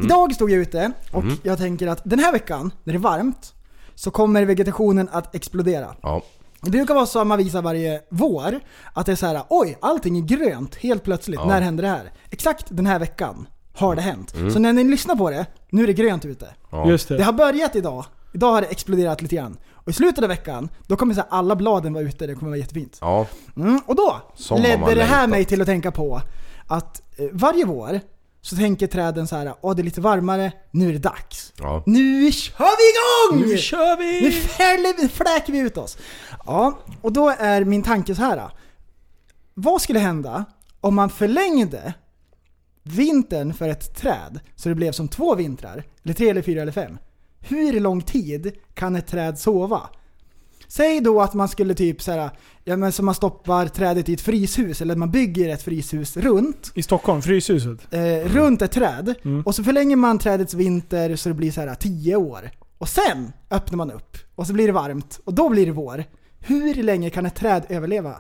Speaker 4: Idag stod jag ute och jag tänker att den här veckan, när det är varmt, så kommer vegetationen att explodera.
Speaker 6: Ja.
Speaker 4: Det brukar vara samma visa varje vår, att det är så här: oj, allting är grönt helt plötsligt. När händer det här? Exakt den här veckan har det hänt. Så när ni lyssnar på det, nu är det grönt ute.
Speaker 6: Ja.
Speaker 5: Just
Speaker 4: Det
Speaker 5: det.
Speaker 4: har börjat idag. Idag har det exploderat lite grann. Och i slutet av veckan, då kommer så här alla bladen vara ute, det kommer vara jättefint.
Speaker 6: Ja.
Speaker 4: Mm, och då
Speaker 6: Som har man
Speaker 4: ledde det här
Speaker 6: längtat.
Speaker 4: mig till att tänka på att eh, varje vår så tänker träden så här, åh det är lite varmare, nu är det dags.
Speaker 6: Ja.
Speaker 4: Nu kör vi igång!
Speaker 5: Nu kör vi!
Speaker 4: Nu fäller vi, fläker vi ut oss. Ja, och då är min tanke så här. Vad skulle hända om man förlängde vintern för ett träd så det blev som två vintrar? Eller tre eller fyra eller fem? Hur lång tid kan ett träd sova? Säg då att man skulle typ så här, ja men som man stoppar trädet i ett fryshus eller att man bygger ett fryshus runt
Speaker 5: I Stockholm, Fryshuset.
Speaker 4: eh, runt ett träd
Speaker 5: Mm.
Speaker 4: och så förlänger man trädets vinter så det blir så här 10 år. Och sen öppnar man upp och så blir det varmt och då blir det vår. Hur länge kan ett träd överleva?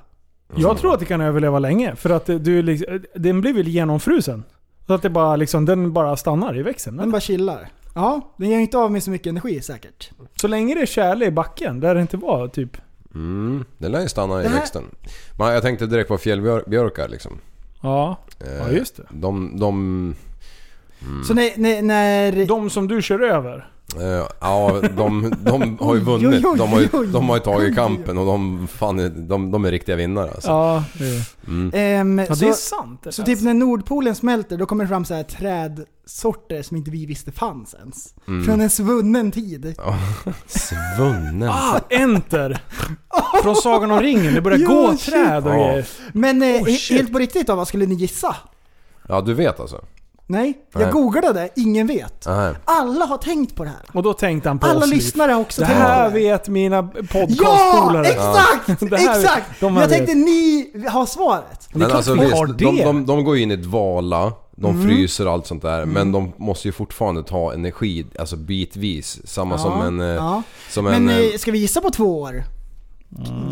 Speaker 5: Jag tror att det kan överleva länge. För att eh, du, är liksom- eh, den blir väl genomfrusen? Så att det bara, liksom, den bara stannar i växeln.
Speaker 4: Den
Speaker 5: eller?
Speaker 4: bara chillar. Ja, den ger inte av med så mycket energi säkert.
Speaker 5: Så länge det är tjäle i backen, där det inte var typ...
Speaker 6: Mm. Den lär ju stanna i
Speaker 4: Det här-
Speaker 6: växten. Men jag tänkte direkt på fjällbjörkar liksom.
Speaker 5: Ja.
Speaker 6: Eh,
Speaker 5: Ja, just det.
Speaker 6: De... de Mm.
Speaker 4: Så när... när, när
Speaker 5: De som du kör över.
Speaker 6: eh, ja, de, de har ju
Speaker 4: Oj, oj,
Speaker 6: vunnit.
Speaker 4: oj,
Speaker 6: De har ju,
Speaker 4: oj.
Speaker 6: de har ju tagit kampen och de, fan, är- de, de är riktiga vinnare alltså.
Speaker 5: Ja, det,
Speaker 4: ehm,
Speaker 5: Mm. ja, det
Speaker 4: så,
Speaker 5: är sant. Det
Speaker 4: så
Speaker 5: där.
Speaker 4: typ när Nordpolen smälter då kommer det fram så här trädsorter som inte vi visste fanns ens.
Speaker 6: Mm.
Speaker 4: Från en svunnen tid.
Speaker 6: Svunnen.
Speaker 5: Ah, enter! Från Sagan om ringen. Det börjar
Speaker 4: Ja,
Speaker 5: gå
Speaker 4: shit.
Speaker 5: träd och
Speaker 6: Ja.
Speaker 5: grejer.
Speaker 4: Men eh, he-
Speaker 5: Oh, shit.
Speaker 4: helt på riktigt då, vad skulle ni gissa?
Speaker 6: Ja, du vet alltså?
Speaker 4: Nej,
Speaker 6: Nej.
Speaker 4: jag googlade, ingen vet.
Speaker 6: Nej.
Speaker 4: Alla har tänkt på det här.
Speaker 5: Och då tänkte han på
Speaker 4: Alla
Speaker 5: oss lite.
Speaker 4: lyssnare har också
Speaker 5: Det
Speaker 4: tänkt på
Speaker 5: här
Speaker 4: det.
Speaker 5: vet mina
Speaker 4: Ja!
Speaker 5: podcastpolare.
Speaker 4: Exakt!
Speaker 5: Det här vet-
Speaker 4: exakt!
Speaker 5: de här
Speaker 4: jag
Speaker 5: vet.
Speaker 4: tänkte ni har svaret.
Speaker 5: Det är klart vi
Speaker 6: alltså, visst,
Speaker 5: har
Speaker 6: de,
Speaker 5: det.
Speaker 6: de, de går ju in i dvala, de fryser och allt sånt där. Men de måste ju fortfarande ta energi, alltså bitvis. Samma som en... eh,
Speaker 4: ja.
Speaker 6: Som
Speaker 4: Men,
Speaker 6: en eh,
Speaker 4: eh, ska vi gissa på två år?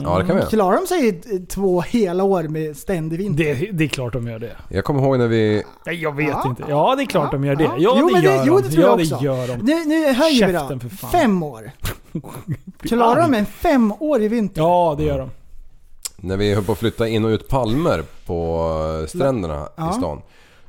Speaker 6: ja, det kan vi göra.
Speaker 4: Klarar de sig i, eh, två hela år med ständig vinter?
Speaker 5: Det, det är klart de gör det.
Speaker 6: Jag kommer ihåg när vi...
Speaker 5: Nej, jag vet
Speaker 4: Ja.
Speaker 5: inte. Ja, det är klart de gör det. Ja,
Speaker 4: jo,
Speaker 5: det
Speaker 4: men
Speaker 5: gör de.
Speaker 4: jo, det tror
Speaker 5: ja,
Speaker 4: jag
Speaker 5: det
Speaker 4: också.
Speaker 5: gör de.
Speaker 4: Nu, nu höjer vi
Speaker 5: Käften, för
Speaker 4: då.
Speaker 5: fan.
Speaker 4: Fem år. Klarar de en femårig vinter?
Speaker 5: Ja, det gör de.
Speaker 6: När vi höll på att flytta in och ut palmer på eh, stränderna i stan.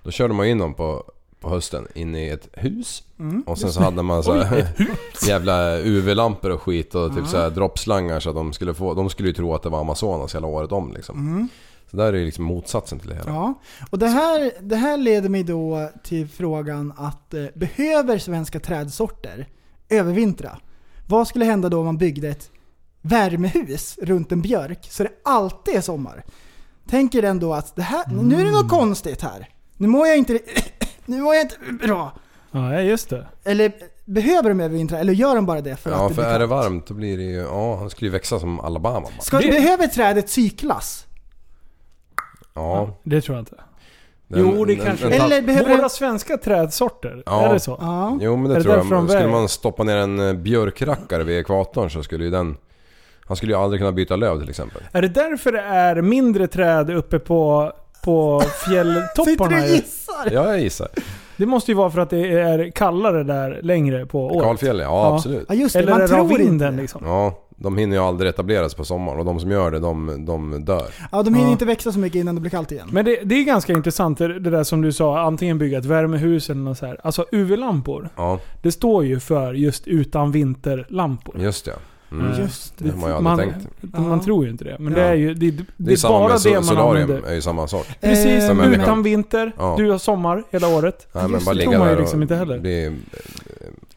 Speaker 6: Då körde man in dem på, på hösten in i ett hus.
Speaker 5: Mm.
Speaker 6: och sen så hade man så här, jävla UV-lampor och skit och typ så här droppslangar så att de skulle få... De skulle ju tro att det var Amazonas hela året om liksom.
Speaker 5: Mm.
Speaker 6: Så där är ju liksom motsatsen till det hela.
Speaker 4: Ja, och det här, det här leder mig då till frågan att eh, behöver svenska trädsorter övervintra? Vad skulle hända då om man byggde ett värmehus runt en björk så det alltid är sommar? Tänker den då att det här, nu är det
Speaker 5: Mm.
Speaker 4: något konstigt här. Nu mår jag inte, nu mår jag inte bra.
Speaker 5: Ja, just det.
Speaker 4: Eller behöver de övervintra eller gör de bara det för
Speaker 6: Ja,
Speaker 4: att
Speaker 6: för
Speaker 4: blir
Speaker 6: är det
Speaker 4: kallt?
Speaker 6: varmt då blir det ju... Ja, han skulle ju växa som Alabama bara.
Speaker 4: Ska,
Speaker 5: Det-
Speaker 4: Behöver trädet cyklas?
Speaker 6: Ja,
Speaker 5: Det tror jag inte. Jo, det kanske-
Speaker 6: ta-
Speaker 4: Eller behöver
Speaker 5: Våra
Speaker 4: du...
Speaker 5: svenska trädsorter,
Speaker 6: Ja.
Speaker 5: är det så?
Speaker 4: Ja.
Speaker 6: Jo men det,
Speaker 5: Är det
Speaker 6: tror jag.
Speaker 5: därför de
Speaker 6: skulle
Speaker 5: väger?
Speaker 6: man stoppa ner en eh, björkrackare vid ekvatorn så skulle ju den... Han skulle ju aldrig kunna byta löv till exempel.
Speaker 5: Är det därför det är mindre träd uppe på, på
Speaker 4: Sitter du
Speaker 5: fjälltopparna?
Speaker 4: och
Speaker 5: ju?
Speaker 4: gissar?
Speaker 6: Ja, jag gissar.
Speaker 5: det måste ju vara för att det är kallare där längre på året.
Speaker 6: Kalfjäll, ja,
Speaker 5: Ja.
Speaker 6: absolut.
Speaker 4: Ja just det,
Speaker 5: Eller
Speaker 4: man
Speaker 5: är det av
Speaker 4: tror inte
Speaker 5: vinden
Speaker 4: det.
Speaker 5: liksom?
Speaker 6: Ja, de hinner ju aldrig etablera sig på sommaren och de som gör det, de, de dör.
Speaker 4: Ja, de hinner
Speaker 5: Ja.
Speaker 4: inte växa så mycket innan det blir kallt igen.
Speaker 5: Men det, det är ganska intressant det det där som du sa, antingen bygga ett värmehus eller något så här. Alltså UV-lampor,
Speaker 6: Ja,
Speaker 5: det står ju för just utan vinterlampor.
Speaker 6: just det. Mm.
Speaker 4: Just
Speaker 6: Det har man ju aldrig
Speaker 5: man,
Speaker 6: tänkt.
Speaker 5: man
Speaker 4: Ja.
Speaker 5: tror ju inte det. Men det
Speaker 4: Ja.
Speaker 5: är ju det, det,
Speaker 6: Det är
Speaker 5: är
Speaker 6: samma
Speaker 5: bara
Speaker 6: med
Speaker 5: det
Speaker 6: so-
Speaker 5: man
Speaker 6: solarium,
Speaker 5: använder.
Speaker 6: är ju samma sak.
Speaker 5: Precis,
Speaker 4: Eh,
Speaker 6: Som en människa.
Speaker 5: utan vinter.
Speaker 6: Ja.
Speaker 5: Du har sommar hela året.
Speaker 6: Nej, men
Speaker 4: Just
Speaker 6: bara
Speaker 4: det,
Speaker 6: ligga
Speaker 5: tror man ju
Speaker 6: där och
Speaker 5: liksom inte heller.
Speaker 6: bli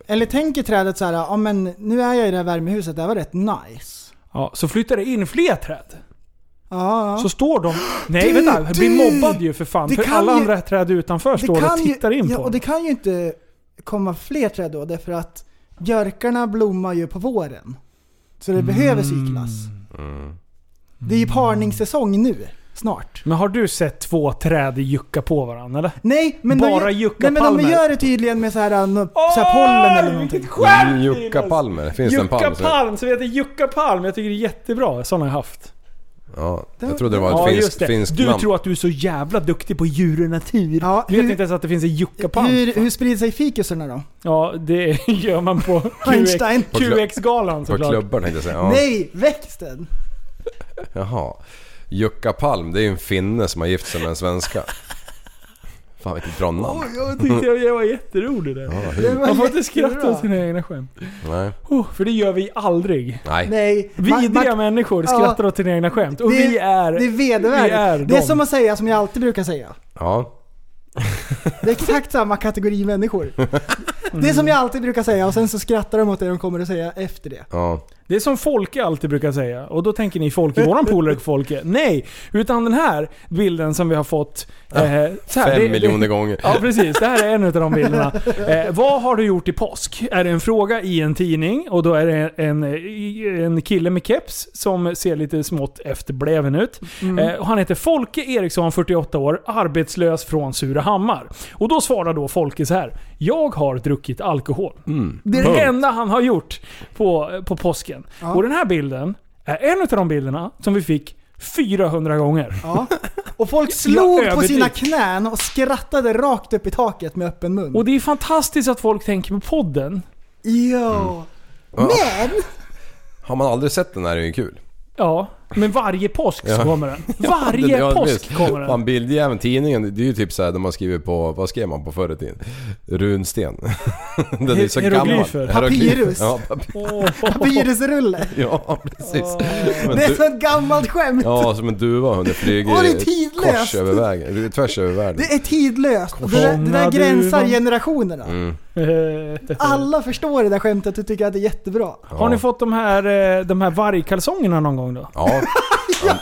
Speaker 4: Eller tänker trädet så här, ja men nu är jag i det här värmehuset, det här var rätt nice.
Speaker 5: Ja, så flyttar det in fler träd.
Speaker 4: Ja, ja.
Speaker 5: Så står de...
Speaker 4: Du,
Speaker 5: Nej vänta, jag
Speaker 4: du!
Speaker 5: blir mobbad ju för fan.
Speaker 4: Det
Speaker 5: För
Speaker 4: kan
Speaker 5: alla
Speaker 4: ju-
Speaker 5: andra träd utanför står och tittar
Speaker 4: ju,
Speaker 5: in
Speaker 4: ja,
Speaker 5: på
Speaker 4: och det kan ju inte komma fler träd då, därför att björkarna blommar ju på våren. Så det behöver
Speaker 5: Mm.
Speaker 4: cyklas. Det är ju parningssäsong nu, snart.
Speaker 5: Men har du sett två träd jucka på varandra eller?
Speaker 4: Nej, men
Speaker 5: Bara
Speaker 4: de, gör- nej, men de
Speaker 5: juckapalmer.
Speaker 4: gör det tydligen med så här, nå- så här
Speaker 5: Åh,
Speaker 4: pollen eller
Speaker 5: vilket
Speaker 4: någonting.
Speaker 5: skämt,
Speaker 6: Jukka
Speaker 5: Linus!
Speaker 6: palmer. Mm, Finns det en
Speaker 5: Jukka
Speaker 6: palm? som-
Speaker 5: Palm, som heter Jukka Palm. Jag tycker det är jättebra. Sådana har jag haft.
Speaker 6: Ja, jag trodde det var ett
Speaker 5: just det.
Speaker 6: finskt finsk
Speaker 5: Du
Speaker 6: namn.
Speaker 5: tror att du är så jävla duktig på djur och natur.
Speaker 4: Ja,
Speaker 5: du vet
Speaker 4: hur-
Speaker 5: inte ens att det finns en Jukka Palm.
Speaker 4: Hur, hur sprider sig fikuserna då?
Speaker 5: Ja, det gör man på QX,
Speaker 4: Einstein?
Speaker 6: På klubb-
Speaker 5: QX-galan
Speaker 6: På
Speaker 5: såklart.
Speaker 6: klubbar tänkte jag säga. Ja.
Speaker 4: Nej, växten!
Speaker 6: Jaha. Jukka Palm, det är ju en finne som har gift sig med en svenska. Fan vilket bra namn.
Speaker 5: Oj, jag tyckte jag, jag var jätterolig där.
Speaker 6: Ja,
Speaker 4: Det
Speaker 6: hur?
Speaker 4: var
Speaker 5: Man får inte
Speaker 4: jättebra.
Speaker 5: skratta åt sina egna skämt.
Speaker 6: Nej.
Speaker 5: Oh, för det gör vi aldrig.
Speaker 6: Nej.
Speaker 4: Nej. Ma-
Speaker 5: Vidriga
Speaker 4: ma-
Speaker 5: människor
Speaker 4: Ja.
Speaker 5: skrattar åt sina egna skämt. Och vi är...
Speaker 4: Det är
Speaker 5: vi är
Speaker 4: vedervärdigt. Det är
Speaker 5: de.
Speaker 4: som att säga, som jag alltid brukar säga.
Speaker 6: Ja.
Speaker 4: Det är exakt samma kategori människor. Det är
Speaker 5: Mm.
Speaker 4: som jag alltid brukar säga och sen så skrattar de åt det de kommer att säga efter det.
Speaker 6: Ja.
Speaker 5: Det är som Folke alltid brukar säga. Och då tänker ni Folke, våran polare Folke. Nej! Utan den här bilden som vi har fått. eh, så här,
Speaker 6: Fem
Speaker 5: det- det-
Speaker 6: miljoner gånger.
Speaker 5: Ja precis, det här är en av de bilderna. Eh, vad har du gjort i påsk? Är det en fråga i en tidning och då är det en, eh, en kille med keps som ser lite smått efterbleven ut. Eh, och han heter Folke Eriksson, 48 år, arbetslös från Surahammar. Och då svarar då Folke så här. Jag har druckit alkohol. Det är det enda han har gjort på, på påsken. Och den här bilden är en av de bilderna som vi fick 400 gånger.
Speaker 4: Ja. Och folk slog på
Speaker 5: överdriv.
Speaker 4: sina knän och skrattade rakt upp i taket med öppen mun.
Speaker 5: Och det är fantastiskt att folk tänker på podden.
Speaker 4: ja.
Speaker 6: Ja.
Speaker 4: Men!
Speaker 6: Har man aldrig sett den här är det ju kul.
Speaker 5: Ja, men varje påsk så
Speaker 6: Ja.
Speaker 5: kommer den. Varje
Speaker 6: Ja,
Speaker 5: påsk
Speaker 6: visst.
Speaker 5: kommer den.
Speaker 6: Fan bildjäveln, tidningen, det är ju typ såhär när man skriver på, vad skrev man på förr i tiden? Runsten. Den är ju så gammal.
Speaker 5: hieroglyfer.
Speaker 6: Hieroglyfer.
Speaker 4: Papyrus.
Speaker 6: Ja, papy-
Speaker 4: Papyrusrulle.
Speaker 6: ja precis. Som en
Speaker 4: Det är
Speaker 6: du-
Speaker 4: så ett gammalt skämt.
Speaker 6: Ja, som en duva hunden
Speaker 4: Åh, det är
Speaker 6: flyger i-
Speaker 4: tidlöst.
Speaker 6: kors över vägen, tvärs över världen.
Speaker 4: Det är tidlöst. Det där, det där
Speaker 5: Fångad
Speaker 4: gränsar
Speaker 5: duvan.
Speaker 4: generationerna. Alla förstår det där skämtet och tycker att det är jättebra.
Speaker 5: Har ni fått de här, eh, de här vargkalsongerna någon gång då?
Speaker 6: Ja. ja.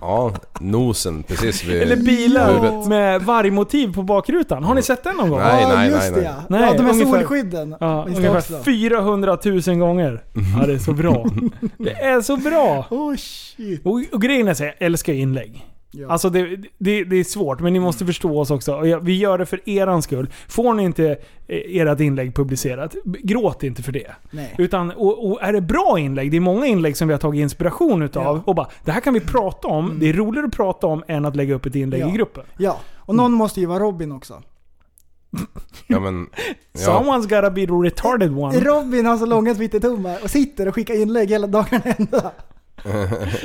Speaker 6: Ja, nosen precis vid
Speaker 5: Eller
Speaker 6: huvudet.
Speaker 5: bilar med vargmotiv på bakrutan. Har ni sett den någon gång?
Speaker 6: Nej,
Speaker 4: ja,
Speaker 6: nej,
Speaker 4: just
Speaker 6: nej,
Speaker 4: det
Speaker 6: nej.
Speaker 4: ja.
Speaker 5: Nej,
Speaker 4: ja de här
Speaker 5: ungefär-
Speaker 4: solskydden.
Speaker 5: Ja,
Speaker 4: Finns det också.
Speaker 5: ungefär 400 000 gånger. Ja, det är så bra.
Speaker 6: Mm.
Speaker 5: Det är så bra.
Speaker 4: Oh shit.
Speaker 5: Och, och grejen är så här, jag älskar ju inlägg.
Speaker 4: Ja. Mm.
Speaker 5: Alltså det, det, det är svårt, men ni måste förstå oss också. Och jag- Vi gör det för eran skull. Får ni inte eh, ert inlägg publicerat, b- gråt inte för det.
Speaker 4: Nej.
Speaker 5: Utan, och, och är det bra inlägg, det är många inlägg som vi har tagit inspiration utav.
Speaker 4: Ja. Mm.
Speaker 5: Och bara, det här kan vi prata om. Det är roligare att prata om än att lägga upp ett inlägg
Speaker 4: Ja.
Speaker 5: i gruppen.
Speaker 4: Ja, och någon måste ju vara Robin också.
Speaker 6: Ja, men, ja.
Speaker 5: Someone's gotta be the retarded one.
Speaker 4: Robin har så långa twittertummar och sitter och skickar inlägg hela dagarna ända.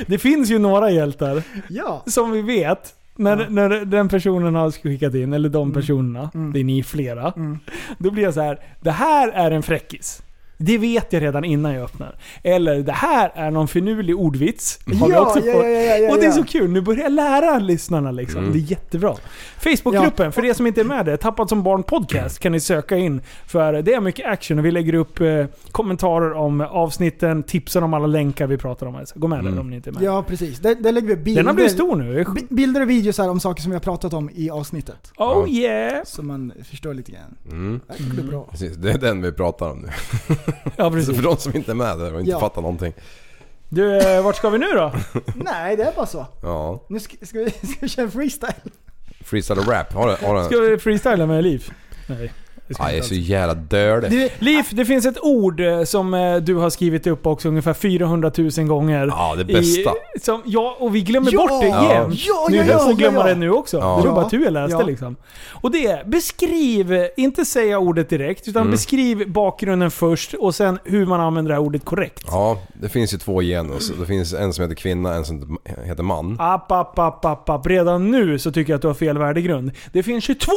Speaker 5: Det finns ju några hjältar
Speaker 4: Ja.
Speaker 5: som vi vet. När, när den personen har skickat in, eller
Speaker 4: Mm.
Speaker 5: de personerna, det är ni flera. Då blir jag så här: det här är en fräckis. Det vet jag redan innan jag öppnar. Eller det här är någon finurlig ordvits. Har vi
Speaker 4: Ja,
Speaker 5: också
Speaker 4: ja,
Speaker 5: fått.
Speaker 4: ja, ja, ja,
Speaker 5: och det är
Speaker 4: ja.
Speaker 5: så kul, nu börjar jag lära lyssnarna liksom. Det är jättebra. Facebookgruppen, för er som inte är med där, Tappad som barn podcast kan ni söka in. För det är mycket action och vi lägger upp eh, kommentarer om avsnitten, tipsar om alla länkar vi pratar om. här. Så gå med där om ni inte är med.
Speaker 4: Ja, precis. Där, där lägger vi bilder.
Speaker 5: Den har blivit stor nu.
Speaker 4: Bi- Bilder och videos här om saker som vi har pratat om i avsnittet.
Speaker 5: Oh yeah!
Speaker 4: Så man förstår lite grann.
Speaker 6: Mm,
Speaker 4: Det här blir bra.
Speaker 6: precis. Det är den vi pratar om nu.
Speaker 5: Ja
Speaker 6: Så
Speaker 5: precis.
Speaker 6: för de som inte är med där och inte
Speaker 4: Ja.
Speaker 6: fattar någonting.
Speaker 5: Du, eh, vart ska vi nu då?
Speaker 4: Nej, det är bara så.
Speaker 6: Ja.
Speaker 4: Nu ska, ska, vi, ska vi köra freestyle.
Speaker 6: Freestyle och rap. Har, du- har
Speaker 5: Ska
Speaker 6: du-
Speaker 5: vi freestyla med Liv? Nej. det ska
Speaker 6: Ah,
Speaker 5: vi
Speaker 6: jag är
Speaker 5: inte
Speaker 6: så jävla död.
Speaker 5: alls. Liv, det finns ett ord eh, som eh, du har skrivit upp också ungefär 400 000 gånger.
Speaker 6: Ja, det bästa.
Speaker 5: I, som, ja, och vi glömmer
Speaker 4: Ja!
Speaker 5: bort det
Speaker 6: Ja.
Speaker 5: jämt.
Speaker 4: Ja,
Speaker 5: nu
Speaker 4: ja, ja,
Speaker 5: höll jag
Speaker 4: ja,
Speaker 5: glömma
Speaker 4: ja.
Speaker 5: det nu också.
Speaker 6: Ja.
Speaker 5: Det var
Speaker 4: Ja.
Speaker 5: bara tur jag läste
Speaker 4: Ja.
Speaker 5: liksom. Och det är, beskriv, eh, inte säga ordet direkt,
Speaker 6: Mm.
Speaker 5: utan beskriv bakgrunden först och sen hur man använder det här ordet korrekt.
Speaker 6: Ja, det finns ju två genus. Det finns en som heter kvinna, en som heter man.
Speaker 5: App, app, app, app, app. Redan nu så tycker jag att du har fel värdegrund. Det finns 22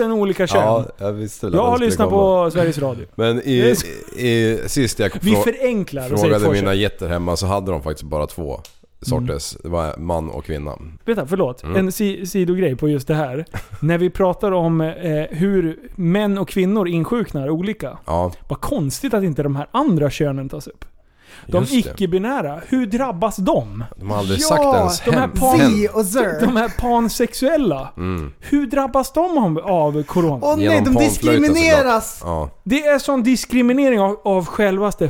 Speaker 5: 000 olika kön.
Speaker 6: Ja, jag visste väl att
Speaker 5: jag
Speaker 6: den
Speaker 5: har
Speaker 6: skulle
Speaker 5: lyssnat
Speaker 6: komma.
Speaker 5: på Sveriges Radio.
Speaker 6: Men i, i, sist jag
Speaker 5: Vi
Speaker 6: frå-
Speaker 5: förenklar och säger
Speaker 6: frågade
Speaker 5: fortsätt.
Speaker 6: mina getter hemma så hade de faktiskt bara två
Speaker 5: Mm.
Speaker 6: sorters. Det var man och kvinna.
Speaker 5: Vänta, förlåt.
Speaker 6: Mm.
Speaker 5: En si sidogrej på just det här. När vi pratar om eh, hur män och kvinnor insjuknar olika.
Speaker 6: Ja,
Speaker 5: Vad konstigt att inte de här andra könen tas upp. De
Speaker 6: Just det.
Speaker 5: icke-binära, hur drabbas de?
Speaker 6: de har aldrig
Speaker 4: Ja,
Speaker 6: sagt ens
Speaker 5: de här
Speaker 6: hen.
Speaker 5: par-
Speaker 6: hen.
Speaker 4: Vi och Zer.
Speaker 5: De här pansexuella,
Speaker 6: Mm.
Speaker 5: hur drabbas de av, av corona?
Speaker 4: Åh nej,
Speaker 6: Genom
Speaker 4: de
Speaker 6: panflöjten
Speaker 4: diskrimineras!
Speaker 6: Ja.
Speaker 5: Det är sån diskriminering av, av självaste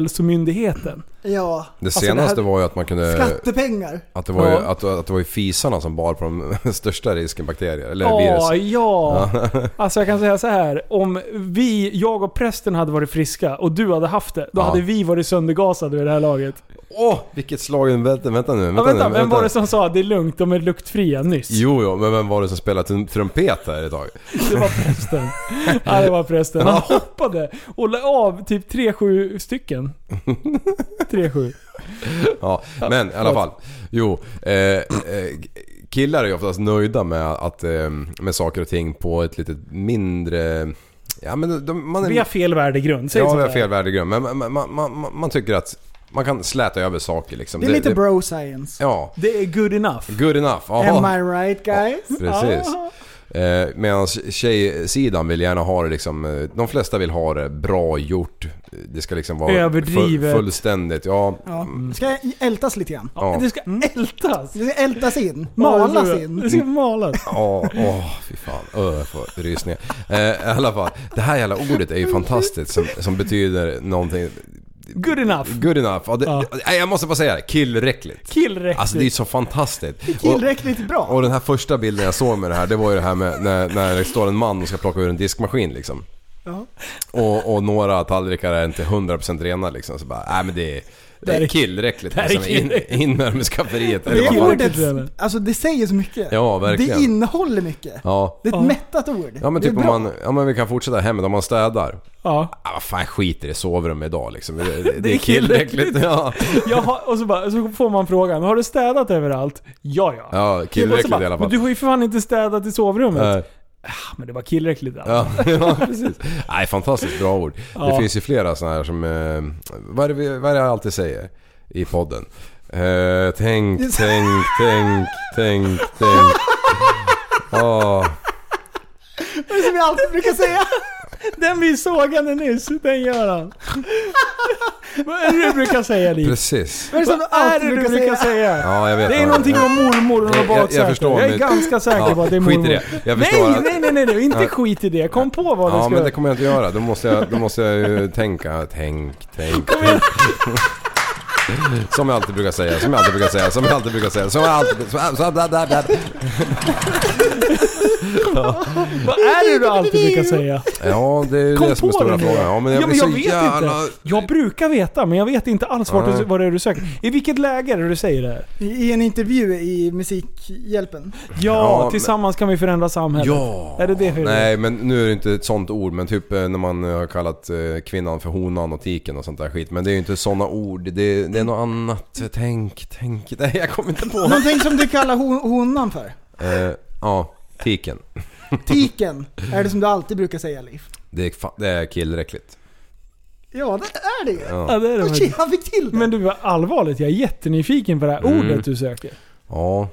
Speaker 5: Folkhälsomyndigheten.
Speaker 4: Ja,
Speaker 6: Det senaste
Speaker 5: Alltså, det
Speaker 6: var ju att man kunde...
Speaker 4: skattepengar.
Speaker 6: Att det, var ju,
Speaker 5: Ja.
Speaker 6: att, att det var ju fisarna som bar på de största risken bakterier, eller
Speaker 5: Ja,
Speaker 6: virus.
Speaker 5: ja. Alltså jag kan säga så här. Om vi, jag och prästen hade varit friska och du hade haft det, då
Speaker 6: Ja.
Speaker 5: hade vi varit söndergasade i det här laget.
Speaker 6: Åh, vilket slag! Vänta, vänta nu.
Speaker 5: Ja,
Speaker 6: Vänta,
Speaker 5: vänta,
Speaker 6: nu,
Speaker 5: vem var det som sa att det är lugnt, de är luktfria nyss?
Speaker 6: Jo, jo, men vem var det som spelade trum- trumpet här ett tag?
Speaker 5: Det var prästen. ja, det var prästen. Han hoppade och la av typ 3-7 stycken. 3-7.
Speaker 6: Ja, men i alla fall. Jo, eh, eh, killar är ju oftast nöjda med, att, eh, med saker och ting på ett lite mindre... Ja, men de, man är,
Speaker 5: Vi har fel värdegrund, säg
Speaker 6: ja,
Speaker 5: så
Speaker 6: vi har
Speaker 5: där.
Speaker 6: fel värdegrund. Men man, man, man, man tycker att man kan släta över saker liksom.
Speaker 4: Det är lite bro science.
Speaker 6: Ja,
Speaker 5: Det är good enough.
Speaker 6: good enough.
Speaker 4: Am
Speaker 6: Aha,
Speaker 4: I right guys?
Speaker 6: precis.
Speaker 4: Ah.
Speaker 6: Eh, Medan tjejsidan vill gärna ha det liksom, eh, de flesta vill ha det bra gjort. Det ska liksom vara
Speaker 5: Överdrivet.
Speaker 6: full- fullständigt. Ja,
Speaker 4: Ja. Ska ältas lite grann.
Speaker 6: Mm. ja. Mm.
Speaker 5: Det ska ältas.
Speaker 4: Det ska ältas in. Malas in.
Speaker 5: Det ska malas.
Speaker 6: Ja, åh fy fan. Öh, jag får rysningar. Eh, I alla fall, det här jävla ordet är ju fantastiskt som, som betyder någonting...
Speaker 5: Good enough.
Speaker 6: Good enough. Ja, det,
Speaker 5: Ja.
Speaker 6: Nej, jag måste bara säga det. Killräckligt.
Speaker 5: Tillräckligt.
Speaker 6: Alltså det är ju så fantastiskt.
Speaker 4: Tillräckligt
Speaker 6: Och,
Speaker 4: bra.
Speaker 6: och den här första bilden jag såg med det här, det var ju det här med när, när det står en man och ska plocka ur en diskmaskin liksom. Och, och några tallrikar är inte 100% rena liksom. Så bara, nej men det är... Det
Speaker 5: här är-
Speaker 6: är killräckligt
Speaker 5: här är
Speaker 6: liksom. In,
Speaker 5: killräckligt.
Speaker 6: in med dem i skafferiet. Eller
Speaker 4: Det
Speaker 6: vad
Speaker 4: är
Speaker 6: fan.
Speaker 4: ordet,
Speaker 5: Verkligen.
Speaker 4: alltså det säger så mycket.
Speaker 6: Ja, verkligen.
Speaker 4: Det innehåller mycket.
Speaker 6: Ja.
Speaker 4: Det är ett mättat ord.
Speaker 6: Ja men
Speaker 4: det är
Speaker 6: typ om
Speaker 4: bra.
Speaker 6: man, ja men vi kan fortsätta hemmet om man städar.
Speaker 5: Ja.
Speaker 6: Ah, vad fan jag skiter i sovrum idag liksom. Det, det,
Speaker 5: Det
Speaker 6: det
Speaker 5: är
Speaker 6: är killräckligt. Ja,
Speaker 5: Jag har, och så, bara, så får man frågan, har du städat överallt? Ja, ja.
Speaker 6: ja
Speaker 5: Och så
Speaker 6: killräckligt
Speaker 5: bara,
Speaker 6: i alla
Speaker 5: Men
Speaker 6: fall. Eh,
Speaker 5: du har ju för fan inte städat i sovrummet. Ah,
Speaker 6: Nej.
Speaker 5: Men det var killräckligt alltså.
Speaker 6: Ja, ja, precis. Nej, fantastiskt bra ord.
Speaker 5: Ja.
Speaker 6: Det finns ju flera sådana här som... Eh, vad, är det, vi- vad är det jag alltid säger i podden? Eh, tänk, tänk, tänk, tänk, tänk. Ja,
Speaker 4: Det är som jag alltid brukar säga.
Speaker 5: Den vi sågade nyss, den gör han. Vad är det du brukar säga Liv?
Speaker 6: precis.
Speaker 4: Det är som
Speaker 5: Vad
Speaker 4: jag
Speaker 5: är
Speaker 4: alltid
Speaker 5: det du
Speaker 4: brukar
Speaker 5: brukar
Speaker 4: säga.
Speaker 5: säga?
Speaker 6: Ja, jag vet
Speaker 5: Det är
Speaker 6: vad-
Speaker 5: någonting med mormor och
Speaker 6: Jag-
Speaker 5: något
Speaker 6: jag- jag
Speaker 5: baksäte. Jag,
Speaker 6: förstår,
Speaker 5: är
Speaker 6: men-
Speaker 5: ganska säker
Speaker 6: Ja,
Speaker 5: på att det är
Speaker 6: skit i
Speaker 5: mormor.
Speaker 6: det. Jag
Speaker 5: nej,
Speaker 6: förstår att-
Speaker 5: nej, nej, nej, nej, inte
Speaker 6: Ja.
Speaker 5: skit i det. Kom på vad du
Speaker 6: Ja,
Speaker 5: ska
Speaker 6: men
Speaker 5: göra.
Speaker 6: det kommer jag inte göra. Då måste jag, då måste jag ju tänka, tänk, tänk. Som jag alltid brukar säga, som jag alltid brukar säga, som jag alltid brukar säga, som jag alltid... Som, som, där, där, där.
Speaker 5: Vad är det du alltid brukar säga?
Speaker 6: Ja, det är ju
Speaker 5: Kom
Speaker 6: det som är
Speaker 5: på
Speaker 6: stora
Speaker 5: den nu.
Speaker 6: frågan. Ja, men jag
Speaker 5: ja, men
Speaker 6: blir
Speaker 5: jag
Speaker 6: så
Speaker 5: vet
Speaker 6: jävla...
Speaker 5: inte. Jag brukar veta, men jag vet inte alls vart du,
Speaker 6: Nej.
Speaker 5: vad det är du söker. I vilket läge är det du säger det här?
Speaker 4: I i en intervju i Musikhjälpen.
Speaker 5: Ja,
Speaker 6: Ja,
Speaker 5: tillsammans kan vi förändra samhället.
Speaker 6: Ja!
Speaker 5: Är det det för
Speaker 6: Nej, men nu är det inte ett sånt ord, men typ eh, när man eh, har kallat eh, kvinnan för honan och tiken och sånt där skit. Men det är ju inte såna ord, det, det är något annat. Tänk, tänk. Nej, jag kommer inte på.
Speaker 4: Någonting som du kallar hon, honan för.
Speaker 6: Eh, ja, tiken.
Speaker 4: Tiken är det som du alltid brukar säga Liv.
Speaker 6: Det är, fa- det är killräckligt.
Speaker 4: Ja, det är det ju.
Speaker 5: Ja, det är det
Speaker 4: Och
Speaker 5: faktiskt.
Speaker 4: shit, Han fick till det.
Speaker 5: Men du, allvarligt, jag är jättenyfiken på det här
Speaker 6: Mm.
Speaker 5: ordet du söker.
Speaker 6: Ja.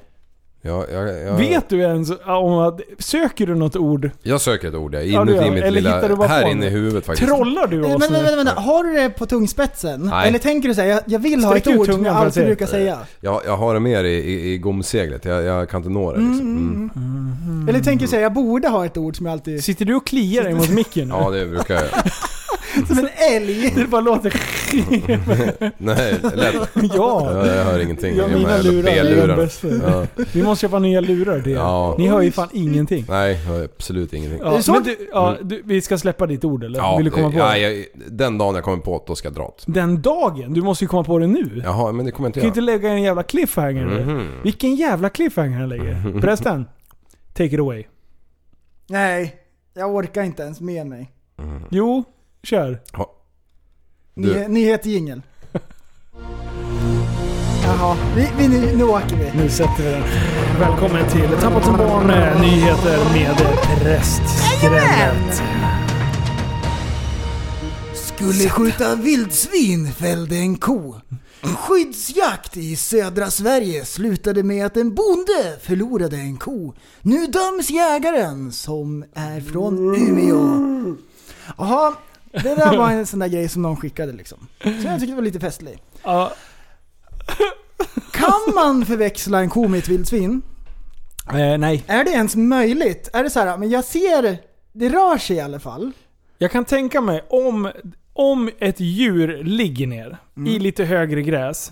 Speaker 6: Jag, jag, jag,
Speaker 5: Vet du ens om att... Söker du något ord?
Speaker 6: jag söker ett ord jag,
Speaker 5: Ja, du
Speaker 6: inuti
Speaker 5: gör.
Speaker 6: mitt
Speaker 5: Eller hittar du
Speaker 6: lilla...
Speaker 5: bara på
Speaker 6: Här
Speaker 5: det?
Speaker 6: inne i huvudet faktiskt.
Speaker 5: Trollar du
Speaker 4: Men
Speaker 5: oss
Speaker 4: vänta,
Speaker 5: nu?
Speaker 4: vänta, vänta. Har du det på tungspetsen?
Speaker 6: Nej.
Speaker 4: Eller tänker du säga, jag, jag vill ha
Speaker 5: Sträck
Speaker 4: ett
Speaker 5: ut
Speaker 4: ord som
Speaker 5: tungan
Speaker 4: jag
Speaker 5: för att
Speaker 4: alltid
Speaker 5: se.
Speaker 4: brukar säga?
Speaker 6: Jag, jag har det mer i, i, i gomseglet, jag, jag kan inte nå det liksom. Mm.
Speaker 4: Eller tänker du säga, jag borde ha ett ord som jag alltid...
Speaker 5: Sitter du och kliar dig mot micken nu?
Speaker 6: Ja, det brukar jag
Speaker 4: Som en älg.
Speaker 5: Det bara låter...
Speaker 6: Nej, lätt.
Speaker 5: ja!
Speaker 6: Jag, jag hör ingenting.
Speaker 5: Ja,
Speaker 6: Jag
Speaker 5: mina
Speaker 6: har jävla
Speaker 5: lurar är
Speaker 6: B-lurar.
Speaker 5: de bästa.
Speaker 6: Ja.
Speaker 5: Vi måste köpa nya lurar till er.
Speaker 6: Ja.
Speaker 5: Ni hör ju fan ingenting.
Speaker 6: Nej, jag hör absolut ingenting.
Speaker 5: Ja, men du, ja, du, vi ska släppa ditt ord eller? Vill du komma på
Speaker 6: Mm. ja,
Speaker 5: det?
Speaker 6: jag, den dagen jag kommer på det, då ska jag dra åt.
Speaker 5: Den dagen? Du måste ju komma på det nu. Du
Speaker 6: Jaha, men det kommer jag
Speaker 5: kan ju
Speaker 6: inte
Speaker 5: inte
Speaker 6: göra.
Speaker 5: lägga en jävla cliffhanger.
Speaker 6: Mhm. Mm.
Speaker 5: Vilken jävla cliffhanger han lägger. Förresten, take it away.
Speaker 4: Nej, jag orkar inte ens med mig.
Speaker 5: Jo, kör.
Speaker 6: Ja.
Speaker 4: Ny,
Speaker 6: Du.
Speaker 4: nyhet jingel. Jaha, vi, vi, nu, nu åker vi.
Speaker 5: Nu sätter vi den. Välkommen till Tappat som barn, eh, nyheter med prästskräddet.
Speaker 4: Skulle skjuta vildsvin fällde en ko. Skyddsjakt i södra Sverige slutade med att en bonde förlorade en ko. Nu döms jägaren som är från Umeå. Jaha, det där var en sån där grej som någon skickade liksom. Så jag tyckte det var lite festlig.
Speaker 5: Ja,
Speaker 4: Kan man förväxla en ko med ett vildsvin?
Speaker 5: eh, nej.
Speaker 4: Är det ens möjligt? Är det så här, men jag ser, det rör sig i alla fall.
Speaker 5: Jag kan tänka mig om, om ett djur ligger ner i
Speaker 4: Mm.
Speaker 5: lite högre gräs.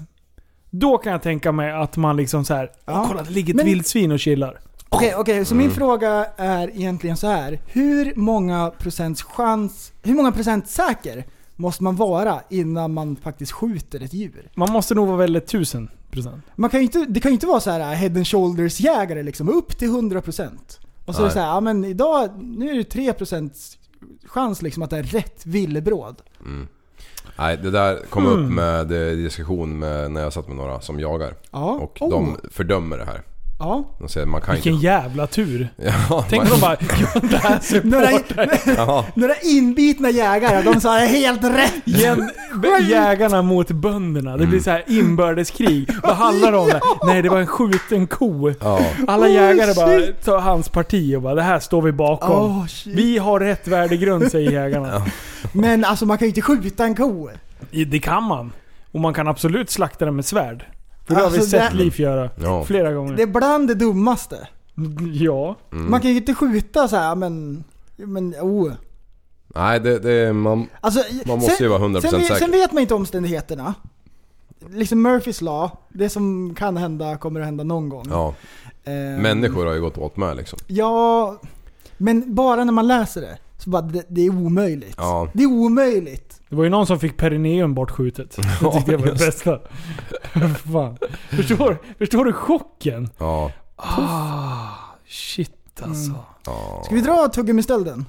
Speaker 5: Då kan jag tänka mig att man liksom så här,
Speaker 4: Ja.
Speaker 5: "Åh, kolla det ligger ett
Speaker 4: Men-
Speaker 5: vildsvin och chillar.
Speaker 4: Okej,
Speaker 6: Oh.
Speaker 4: okej, så
Speaker 6: Mm.
Speaker 4: min fråga är egentligen så här. Hur många procents chans, hur många procent säker måste man vara innan man faktiskt skjuter ett djur?
Speaker 5: Man måste nog vara väldigt tusen procent.
Speaker 4: Man kan ju inte, det kan ju inte vara så här äh, head and shoulders jägare liksom, upp till 100%. Och så är det
Speaker 6: Nej.
Speaker 4: så här, ja men idag, nu är det 3% chans liksom att det är rätt villebråd.
Speaker 6: Nej, det där kom
Speaker 5: Hmm.
Speaker 6: upp med eh, diskussion med när jag satt med några som jagar.
Speaker 4: Ja.
Speaker 6: Och
Speaker 4: Oh.
Speaker 6: de fördömer det här.
Speaker 4: Ja.
Speaker 6: De säger man kan
Speaker 5: Vilken
Speaker 6: inte...
Speaker 5: jävla tur.
Speaker 6: Ja,
Speaker 5: Tänk
Speaker 6: man,
Speaker 5: om de bara, jag läser
Speaker 4: Några,
Speaker 5: på dig.
Speaker 6: ja,
Speaker 4: några inbitna jägare, de sa helt rätt!
Speaker 5: Jäm- b- jägarna mot bönderna. Det blir så här inbördeskrig. Vad handlar det om? Nej, det var en skjuten ko.
Speaker 6: ja.
Speaker 5: Alla
Speaker 4: Oh,
Speaker 5: jägare bara
Speaker 4: shit.
Speaker 5: tar hans parti och bara det här står vi bakom.
Speaker 4: Åh, shit.
Speaker 5: vi har rätt värdegrund säger jägarna.
Speaker 4: Men alltså man kan ju inte skjuta en ko.
Speaker 5: I- Det kan man. Och man kan absolut slakta den med svärd. För det har vi
Speaker 4: Alltså,
Speaker 5: sett
Speaker 4: det-
Speaker 5: Liv göra.
Speaker 6: Ja.
Speaker 5: Flera gånger.
Speaker 4: Det är bland det dummaste.
Speaker 5: Ja.
Speaker 6: Mm.
Speaker 4: Man kan ju inte skjuta så här, men... men oh.
Speaker 6: Nej, det, det, man,
Speaker 4: alltså,
Speaker 6: Man måste ju vara 100%
Speaker 4: sen, vet-
Speaker 6: säker.
Speaker 4: Sen vet man inte omständigheterna. Liksom Murphys law, det som kan hända kommer att hända någon gång.
Speaker 6: ja.
Speaker 4: Ehm,
Speaker 5: Mm.
Speaker 6: Människor har ju gått åt med liksom.
Speaker 4: Ja, men bara när man läser det. Så bara, det, det är omöjligt.
Speaker 6: Ja.
Speaker 4: Det är omöjligt.
Speaker 5: Det var ju någon som fick perineum bortskjutet. Det tyckte jag var det bästa. Fan. Förstår, förstår du chocken?
Speaker 6: Ja.
Speaker 5: Shit alltså.
Speaker 6: ja.
Speaker 4: Ska vi dra tuggen med stölden?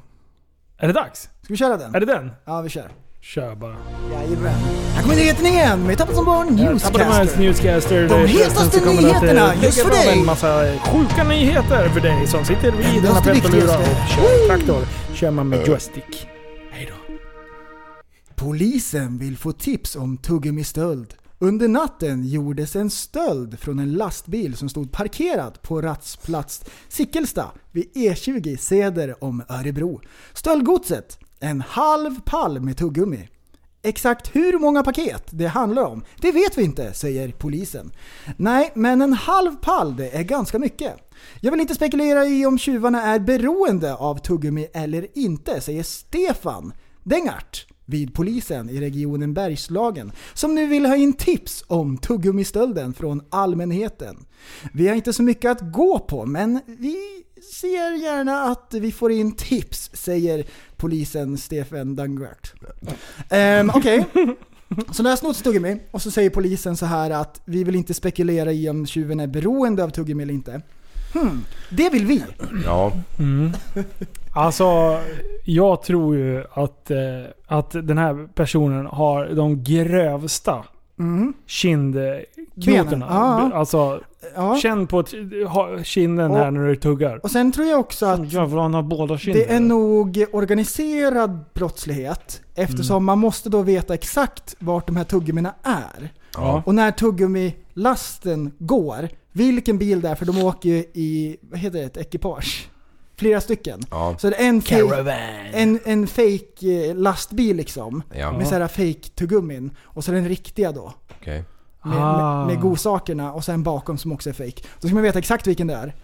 Speaker 5: Är det dags?
Speaker 4: Ska vi köra den?
Speaker 5: Är det den?
Speaker 4: Ja, vi kör.
Speaker 5: Kör bara.
Speaker 4: Jajamän. Här kommer nyheten igen med Tappat som barn
Speaker 5: Abonnemangs
Speaker 4: Newscaster.
Speaker 5: Newscaster.
Speaker 4: De hetaste
Speaker 5: Förresten så kommer det att, eh,
Speaker 4: nyheterna, just
Speaker 5: lägga
Speaker 4: för
Speaker 5: fram
Speaker 4: dig.
Speaker 5: En massa sjuka nyheter för dig som sitter vid dina
Speaker 4: Endast det
Speaker 5: pentolurar och
Speaker 4: viktigaste.
Speaker 5: kör traktor. Kör man med joystick. Hejdå.
Speaker 4: Polisen vill få tips om tuggummistöld. Under natten gjordes en stöld från en lastbil som stod parkerad på rastplats Sickelsta vid E20 söder om Örebro. Stöldgodset, en halv pall med tuggummi. Exakt hur många paket det handlar om, det vet vi inte, säger polisen. Nej, men en halv pall det är ganska mycket. Jag vill inte spekulera i om tjuvarna är beroende av tuggummi eller inte, säger Stefan Dengart vid polisen i regionen Bergslagen som nu vill ha in tips om tuggummistölden från allmänheten. Vi har inte så mycket att gå på, men vi ser gärna att vi får in tips, säger polisen Stefan Dengart. Ehm, Okej. Så när jag snott tuggummi och så säger polisen så här att vi vill inte spekulera i om tjuven är beroende av tuggummi eller inte. Hmm, det vill vi.
Speaker 6: ja.
Speaker 5: Alltså, jag tror ju att, eh, att den här personen har de grövsta kindknotorna.
Speaker 4: Mm. Ja, ja.
Speaker 5: Alltså,
Speaker 4: Ja.
Speaker 5: känn på t- ha- kinden här när du tuggar.
Speaker 4: Och sen tror jag också att
Speaker 5: Jävlar, han har båda kinderna.
Speaker 4: det är nog organiserad brottslighet eftersom man måste då veta exakt vart de här tuggummina är.
Speaker 5: Ja.
Speaker 4: Och när tuggummilasten går, vilken bil det är, för de åker ju i, vad heter det, ett ekipage? Flera stycken.
Speaker 6: Ja.
Speaker 4: Så det är en fake, en, en fake eh, lastbil liksom.
Speaker 6: Ja.
Speaker 4: Med så här fake tuggummin Och så den riktiga då.
Speaker 6: Okej.
Speaker 4: Med,
Speaker 5: Ah.
Speaker 4: med, med godsakerna och sen bakom som också är fake. Då ska man veta exakt vilken det är.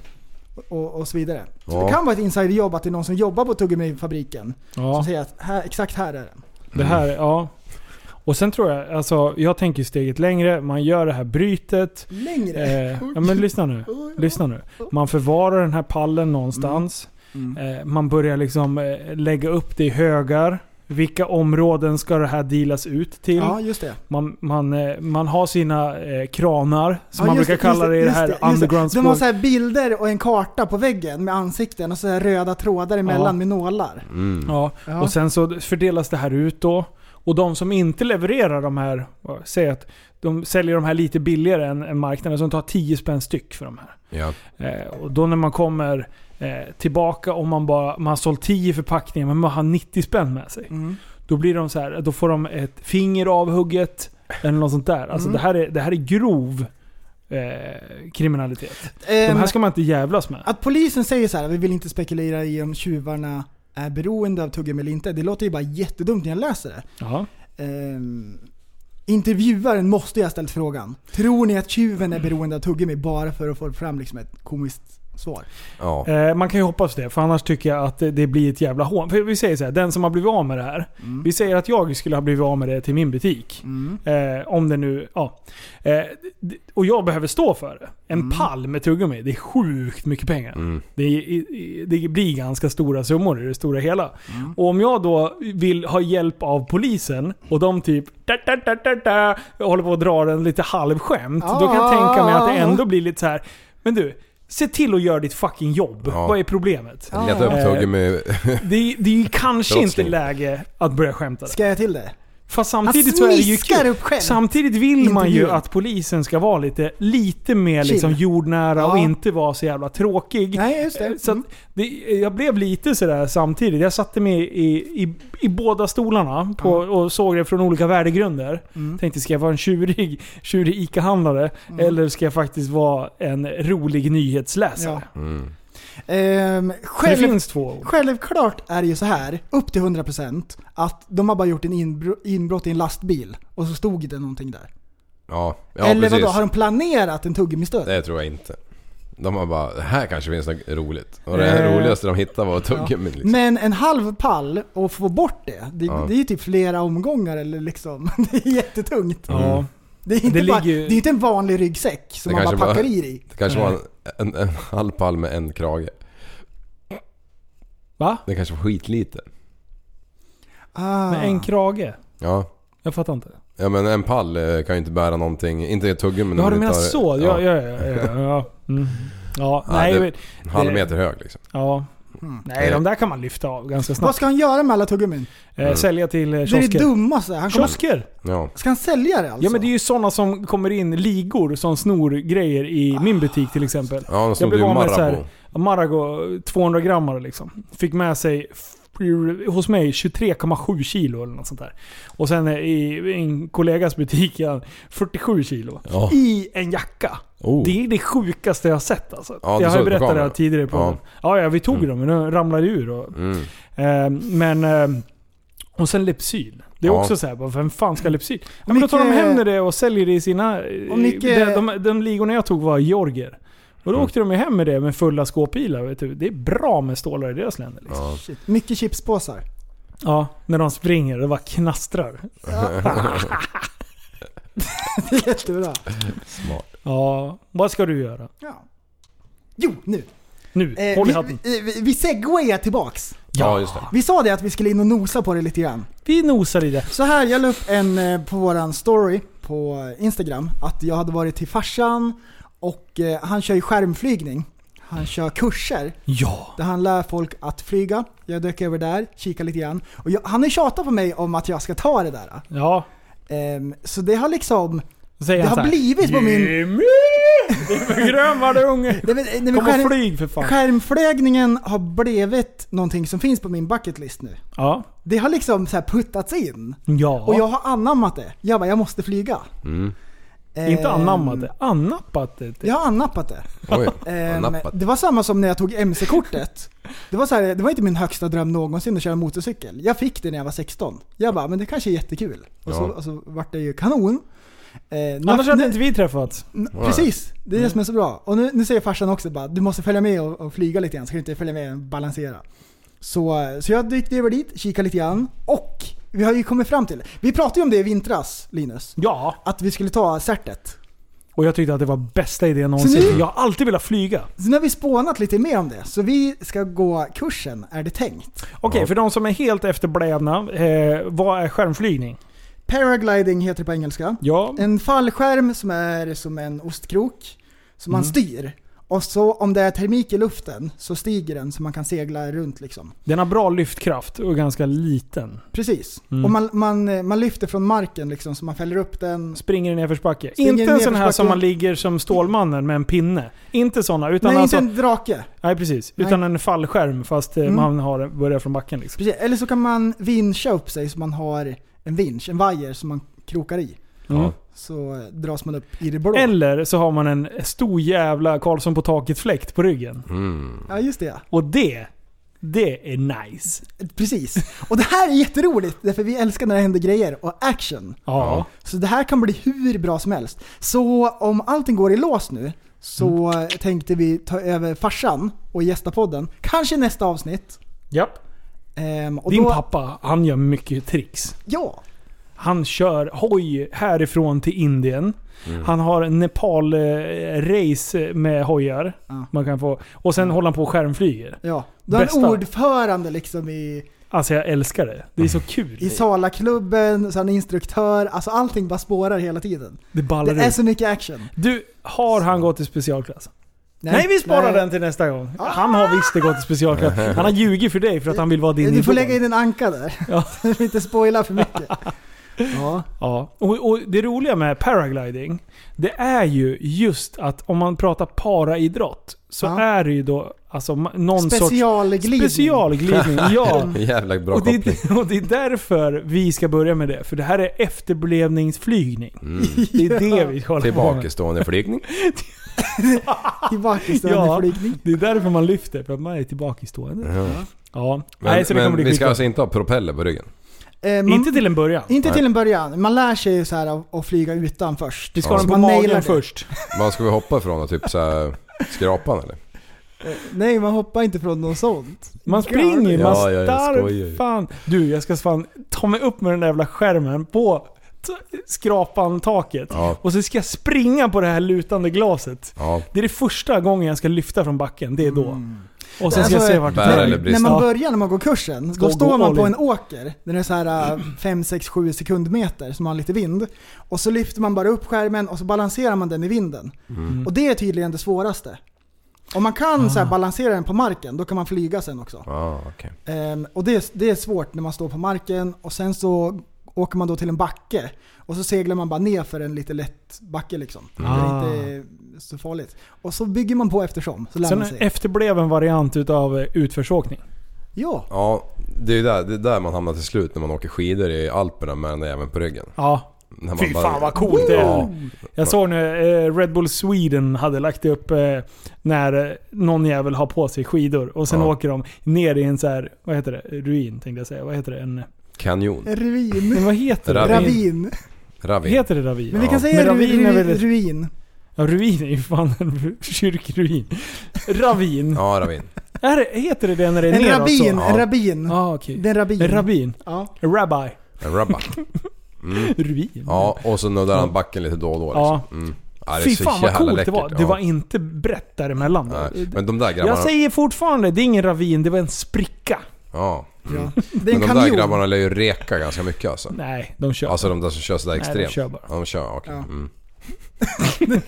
Speaker 4: Och, och så vidare. Så
Speaker 6: Ja.
Speaker 4: det kan vara ett insiderjobb att det är någon som jobbar på tuggummifabriken
Speaker 5: Ja.
Speaker 4: som säger att här, exakt här är den.
Speaker 5: Det här, ja. Och sen tror jag, alltså jag tänker ju steget längre. Man gör det här brytet.
Speaker 4: Längre?
Speaker 5: Eh, ja, men lyssna nu. Lyssna nu. Man förvarar den här pallen någonstans. Eh, man börjar liksom eh, lägga upp det i högar. Vilka områden ska det här dealas ut till?
Speaker 4: Ja, just det.
Speaker 5: Man, man, eh, man har sina eh, kranar, som
Speaker 4: ja,
Speaker 5: man
Speaker 4: just
Speaker 5: brukar
Speaker 4: just
Speaker 5: kalla det i det
Speaker 4: just
Speaker 5: här
Speaker 4: just
Speaker 5: underground
Speaker 4: De har
Speaker 5: sport.
Speaker 4: så här bilder och en karta på väggen med ansikten och så här röda trådar emellan
Speaker 5: Ja.
Speaker 4: med nålar.
Speaker 5: Ja,
Speaker 4: Ja.
Speaker 5: och sen så fördelas det här ut då. Och de som inte levererar de här, vad- säg att de säljer de här lite billigare än, än marknaden, så de tar 10 spänn styck för de här.
Speaker 6: Ja.
Speaker 5: Eh, och då när man kommer eh, tillbaka och man bara man har sålt 10 förpackningar men man har 90 spänn med sig. Då blir de så här, då får de ett finger avhugget eller något sånt där. Alltså det, här är, det här är grov eh, kriminalitet. De
Speaker 4: Ehm,
Speaker 5: här ska man inte jävlas med.
Speaker 4: Att polisen säger så här, vi vill inte spekulera i om tjuvarna är beroende av tuggummi eller inte. Det låter ju bara jättedumt när jag läser det.
Speaker 5: Jaha.
Speaker 4: Ehm, intervjuaren måste ju ha ställt frågan. Tror ni att tjuven är beroende av tuggummi bara för att få fram liksom ett komiskt svar?
Speaker 6: Ja.
Speaker 5: Eh, man kan ju hoppas det, för annars tycker jag att det, det blir ett jävla hån. För vi säger så här, den som har blivit av med det här. Vi säger att jag skulle ha blivit av med det till min butik. Eh, om det nu... Ja. Eh, d- och jag behöver stå för det. En pall med tuggummi, det är sjukt mycket pengar. Det, är, i- i- det blir ganska stora summor i det stora hela. Och om jag då vill ha hjälp av polisen och de typ da, da, da, da, da, håller på att dra den lite halvskämt. Då kan jag tänka mig att det ändå blir lite så här. Men du, se till att göra ditt fucking jobb.
Speaker 6: Ja.
Speaker 5: Vad är problemet?
Speaker 6: Leta upp tuggummi.
Speaker 5: Det, är- det är ju kanske inte
Speaker 6: Brottsling.
Speaker 5: läge att börja skämta. där.
Speaker 4: Ska jag till det?
Speaker 5: Fast samtidigt så är det ju
Speaker 4: smiskar
Speaker 5: kul.
Speaker 4: upp skämt.
Speaker 5: Samtidigt vill man ju
Speaker 4: Intervjun.
Speaker 5: att polisen ska vara lite, lite mer liksom
Speaker 4: Chill.
Speaker 5: jordnära och
Speaker 4: Ja.
Speaker 5: inte vara så jävla tråkig.
Speaker 4: Nej, just det. Mm.
Speaker 5: Så att det, jag blev lite sådär samtidigt. Jag satte mig i, i, i båda stolarna på, och såg det från olika värdegrunder.
Speaker 4: Mm.
Speaker 5: Tänkte, ska jag vara en tjurig, tjurig ICA-handlare? Eller ska jag faktiskt vara en rolig nyhetsläsare?
Speaker 4: Ja.
Speaker 6: Mm.
Speaker 4: Ehm,
Speaker 5: Det
Speaker 4: själv,
Speaker 5: finns två ord.
Speaker 4: självklart är det ju så här, upp till 100% att de har bara gjort en inbro- inbrott i en lastbil och så stod det någonting där.
Speaker 6: Ja, ja
Speaker 4: Eller
Speaker 6: precis.
Speaker 4: vadå, har de planerat en tuggummistöld?
Speaker 6: Det tror jag inte. De har bara, det här kanske finns något roligt. Och det
Speaker 5: Eh,
Speaker 6: här roligaste de hittade var tuggummi. Liksom.
Speaker 4: Men en halv pall och få bort det, det,
Speaker 6: Ja.
Speaker 4: det är ju typ flera omgångar eller liksom. Det är jättetungt.
Speaker 5: Ja.
Speaker 4: Det är inte,
Speaker 5: Det
Speaker 4: bara,
Speaker 5: ligger ju-
Speaker 4: det är inte en vanlig ryggsäck som
Speaker 6: Det
Speaker 4: man bara
Speaker 6: kanske
Speaker 4: packar
Speaker 6: bara-
Speaker 4: i dig.
Speaker 6: Det kanske var en, en, en halv pall med en krage.
Speaker 5: Va?
Speaker 6: Det kanske var skitlite.
Speaker 4: Ah.
Speaker 5: Med en krage?
Speaker 6: Ja.
Speaker 5: Jag fattar inte.
Speaker 6: Ja men en pall eh, kan ju inte bära någonting. Inte ett tuggummi.
Speaker 5: Ja,
Speaker 6: om
Speaker 5: du
Speaker 6: inte
Speaker 5: menar
Speaker 6: har-
Speaker 5: så? Ja, ja, ja. ja, ja. Mm. ja
Speaker 6: Ja,
Speaker 5: nej,
Speaker 6: det-
Speaker 5: men-
Speaker 6: En halv meter hög liksom.
Speaker 5: ja.
Speaker 4: Mm.
Speaker 5: nej, de där kan man lyfta av ganska
Speaker 4: Vad
Speaker 5: snabbt.
Speaker 4: ska han göra med alla tuggummin?
Speaker 5: Eh, sälja till eh,
Speaker 4: Det är det
Speaker 5: kiosker.
Speaker 4: dummaste. Han kommer,
Speaker 5: Kiosker?
Speaker 6: Ja.
Speaker 4: ska han sälja det alltså?
Speaker 5: Ja men det är ju sådana som kommer in, ligor som snor grejer
Speaker 4: Ah.
Speaker 5: i min butik till exempel.
Speaker 6: Ja, de snodde
Speaker 5: blev
Speaker 6: ju
Speaker 5: av med så
Speaker 6: Marabou.
Speaker 5: här, Marago 200 grammar liksom. Fick med sig f- hos mig 23,7 kilo eller något sånt där. Och sen eh, i en kollegas butik ja, 47 kilo.
Speaker 6: Ja.
Speaker 5: I en jacka.
Speaker 6: Oh.
Speaker 5: Det är det sjukaste jag har sett alltså.
Speaker 6: Ja, du
Speaker 5: jag har
Speaker 6: såg
Speaker 5: ju
Speaker 6: det på
Speaker 5: berättat det här
Speaker 6: kameran.
Speaker 5: tidigare på ja.
Speaker 6: Ja.
Speaker 5: ja, ja, vi tog dem men de ramlade ur. Och,
Speaker 6: Mm.
Speaker 5: eh, men... Eh, och sen Lypsyl. Det är
Speaker 6: Ja.
Speaker 5: också så här, bara, vem fan ska Lypsyl? Ja, men
Speaker 4: Micke-
Speaker 5: då tar de hem det och säljer det i sina... eh,
Speaker 4: Om Micke-
Speaker 5: de, de, de ligorna jag tog var georgier. Och då
Speaker 6: Mm.
Speaker 5: åkte de ju hem med det med fulla skåpbilar. Vet du. Det är bra med stålar i deras länder. Liksom. Ja.
Speaker 4: Shit. Mycket chipspåsar.
Speaker 5: när de springer och det bara knastrar.
Speaker 4: Det är jättebra.
Speaker 5: Ja, vad ska du göra?
Speaker 4: Ja. Jo, nu.
Speaker 5: Nu,
Speaker 4: Eh,
Speaker 5: håll i
Speaker 4: vi,
Speaker 5: hatten.
Speaker 4: vi, vi, vi segwayar tillbaks.
Speaker 6: Ja, just det.
Speaker 4: Vi sa det att vi skulle in och nosa på det lite grann.
Speaker 5: Vi nosar i det.
Speaker 4: Så här, jag la upp en eh, på våran story på Instagram att jag hade varit till farsan och eh, han kör ju skärmflygning. Han kör kurser
Speaker 5: Ja.
Speaker 4: där han lär folk att flyga. Jag dök över där, kika lite grann. Och jag, han har ju tjatat på mig om att jag ska ta det där.
Speaker 5: Ja.
Speaker 4: Ehm, så det har liksom...
Speaker 5: Då säger
Speaker 4: Det
Speaker 5: han
Speaker 4: har
Speaker 5: så här,
Speaker 4: blivit på min...
Speaker 5: Jimmy! Det är för grövade unge.
Speaker 4: Nej, men, nej, men
Speaker 5: Kom och
Speaker 4: skärm,
Speaker 5: flyg för fan.
Speaker 4: skärmflygningen har blivit någonting som finns på min bucketlist nu.
Speaker 5: Ja.
Speaker 4: Det har liksom så här puttats in.
Speaker 5: Ja.
Speaker 4: Och jag har anammat det. Jag bara, jag måste flyga.
Speaker 5: Inte
Speaker 4: Ehm,
Speaker 5: anammat det. Annappat det.
Speaker 4: Jag har annappat det.
Speaker 6: Oj,
Speaker 4: Ehm,
Speaker 5: Eh,
Speaker 6: vad nappat.
Speaker 4: det var samma som när jag tog MC-kortet. Det var, så här, det var inte min högsta dröm någonsin att köra motorcykel. Jag fick det när jag var 16. Jag bara, men det kanske är jättekul. Och så,
Speaker 6: Ja.
Speaker 4: och så vart det ju kanon. Ehm,
Speaker 5: Annars
Speaker 4: nu-
Speaker 5: hade
Speaker 4: nu-
Speaker 5: inte vi träffats.
Speaker 4: n- Precis, det
Speaker 6: Mm.
Speaker 4: är det som är så bra. Och nu, nu säger farsan också bara, du måste följa med och, och flyga lite grann. Ska du inte följa med och balansera? Så, så jag dykte över dit, kikade lite grann. Och vi har ju kommit fram till. Vi pratade ju om det i vintras, Linus.
Speaker 5: Ja,
Speaker 4: Att vi skulle ta certet.
Speaker 5: och jag tyckte att det var bästa idén någonsin.
Speaker 4: Så nu-
Speaker 5: Jag har alltid velat flyga.
Speaker 4: Så nu har vi spånat lite mer om det. Så vi ska gå kursen, är det tänkt.
Speaker 5: Okej, för de som är helt efterblivna. Eh, vad är skärmflygning?
Speaker 4: Paragliding heter det på engelska.
Speaker 5: Ja,
Speaker 4: En fallskärm som är som en ostkrok som
Speaker 5: Mm.
Speaker 4: man styr. Och så om det är termik i luften så stiger den så man kan segla runt liksom.
Speaker 5: den har bra lyftkraft och är ganska liten.
Speaker 4: Precis.
Speaker 5: Mm.
Speaker 4: Och man, man, man lyfter från marken liksom så man fäller upp den.
Speaker 5: Springer i nedförsbacke.
Speaker 4: Springer
Speaker 5: Inte
Speaker 4: i
Speaker 5: en sån här
Speaker 4: nedförsbacke.
Speaker 5: som man ligger som Stålmannen med en pinne. Inte såna, utan
Speaker 4: Nej,
Speaker 5: alltså...
Speaker 4: inte en drake.
Speaker 5: Nej, precis.
Speaker 4: Nej.
Speaker 5: Utan en fallskärm fast eh,
Speaker 4: Mm.
Speaker 5: man har, börjar från backen liksom.
Speaker 4: Precis. Eller så kan man vincha upp sig så man har en vinsch, en vajer som man krokar i.
Speaker 5: Mm.
Speaker 4: Så eh, dras man upp i det blå.
Speaker 5: Eller så har man en stor jävla Karlsson på taket-fläkt på ryggen.
Speaker 6: Mm.
Speaker 4: Ja, just det.
Speaker 5: Och det, det är nice.
Speaker 4: Precis. Och det här är jätteroligt, därför vi älskar när det händer grejer och action.
Speaker 5: Ja.
Speaker 4: Så det här kan bli hur bra som helst. Så om allting går i lås nu så
Speaker 5: Mm.
Speaker 4: tänkte vi ta över farsan och gästa podden. Kanske i nästa avsnitt.
Speaker 5: Japp.
Speaker 4: Ehm, och
Speaker 5: Din
Speaker 4: då,
Speaker 5: pappa, han gör mycket tricks.
Speaker 4: Ja,
Speaker 5: Han kör hoj härifrån till Indien. Han har Nepal-race med hojar.
Speaker 4: Ja.
Speaker 5: Man kan få, och sen håller han på och skärmflyger.
Speaker 4: ja. Du har en
Speaker 5: Bästa.
Speaker 4: ordförande liksom i,
Speaker 5: Alltså jag älskar det. Det är så kul.
Speaker 4: i Salaklubben, så han är instruktör. Alltså allting bara spårar hela tiden.
Speaker 5: Det ballar
Speaker 4: Det är
Speaker 5: ut.
Speaker 4: så mycket action.
Speaker 5: Du, har han gått i specialklass? Nej, vi sparar den till nästa gång. Han har visst det gått i specialklass. Han har ljugit för dig för att han vill vara din
Speaker 4: Du får
Speaker 5: idol.
Speaker 4: lägga in en anka där.
Speaker 5: Ja.
Speaker 4: Så vi inte spoilar för mycket. Ja.
Speaker 5: Ja, och, och det roliga med paragliding, det är ju just att om man pratar paraidrott så
Speaker 4: Ja.
Speaker 5: är det ju då alltså, ma- någon sorts
Speaker 4: Specialglidning.
Speaker 5: specialglidning. Ja.
Speaker 6: Jävla bra
Speaker 5: Och det,
Speaker 6: koppling.
Speaker 5: är, och det är därför vi ska börja med det. För det här är efterblevningsflygning.
Speaker 6: Mm.
Speaker 5: Det är det vi håller på med.
Speaker 6: Tillbakastående flygning.
Speaker 4: Tillbakastående
Speaker 5: Ja,
Speaker 4: flygning.
Speaker 5: det är därför man lyfter. För att man är tillbakastående.
Speaker 6: Ja.
Speaker 5: Ja.
Speaker 6: Men,
Speaker 5: Nej, så det kommer
Speaker 6: men
Speaker 5: bli
Speaker 6: vi ska
Speaker 5: skitbra.
Speaker 6: alltså inte ha propeller på ryggen?
Speaker 4: Eh, man-
Speaker 5: Inte till en början.
Speaker 4: Inte till en början. Man lär sig ju så här att, att flyga utan först.
Speaker 5: Vi ska ha
Speaker 4: Så
Speaker 5: den på
Speaker 4: man nailar
Speaker 5: magen
Speaker 4: det.
Speaker 5: först.
Speaker 6: Vad ska vi hoppa ifrån då? Typ så här, skrapan eller?
Speaker 4: Nej, man hoppar inte från något sånt.
Speaker 5: Man springer ju,
Speaker 6: Ja,
Speaker 5: man
Speaker 6: ja, jag
Speaker 5: starv...
Speaker 6: skojar ju.
Speaker 5: fan. Du, jag ska fan ta mig upp med den där jävla skärmen på t- skrapan taket.
Speaker 6: Ja.
Speaker 5: Och så ska jag springa på det här lutande glaset.
Speaker 6: Ja.
Speaker 5: Det är det första gången jag ska lyfta från backen, det är då. Och sen ska jag
Speaker 4: Alltså,
Speaker 5: se vart det
Speaker 6: Bär
Speaker 5: tar.
Speaker 6: eller
Speaker 4: När
Speaker 6: brist?
Speaker 4: man
Speaker 5: Ja.
Speaker 4: börjar, när man går kursen, då
Speaker 5: gå
Speaker 4: står man
Speaker 5: all
Speaker 4: på
Speaker 5: in.
Speaker 4: en åker. Där det är så här äh, 5, 6, 7 sekundmeter som har lite vind. Och så lyfter man bara upp skärmen och så balanserar man den i vinden.
Speaker 6: Mm.
Speaker 4: Och det är tydligen det svåraste. Om man kan så här
Speaker 5: Ah.
Speaker 4: balansera den på marken, då kan man flyga sen också.
Speaker 6: Ah, okej.
Speaker 4: Ehm, och det, är- det är svårt när man står på marken och sen så åker man då till en backe och så seglar man bara ner för en lite lätt backe liksom.
Speaker 5: Ah.
Speaker 4: Det är inte så farligt. Och så bygger man på eftersom, så lär
Speaker 5: Sen
Speaker 4: man sig.
Speaker 5: efterblev en variant utav eh, utförsåkning.
Speaker 4: ja,
Speaker 6: Ja, det är ju där, det är där man hamnar till slut när man åker skidor i Alperna med den där jäveln på ryggen.
Speaker 5: Ja.
Speaker 6: När man
Speaker 5: Fy
Speaker 6: bara-
Speaker 5: fan vad coolt det
Speaker 6: Ja.
Speaker 5: är. Jag såg nu eh, Red Bull Sweden hade lagt upp eh, när eh, någon jävel har på sig skidor och sen
Speaker 6: Ja.
Speaker 5: åker de ner i en så här, vad heter det? Ruin tänkte jag säga. Vad heter det? En...
Speaker 6: Kanjon.
Speaker 4: en ruin.
Speaker 5: Men vad heter det?
Speaker 6: Ravin.
Speaker 4: Ravin.
Speaker 6: Ravin.
Speaker 5: Heter det ravin?
Speaker 4: Men vi kan
Speaker 6: Ja.
Speaker 4: säga
Speaker 5: Men
Speaker 4: ru,
Speaker 5: ravin är väl
Speaker 4: ru,
Speaker 5: ett-
Speaker 4: ruin.
Speaker 5: Ja, ruin är ju fan en kyrkruin. Ravin.
Speaker 6: Ja, ravin.
Speaker 5: Är det, heter det det när det är
Speaker 4: En
Speaker 5: neråt så?
Speaker 4: rabin, en
Speaker 6: Ja.
Speaker 4: rabin.
Speaker 5: Ja, ah, okej.
Speaker 4: Det är en rabin.
Speaker 5: En rabin.
Speaker 4: Ja.
Speaker 5: En rabbi.
Speaker 6: En rubba. Mm.
Speaker 5: Ruin.
Speaker 6: Ja, och så nuddar han backen lite då och då
Speaker 5: Ja.
Speaker 6: liksom. mm. ja, det är
Speaker 5: Fy
Speaker 6: så
Speaker 5: fan vad
Speaker 6: jävla
Speaker 5: coolt
Speaker 6: läckert.
Speaker 5: det var. Det
Speaker 6: Ja.
Speaker 5: var inte brett däremellan.
Speaker 6: Nej, Men de där grabbarna...
Speaker 5: Jag säger fortfarande, det är ingen ravin, det var en spricka.
Speaker 6: Ja. Mm.
Speaker 4: Ja. Det är
Speaker 6: Men
Speaker 4: en
Speaker 6: de där
Speaker 4: kanjon.
Speaker 6: grabbarna lär ju reka ganska mycket alltså.
Speaker 5: Nej, de kör.
Speaker 6: Alltså de där som kör sådär
Speaker 5: Nej, de
Speaker 6: extremt.
Speaker 5: kör bara.
Speaker 6: Ja, de kör, okej.
Speaker 4: Ja.
Speaker 6: Mm.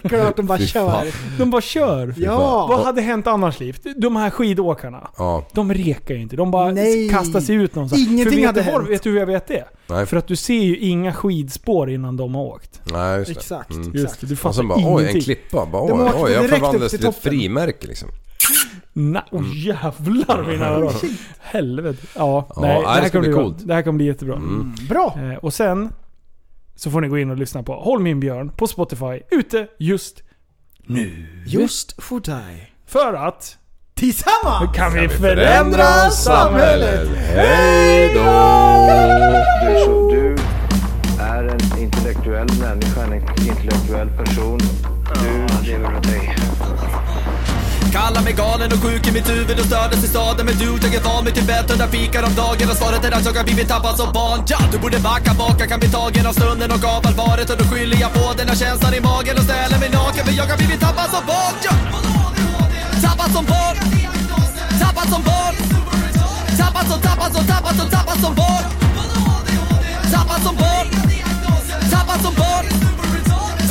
Speaker 4: Klart de bara
Speaker 6: Fy fan.
Speaker 4: kör.
Speaker 5: de bara kör.
Speaker 4: Ja.
Speaker 5: Vad hade hänt annars liv? De här skidåkarna.
Speaker 6: Ja,
Speaker 5: De rekar ju inte. De bara
Speaker 4: Nej.
Speaker 5: kastar sig ut någonstans.
Speaker 4: Ingenting
Speaker 5: För vet
Speaker 4: hade
Speaker 5: du var,
Speaker 4: hänt.
Speaker 5: Vet du hur jag vet det?
Speaker 6: nej.
Speaker 5: För att du ser ju inga skidspår innan de har åkt.
Speaker 6: nej just det.
Speaker 4: Exakt,
Speaker 6: Mm.
Speaker 4: exakt.
Speaker 5: det, du
Speaker 6: Och
Speaker 5: fattar
Speaker 6: sen bara oj,
Speaker 5: ingenting.
Speaker 6: en klippa. Bara,
Speaker 4: De
Speaker 6: oj,
Speaker 4: åkte
Speaker 6: oj, jag
Speaker 4: direkt upp
Speaker 6: förvandlades
Speaker 4: till
Speaker 6: till ett
Speaker 4: toppen.
Speaker 6: frimärke liksom.
Speaker 5: Nej, oh,
Speaker 6: Mm.
Speaker 5: jävlar mina öron. Helvete. Ja,
Speaker 6: Ja,
Speaker 5: nej,
Speaker 6: nej,
Speaker 5: det
Speaker 6: det
Speaker 5: här
Speaker 6: ska
Speaker 5: kommer
Speaker 6: bli
Speaker 5: bli bra.
Speaker 6: coolt. Mm.
Speaker 5: Det här kommer bli jättebra.
Speaker 4: Bra!
Speaker 5: Eh, och sen så får ni gå in och lyssna på Håll min björn på Spotify ute just
Speaker 4: Just för dig.
Speaker 5: för att
Speaker 4: Tillsammans!
Speaker 5: kan vi förändra
Speaker 4: samhället.
Speaker 6: Hej
Speaker 3: Du,
Speaker 6: då!
Speaker 3: är så, du är en intellektuell människa, en intellektuell person. Du lever av dig.
Speaker 1: Kallar mig galen och sjuk i mitt huvud och stördes i staden Men du, jag är van vid Tibet och där fikar om dagen Och svaret är att jag har blivit tappad som barn ja, Du borde backa bak, jag kan bli tagen av stunden och av allvaret Och då skyller jag på den här känslan i magen och ställer mig naken För jag har blivit tappad som barn ja. Tappad som barn Tappad som barn Tappad som, tappad som, tappad som, tappad som barn Tappad som barn Tappad som barn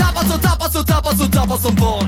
Speaker 1: Tappad som, tappad som, tappad som, tappad som barn